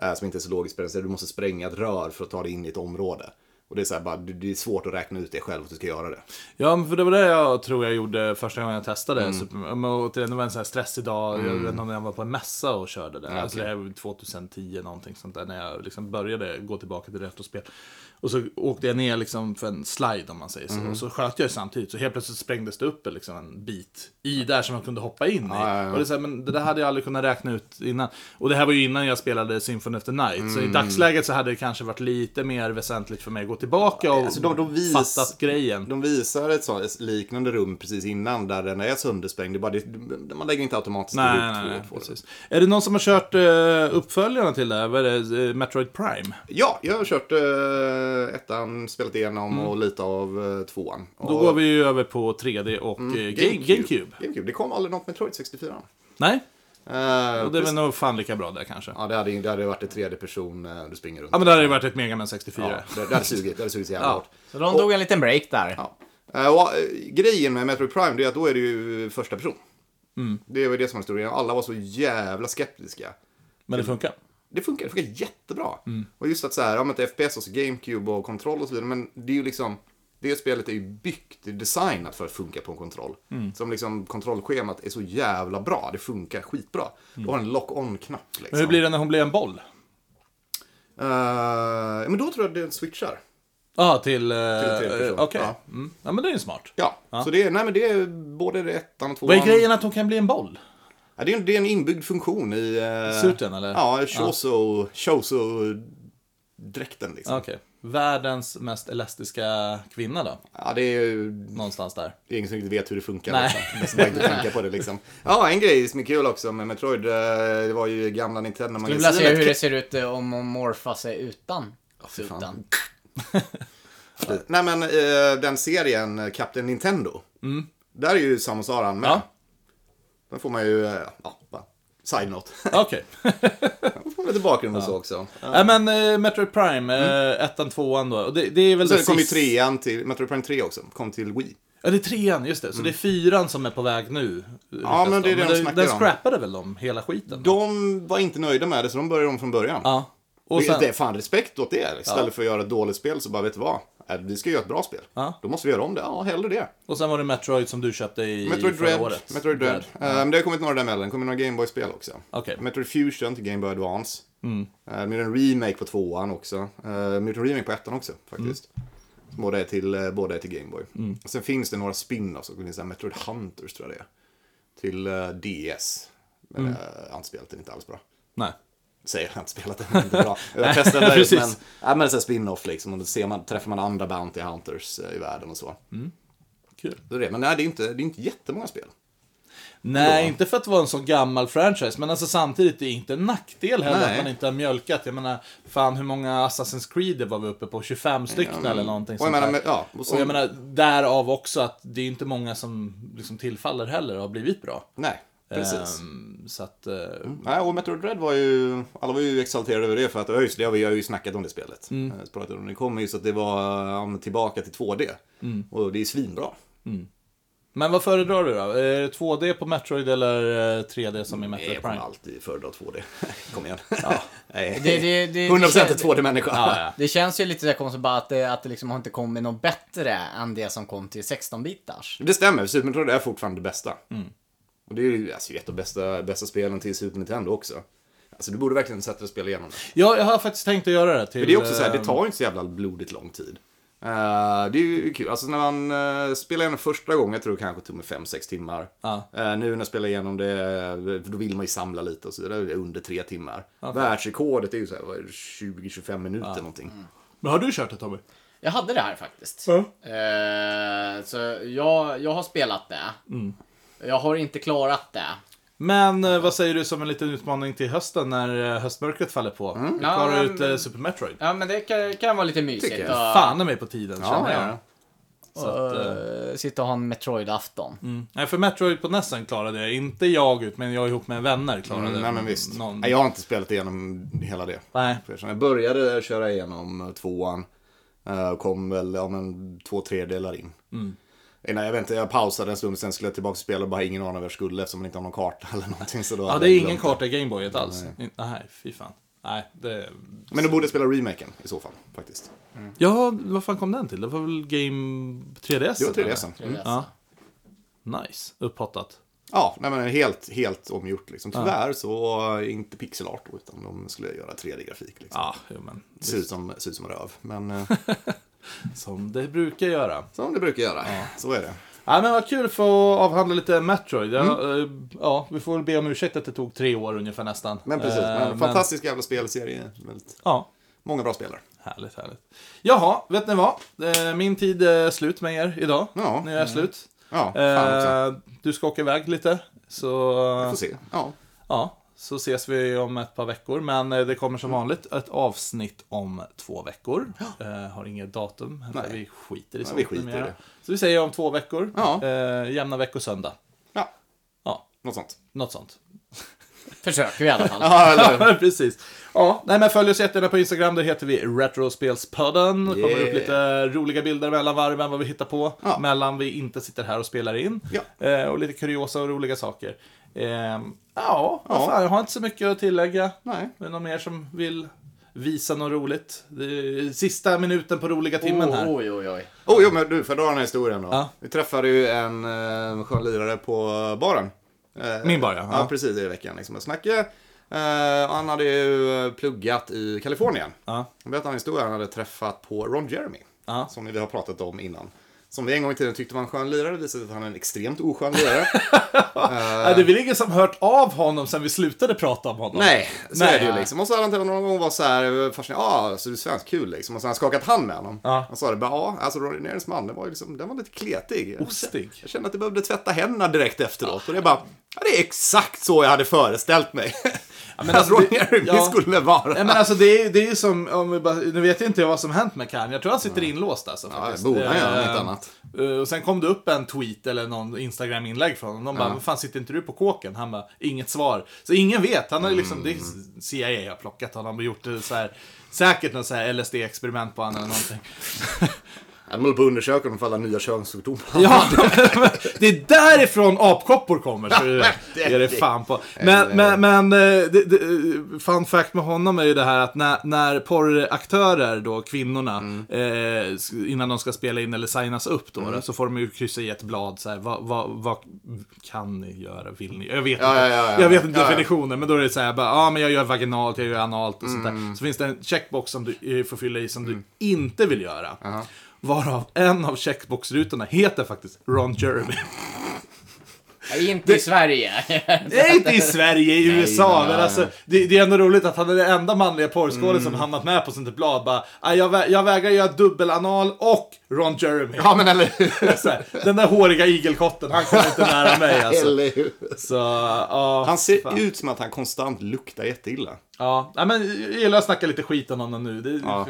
[SPEAKER 3] eh, som inte är så logiskt balanserad. Du måste spränga ett rör för att ta dig in i ett område. Och det är, så här bara, det det är svårt att räkna ut det själv att du ska göra det.
[SPEAKER 2] Ja, men för det var det jag tror jag gjorde första gången jag testade.
[SPEAKER 3] Mm.
[SPEAKER 2] Super, men återigen, det var en sån här stressig dag. Jag vet inte om jag var på en mässa och körde det. Alltså det här var 2010 någonting sånt där. När jag liksom började gå tillbaka till retrospel. Och så åkte jag ner liksom för en slide om man säger så.
[SPEAKER 3] Mm.
[SPEAKER 2] Och så sköt jag samtidigt. Så helt plötsligt sprängdes det upp liksom en bit i där som jag kunde hoppa in i.
[SPEAKER 3] ja, ja.
[SPEAKER 2] Och det, är så här, men det där hade jag aldrig kunnat räkna ut innan. Och det här var ju innan jag spelade Symphony of the Night. Så i
[SPEAKER 3] Mm.
[SPEAKER 2] dagsläget så hade det kanske varit lite mer väsentligt för mig att gå tillbaka och
[SPEAKER 3] Alltså, de- de vis-
[SPEAKER 2] fattat grejen.
[SPEAKER 3] De visar ett sånt ett liknande rum precis innan där den är söndersprängd. Det är bara, det, man lägger inte automatiskt
[SPEAKER 2] Nej,
[SPEAKER 3] ihop
[SPEAKER 2] nej,
[SPEAKER 3] två
[SPEAKER 2] nej,
[SPEAKER 3] och två.
[SPEAKER 2] precis. Är det någon som har kört uh, uppföljarna till det här? Vad är det? Eh, Metroid Prime?
[SPEAKER 3] Ja, jag har kört eh, ettan, spelat igenom och lite av eh, tvåan.
[SPEAKER 2] Mm. Då går vi ju över på 3D och eh, Game, GameCube.
[SPEAKER 3] Mm, GameCube. Det kom aldrig något Metroid 64.
[SPEAKER 2] Nej,
[SPEAKER 3] Uh,
[SPEAKER 2] och det är väl nog fan lika bra där kanske. Ja,
[SPEAKER 3] Ja, det hade, det hade varit ett tredje person eh, du springer runt.
[SPEAKER 2] men det hade ju varit ett Mega Man 64.
[SPEAKER 3] Ja, det, det hade sugit, det hade sugit så jävla
[SPEAKER 2] Ja.
[SPEAKER 3] hårt.
[SPEAKER 4] Så de tog en liten break där.
[SPEAKER 3] Ja. Eh, och, eh, grejen med Metroid Prime det är att då är det ju första person.
[SPEAKER 2] Mm.
[SPEAKER 3] Det var ju det som var historien. Alla var så jävla skeptiska.
[SPEAKER 2] Men det funkar.
[SPEAKER 3] Det funkar, det funkar jättebra.
[SPEAKER 2] Mm.
[SPEAKER 3] Och just att så här, ja men det är FPS och så GameCube och kontroll och så vidare, men det är ju liksom, det spelet är ju byggt, det är designat för att funka på en kontroll.
[SPEAKER 2] Mm.
[SPEAKER 3] Som liksom kontrollschemat är så jävla bra, det funkar skitbra. Du har en lock-on-knapp liksom.
[SPEAKER 2] Mm. Men hur blir det när hon blir en boll?
[SPEAKER 3] Eh, men då tror jag att den switchar.
[SPEAKER 2] Ja, till... eh,
[SPEAKER 3] en tredje person.
[SPEAKER 2] eh, Okej.
[SPEAKER 3] Ja.
[SPEAKER 2] Mm. Ja, men det är ju smart.
[SPEAKER 3] Ja, så det är, nej, men det är både det ettan och
[SPEAKER 2] Vad
[SPEAKER 3] tvåan.
[SPEAKER 2] är grejen att hon kan bli en boll?
[SPEAKER 3] Ja, det, är, en- det är en inbyggd funktion i... Eh,
[SPEAKER 2] Suiten, eller?
[SPEAKER 3] Ja, shoso, shoso dräkten liksom.
[SPEAKER 2] Okej. Världens mest elastiska kvinna då?
[SPEAKER 3] Ja, det är ju
[SPEAKER 2] Någonstans där.
[SPEAKER 3] Det är ingen som riktigt vet hur det funkar.
[SPEAKER 2] Nej.
[SPEAKER 3] Liksom. Det är som bara inte tänka på det liksom. Ja, en grej som är kul också med Metroid, eh, det var ju gamla
[SPEAKER 4] Skulle vilja se hur det
[SPEAKER 3] Nintendo-magasinet.
[SPEAKER 4] ser ut eh, om hon morfar sig utan sutan.
[SPEAKER 3] Nej men eh, den serien, eh, Captain Nintendo. Där är ju Samus Aran med.
[SPEAKER 2] Mm. Ja.
[SPEAKER 3] Där får man ju, eh, ja, bara side-note.
[SPEAKER 2] Okej.
[SPEAKER 3] Då får man lite bakgrund och så också.
[SPEAKER 2] Nej, men eh, Metroid Prime, eh, ettan, tvåan då. Och det, det är väl
[SPEAKER 3] Mm. Sen
[SPEAKER 2] det
[SPEAKER 3] kom ju
[SPEAKER 2] sista-
[SPEAKER 3] trean till, Metroid Prime 3 också, kom till Wii.
[SPEAKER 2] Ja, det är trean, just det. Så det är fyran som är på väg nu. ryktas
[SPEAKER 3] Mm. men det är det de
[SPEAKER 2] den,
[SPEAKER 3] snackar
[SPEAKER 2] den
[SPEAKER 3] om.
[SPEAKER 2] scrappade väl om hela skiten?
[SPEAKER 3] De var inte nöjda med det så de började om från början.
[SPEAKER 2] Ja. Och
[SPEAKER 3] Det-
[SPEAKER 2] sen,
[SPEAKER 3] Det är fan respekt åt det. Istället för att göra ett dåligt spel så bara, vet du vad? Äh, Vi ska göra ett bra spel.
[SPEAKER 2] Ja.
[SPEAKER 3] Då måste vi göra om det. Ja, hellre det.
[SPEAKER 2] och sen var det Metroid som du köpte i
[SPEAKER 3] Metroid
[SPEAKER 2] förra
[SPEAKER 3] Dread.
[SPEAKER 2] året.
[SPEAKER 3] Metroid Dread.
[SPEAKER 2] Dread.
[SPEAKER 3] Eh, men det har kommit några däremellan. Det kommer några Gameboy-spel också.
[SPEAKER 2] Okej.
[SPEAKER 3] Metroid Fusion till Game Boy Advance. Mm. det är en remake på tvåan också. Eh, men det är en remake på ettan också faktiskt.
[SPEAKER 2] Mm.
[SPEAKER 3] Båda är till, eh, båda är till Gameboy. Sen finns det några spin-offs. Det finns en Metroid Hunters tror jag det är. Till eh, DS. Men mm. anspelet är inte alls bra.
[SPEAKER 2] Nej.
[SPEAKER 3] Säger jag, jag har inte spelat det, men inte bra. Jag testade det,
[SPEAKER 2] Precis.
[SPEAKER 3] men, ja, men det är så här spin-off liksom. Och då ser man, träffar man andra Bounty Hunters eh, i världen och så.
[SPEAKER 2] Mm. Kul.
[SPEAKER 3] Det är det. Men nej, det är inte, det är inte jättemånga spel.
[SPEAKER 2] Nej, inte för att vara en så gammal franchise, men alltså samtidigt, det är inte en nackdel heller att
[SPEAKER 3] Nej.
[SPEAKER 2] man inte har mjölkat. Jag menar, fan hur många Assassin's Creed det var vi uppe på? 25 stycken eller någonting
[SPEAKER 3] Och jag
[SPEAKER 2] sånt
[SPEAKER 3] menar,
[SPEAKER 2] där.
[SPEAKER 3] men- ja, och
[SPEAKER 2] och,
[SPEAKER 3] som-
[SPEAKER 2] jag menar, därav också att det är inte många som liksom tillfaller heller och har blivit bra.
[SPEAKER 3] Nej, precis.
[SPEAKER 2] Ehm, så att, eh,
[SPEAKER 3] Nej, och Metroid Dread var ju, alla var ju exalterade över det för att det har ju- det har vi jag har ju snackat om det spelet. Mm. Pratat om det kommer ju så att det var ja, men tillbaka till 2D.
[SPEAKER 4] Mm.
[SPEAKER 3] Och det är svinbra.
[SPEAKER 2] Men vad föredrar du då? Är det 2D på Metroid eller eh, 3D som i
[SPEAKER 3] Nej,
[SPEAKER 2] Metroid
[SPEAKER 3] Jag kommer
[SPEAKER 2] Prime?
[SPEAKER 3] alltid föredra 2D. Kom igen.
[SPEAKER 4] Det- det- det-
[SPEAKER 3] 100%
[SPEAKER 4] det-
[SPEAKER 3] är 2D-människa.
[SPEAKER 4] Det känns ju lite så här konstigt bara att det, att det liksom har inte kommit något bättre än det som kom till 16-bitars.
[SPEAKER 3] Det stämmer, Super Metroid är fortfarande det bästa.
[SPEAKER 4] Mm.
[SPEAKER 3] Och det är ju alltså, ett av bästa, bästa spelen till Super Nintendo också. Alltså du borde verkligen sätta dig och spela igenom det.
[SPEAKER 2] Ja, jag har faktiskt tänkt att göra det. Till,
[SPEAKER 3] Men det är också så här, det
[SPEAKER 2] eh,
[SPEAKER 3] tar ju inte så jävla blodigt lång tid. Eh, det är ju kul. Alltså när man eh, spelar igenom första gången, jag tror det kanske tog mig 5-6 timmar.
[SPEAKER 2] Ja.
[SPEAKER 3] Eh, nu när jag spelar igenom det, eh, då vill man ju samla lite och så vidare, det är under 3 timmar. Världsrekordet är ju så här, vad är det, 20-25 minuter någonting.
[SPEAKER 2] Mm. Men har du kört det Tommy?
[SPEAKER 4] Jag hade det här faktiskt. Eh, så jag, jag har spelat det. Jag har inte klarat det.
[SPEAKER 2] Men eh, vad säger du som en liten utmaning till hösten när eh, höstmörkret faller på?
[SPEAKER 3] Mm.
[SPEAKER 2] Vi
[SPEAKER 4] Ja,
[SPEAKER 2] klarar
[SPEAKER 4] men-
[SPEAKER 2] ut eh, Super Metroid.
[SPEAKER 4] Ja, men det kan, kan vara lite mysigt.
[SPEAKER 3] Tycker jag.
[SPEAKER 4] att-
[SPEAKER 2] Fan är mig på tiden känner jag.
[SPEAKER 3] ja.
[SPEAKER 2] Så att, eh,
[SPEAKER 4] eh, sitta och ha en Metroid-afton.
[SPEAKER 2] nej, för Metroid på nästan klarade jag. Inte jag ut, men jag ihop med vänner klarade
[SPEAKER 3] Mm, nej men visst.
[SPEAKER 2] någon-
[SPEAKER 3] Nej, jag har inte spelat igenom hela det.
[SPEAKER 2] Nej.
[SPEAKER 3] För Jag började köra igenom tvåan. eh, och Kom väl ja, men, två tredjedelar in.
[SPEAKER 2] Mm.
[SPEAKER 3] Eh, Nej, jag, vet inte, jag pausade en stund, sen skulle jag tillbaka och spela och bara ingen aning vad jag skulle eftersom man inte har någon karta eller någonting. Så då
[SPEAKER 2] Ja,
[SPEAKER 3] hade
[SPEAKER 2] det är
[SPEAKER 3] jag
[SPEAKER 2] ingen
[SPEAKER 3] glömt
[SPEAKER 2] karta i Gameboyet alls. Nej. nej, fy fan. Nej, det...
[SPEAKER 3] det. Men du borde spela remaken i så fall, faktiskt.
[SPEAKER 2] Ja, vad fan kom den till? Det var väl Game 3DS?
[SPEAKER 3] Det var 3
[SPEAKER 2] eller?
[SPEAKER 3] mm.
[SPEAKER 2] Ja. Nice. Upphottat.
[SPEAKER 3] Ja, nej, men helt, helt omgjort liksom. Tyvärr så eh, inte pixelart då, utan de skulle göra 3D-grafik. Liksom.
[SPEAKER 2] Ja, jo, men
[SPEAKER 3] Det ser ut som, ser ut som röv, men eh,
[SPEAKER 2] som det brukar göra.
[SPEAKER 3] som det brukar göra. Så är det.
[SPEAKER 2] Ja, men vad kul för att avhandla lite Metroid. Ja, eh, ja, vi får väl be om ursäkt att det tog tre år ungefär nästan.
[SPEAKER 3] Mm. Men precis,
[SPEAKER 2] Eh,
[SPEAKER 3] men, fantastisk jävla spelserie. Väldigt
[SPEAKER 2] Ja,
[SPEAKER 3] Många bra spelare.
[SPEAKER 2] härligt, härligt. Jaha, vet ni vad? Eh, Min tid är slut med er idag.
[SPEAKER 3] Ja. Mm.
[SPEAKER 2] Nu är jag slut.
[SPEAKER 3] Ja, fan också.
[SPEAKER 2] Eh, Du ska åka iväg lite. Så...
[SPEAKER 3] Får se. Ja.
[SPEAKER 2] Ja, så ses vi om ett par veckor. Men eh, det kommer
[SPEAKER 3] Mm.
[SPEAKER 2] som vanligt ett avsnitt om två veckor. Eh, har inget datum. eller
[SPEAKER 3] Nej.
[SPEAKER 2] Vi skiter i sånt.
[SPEAKER 3] vi skiter i
[SPEAKER 2] numera.
[SPEAKER 3] det.
[SPEAKER 2] Så vi säger om två veckor.
[SPEAKER 3] Ja.
[SPEAKER 2] Eh, jämna veckosöndag.
[SPEAKER 3] ja,
[SPEAKER 2] Ja,
[SPEAKER 3] något sånt.
[SPEAKER 2] något sånt.
[SPEAKER 4] Försöker vi i alla fall.
[SPEAKER 3] Ja, eller
[SPEAKER 2] Ja, precis. Ja, nej, men följ oss jättegärna på Instagram. Där heter vi Retrospelspodden. Det kommer
[SPEAKER 3] Yeah.
[SPEAKER 2] upp lite roliga bilder mellan varven, vad vi hittar på.
[SPEAKER 3] Ja.
[SPEAKER 2] Mellan vi inte sitter här och spelar in.
[SPEAKER 3] Ja.
[SPEAKER 2] Eh, och lite kuriosa och roliga saker. Eh, ja, vad
[SPEAKER 3] Ja.
[SPEAKER 2] Fan, jag har inte så mycket att tillägga.
[SPEAKER 3] Nej.
[SPEAKER 2] Är det någon mer som vill visa något roligt? Det är sista minuten på roliga timmen här.
[SPEAKER 4] Oj, oj, oj.
[SPEAKER 3] Oh, jo, men du, för att dra den här historien då.
[SPEAKER 2] Ja.
[SPEAKER 3] Vi träffade ju en eh, skön lirare på baren. Eh,
[SPEAKER 2] Min bar, ja.
[SPEAKER 3] Ja,
[SPEAKER 2] Ja.
[SPEAKER 3] precis i veckan. Liksom. Jag snackade. Eh, han hade ju eh, pluggat i Kalifornien.
[SPEAKER 2] Ja.
[SPEAKER 3] Han berättade en historia han hade träffat på Ron Jeremy.
[SPEAKER 2] Ja.
[SPEAKER 3] som vi har pratat om innan. Som vi en gång i tiden tyckte var en skön lirare, visade sig att han är en extremt oskön lirare.
[SPEAKER 2] Nej, det är väl ingen som hört av honom sen vi slutade prata om honom?
[SPEAKER 3] Nej, så
[SPEAKER 2] Nej.
[SPEAKER 3] är det ju liksom. Och så hade han till någon gång var så här eh, fascinerad, ja, ah, så du är svensk, kul liksom. Och så har han skakat hand med honom.
[SPEAKER 2] Ja.
[SPEAKER 3] Han sa det, bara, ja, alltså Ronny Nerens man, den var ju liksom, den var lite kletig. Jag-
[SPEAKER 2] Ostig.
[SPEAKER 3] Jag kände att jag behövde tvätta händerna direkt efteråt. Och det är bara, ja, det är exakt så jag hade föreställt mig.
[SPEAKER 2] men
[SPEAKER 3] att
[SPEAKER 2] alltså,
[SPEAKER 3] Ronny
[SPEAKER 2] det-
[SPEAKER 3] Nerens
[SPEAKER 2] ja.
[SPEAKER 3] skulle vara.
[SPEAKER 2] Nej, men alltså det är ju det är ju som, om vi bara, nu vet jag inte vad som hänt med Kanye. Jag tror han sitter inlåst alltså. faktiskt.
[SPEAKER 3] det borde han göra, om
[SPEAKER 2] Eh,
[SPEAKER 3] inte annat.
[SPEAKER 2] eh, Och sen kom det upp en tweet eller någon Instagram-inlägg från honom. De bara, vad fan sitter inte du på kåken? Han bara, inget svar. Så ingen vet. Han har ju liksom, det
[SPEAKER 3] Mm.
[SPEAKER 2] är CIA har plockat honom och gjort det så här, säkert något så här LSD-experiment på honom eller någonting.
[SPEAKER 3] Han håller på att undersöka om det faller nya könssjukdomar.
[SPEAKER 2] Ja, men det är därifrån apkoppor kommer. Så är det,
[SPEAKER 3] det-
[SPEAKER 2] är det fan på. Men, men, men eh, det, det, eh, fun fact med honom är ju det här att när, när porraktörer, då, kvinnorna, eh, s- innan de ska spela in eller signas upp då, då, så får de ju kryssa i ett blad så här, vad, vad, vad kan ni göra, vill ni? Jag vet inte,
[SPEAKER 3] ja, ja, ja.
[SPEAKER 2] jag vet inte
[SPEAKER 3] Ja, ja.
[SPEAKER 2] definitionen, men då är det så här, bara, ja men jag gör vaginalt, jag gör analt och sånt
[SPEAKER 3] Mm.
[SPEAKER 2] där. Så finns det en checkbox som du eh, får fylla i som du inte vill göra. Varav en av checkboxrutorna heter faktiskt Ron Jeremy.
[SPEAKER 4] Inte i Sverige.
[SPEAKER 2] Nej, inte i Sverige, i USA. men alltså, det, det är ändå roligt att han är den enda manliga porrskådisen
[SPEAKER 3] Mm.
[SPEAKER 2] som hamnat med på sånt här blad. Bara, "Ah, jag, vä- jag vägrar göra dubbelanal och Ron Jeremy.
[SPEAKER 3] Ja, men eller hur?
[SPEAKER 2] Så här, den där håriga igelkotten, han kommer inte nära mig alltså.
[SPEAKER 3] Eller hur?
[SPEAKER 2] Så, ja.
[SPEAKER 3] Han ser ut som att han konstant luktar jätteilla.
[SPEAKER 2] Ja, nej, men jag gillar att snacka lite skit om honom nu. Det,
[SPEAKER 3] Ja.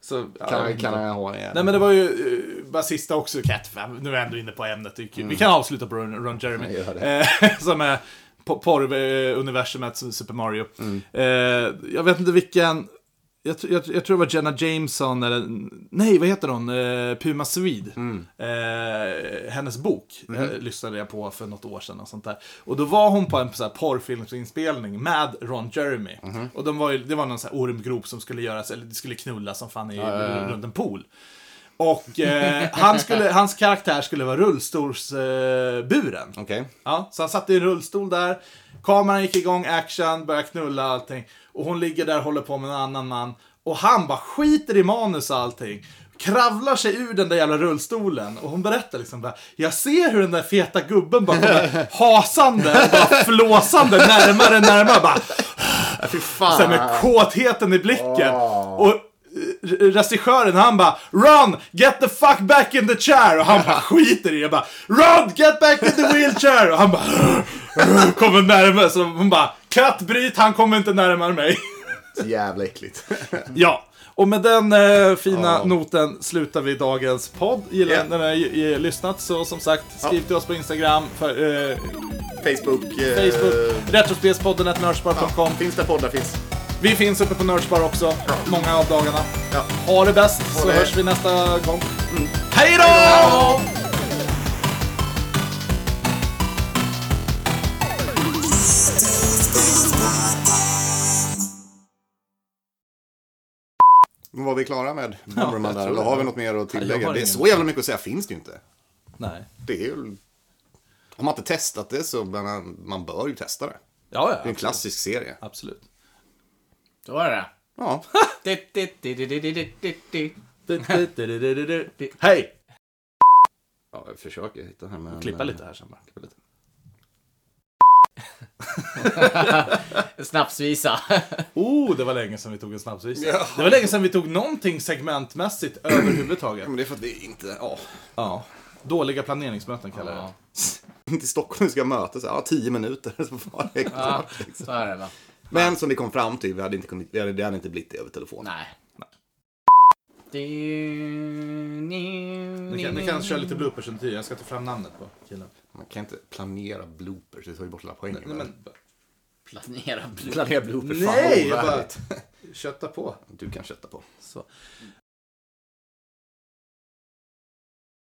[SPEAKER 2] så, ja, jag
[SPEAKER 3] Kan,
[SPEAKER 2] vet
[SPEAKER 3] kan
[SPEAKER 2] inte.
[SPEAKER 3] han ha det?
[SPEAKER 2] Nej men det var ju eh, basista också, Cat. Nu är jag ändå inne på ämnet. Det är kul. Vi kan avsluta på Ron, Ron Jeremy.
[SPEAKER 3] gör
[SPEAKER 2] Eh, som är po- porruniversumet som Super Mario. Eh, jag vet inte vilken... Jag, tr- jag, tr- jag tror det var Jenna Jameson eller... Nej, vad heter hon? Eh, Puma Swede. Eh, hennes bok eh, lyssnade jag på för något år sedan. Och sånt där. Och då var hon på en så här, porrfilmsinspelning med Ron Jeremy. Och de var ju, det var någon så här ormgrop som skulle göras, eller det skulle knullas som fan i, runt en pool. Och eh, han skulle, hans karaktär skulle vara rullstolsburen. Eh, buren.
[SPEAKER 3] Okej.
[SPEAKER 2] ja, så han satt i en rullstol där. Kameran gick igång, action, började knulla och allting. Och hon ligger där och håller på med en annan man. Och han bara skiter i manus och allting. Kravlar sig ur den där jävla rullstolen och hon berättar liksom bara, Jag ser hur den där feta gubben bara kommer hasande, och bara flåsande närmare, närmare. Bara,
[SPEAKER 3] Fy
[SPEAKER 2] så här
[SPEAKER 3] fan.
[SPEAKER 2] med kåtheten i blicken. Och eh, regissören han bara Ron, get the fuck back in the chair! Och han bara skiter i det. bara Ron, get back in the wheelchair! Och han bara kommer närmare. Så hon bara Cut, bryt, han kommer inte närmare mig.
[SPEAKER 3] Jävla äckligt.
[SPEAKER 2] ja. Och med den eh, fina noten slutar vi dagens podd. Gillar
[SPEAKER 3] Ja.
[SPEAKER 2] yeah. när ni har ju- eh, lyssnat så som sagt, skriv till oss på Instagram, för, eh,
[SPEAKER 3] Facebook. eh,
[SPEAKER 2] Facebook, Retrospelspodden, nördspar.com.
[SPEAKER 3] Finns där poddar finns.
[SPEAKER 2] Vi finns uppe på Nördspar också, många av dagarna.
[SPEAKER 3] Ja.
[SPEAKER 2] Ha det bäst, så
[SPEAKER 3] det.
[SPEAKER 2] hörs vi nästa gång. Hej då!
[SPEAKER 3] Var vi klara med Bomberman
[SPEAKER 2] jag tror
[SPEAKER 3] där? Eller
[SPEAKER 2] det.
[SPEAKER 3] har vi något mer att
[SPEAKER 2] jag
[SPEAKER 3] tillägga?
[SPEAKER 2] har
[SPEAKER 3] Det är
[SPEAKER 2] ingen.
[SPEAKER 3] så jävla mycket att säga finns det ju inte.
[SPEAKER 2] Nej.
[SPEAKER 3] Det är ju... Har man inte testat det så man, man bör ju testa det.
[SPEAKER 2] Ja,
[SPEAKER 3] Det är
[SPEAKER 2] ja.
[SPEAKER 3] en klassisk serie.
[SPEAKER 2] Absolut.
[SPEAKER 4] Då var det
[SPEAKER 3] Ja.
[SPEAKER 4] det. Ditt, ditt, ditt, ditt, ditt, ditt, ditt.
[SPEAKER 2] Du, du, du, du, du, du, du. Hej!
[SPEAKER 3] ja jag försöker hitta här men...
[SPEAKER 2] Klippa lite här sen bara. Klippa lite.
[SPEAKER 4] Snapsvisa.
[SPEAKER 2] Oh, det var länge sedan vi tog en snabbsvisa. Det var länge sedan vi tog någonting segmentmässigt överhuvudtaget.
[SPEAKER 3] Ja, Men det är för att vi inte... Ja.
[SPEAKER 2] Ja. Dåliga planeringsmöten kallar jag det.
[SPEAKER 3] Inte Stockholm vi ska mötas. Ja, tio minuter. Så var det
[SPEAKER 4] Ja,
[SPEAKER 3] klart.
[SPEAKER 4] så är det va.
[SPEAKER 3] Men som vi kom fram till, vi hade inte kommit, vi hade, det hade inte blivit det över telefon.
[SPEAKER 4] Nej.
[SPEAKER 2] Ni kan, ni kan köra lite bloopers under tiden, jag ska ta fram namnet på killen.
[SPEAKER 3] Man kan inte planera bloopers, det tar ju bort hela poängen.
[SPEAKER 2] Nej, men,
[SPEAKER 4] Planera blod.
[SPEAKER 3] Planera bloopers, fan
[SPEAKER 2] Nej,
[SPEAKER 3] vad
[SPEAKER 2] jag bara-
[SPEAKER 3] ovärdigt.
[SPEAKER 2] kötta på.
[SPEAKER 3] Du kan kötta på.
[SPEAKER 2] Så.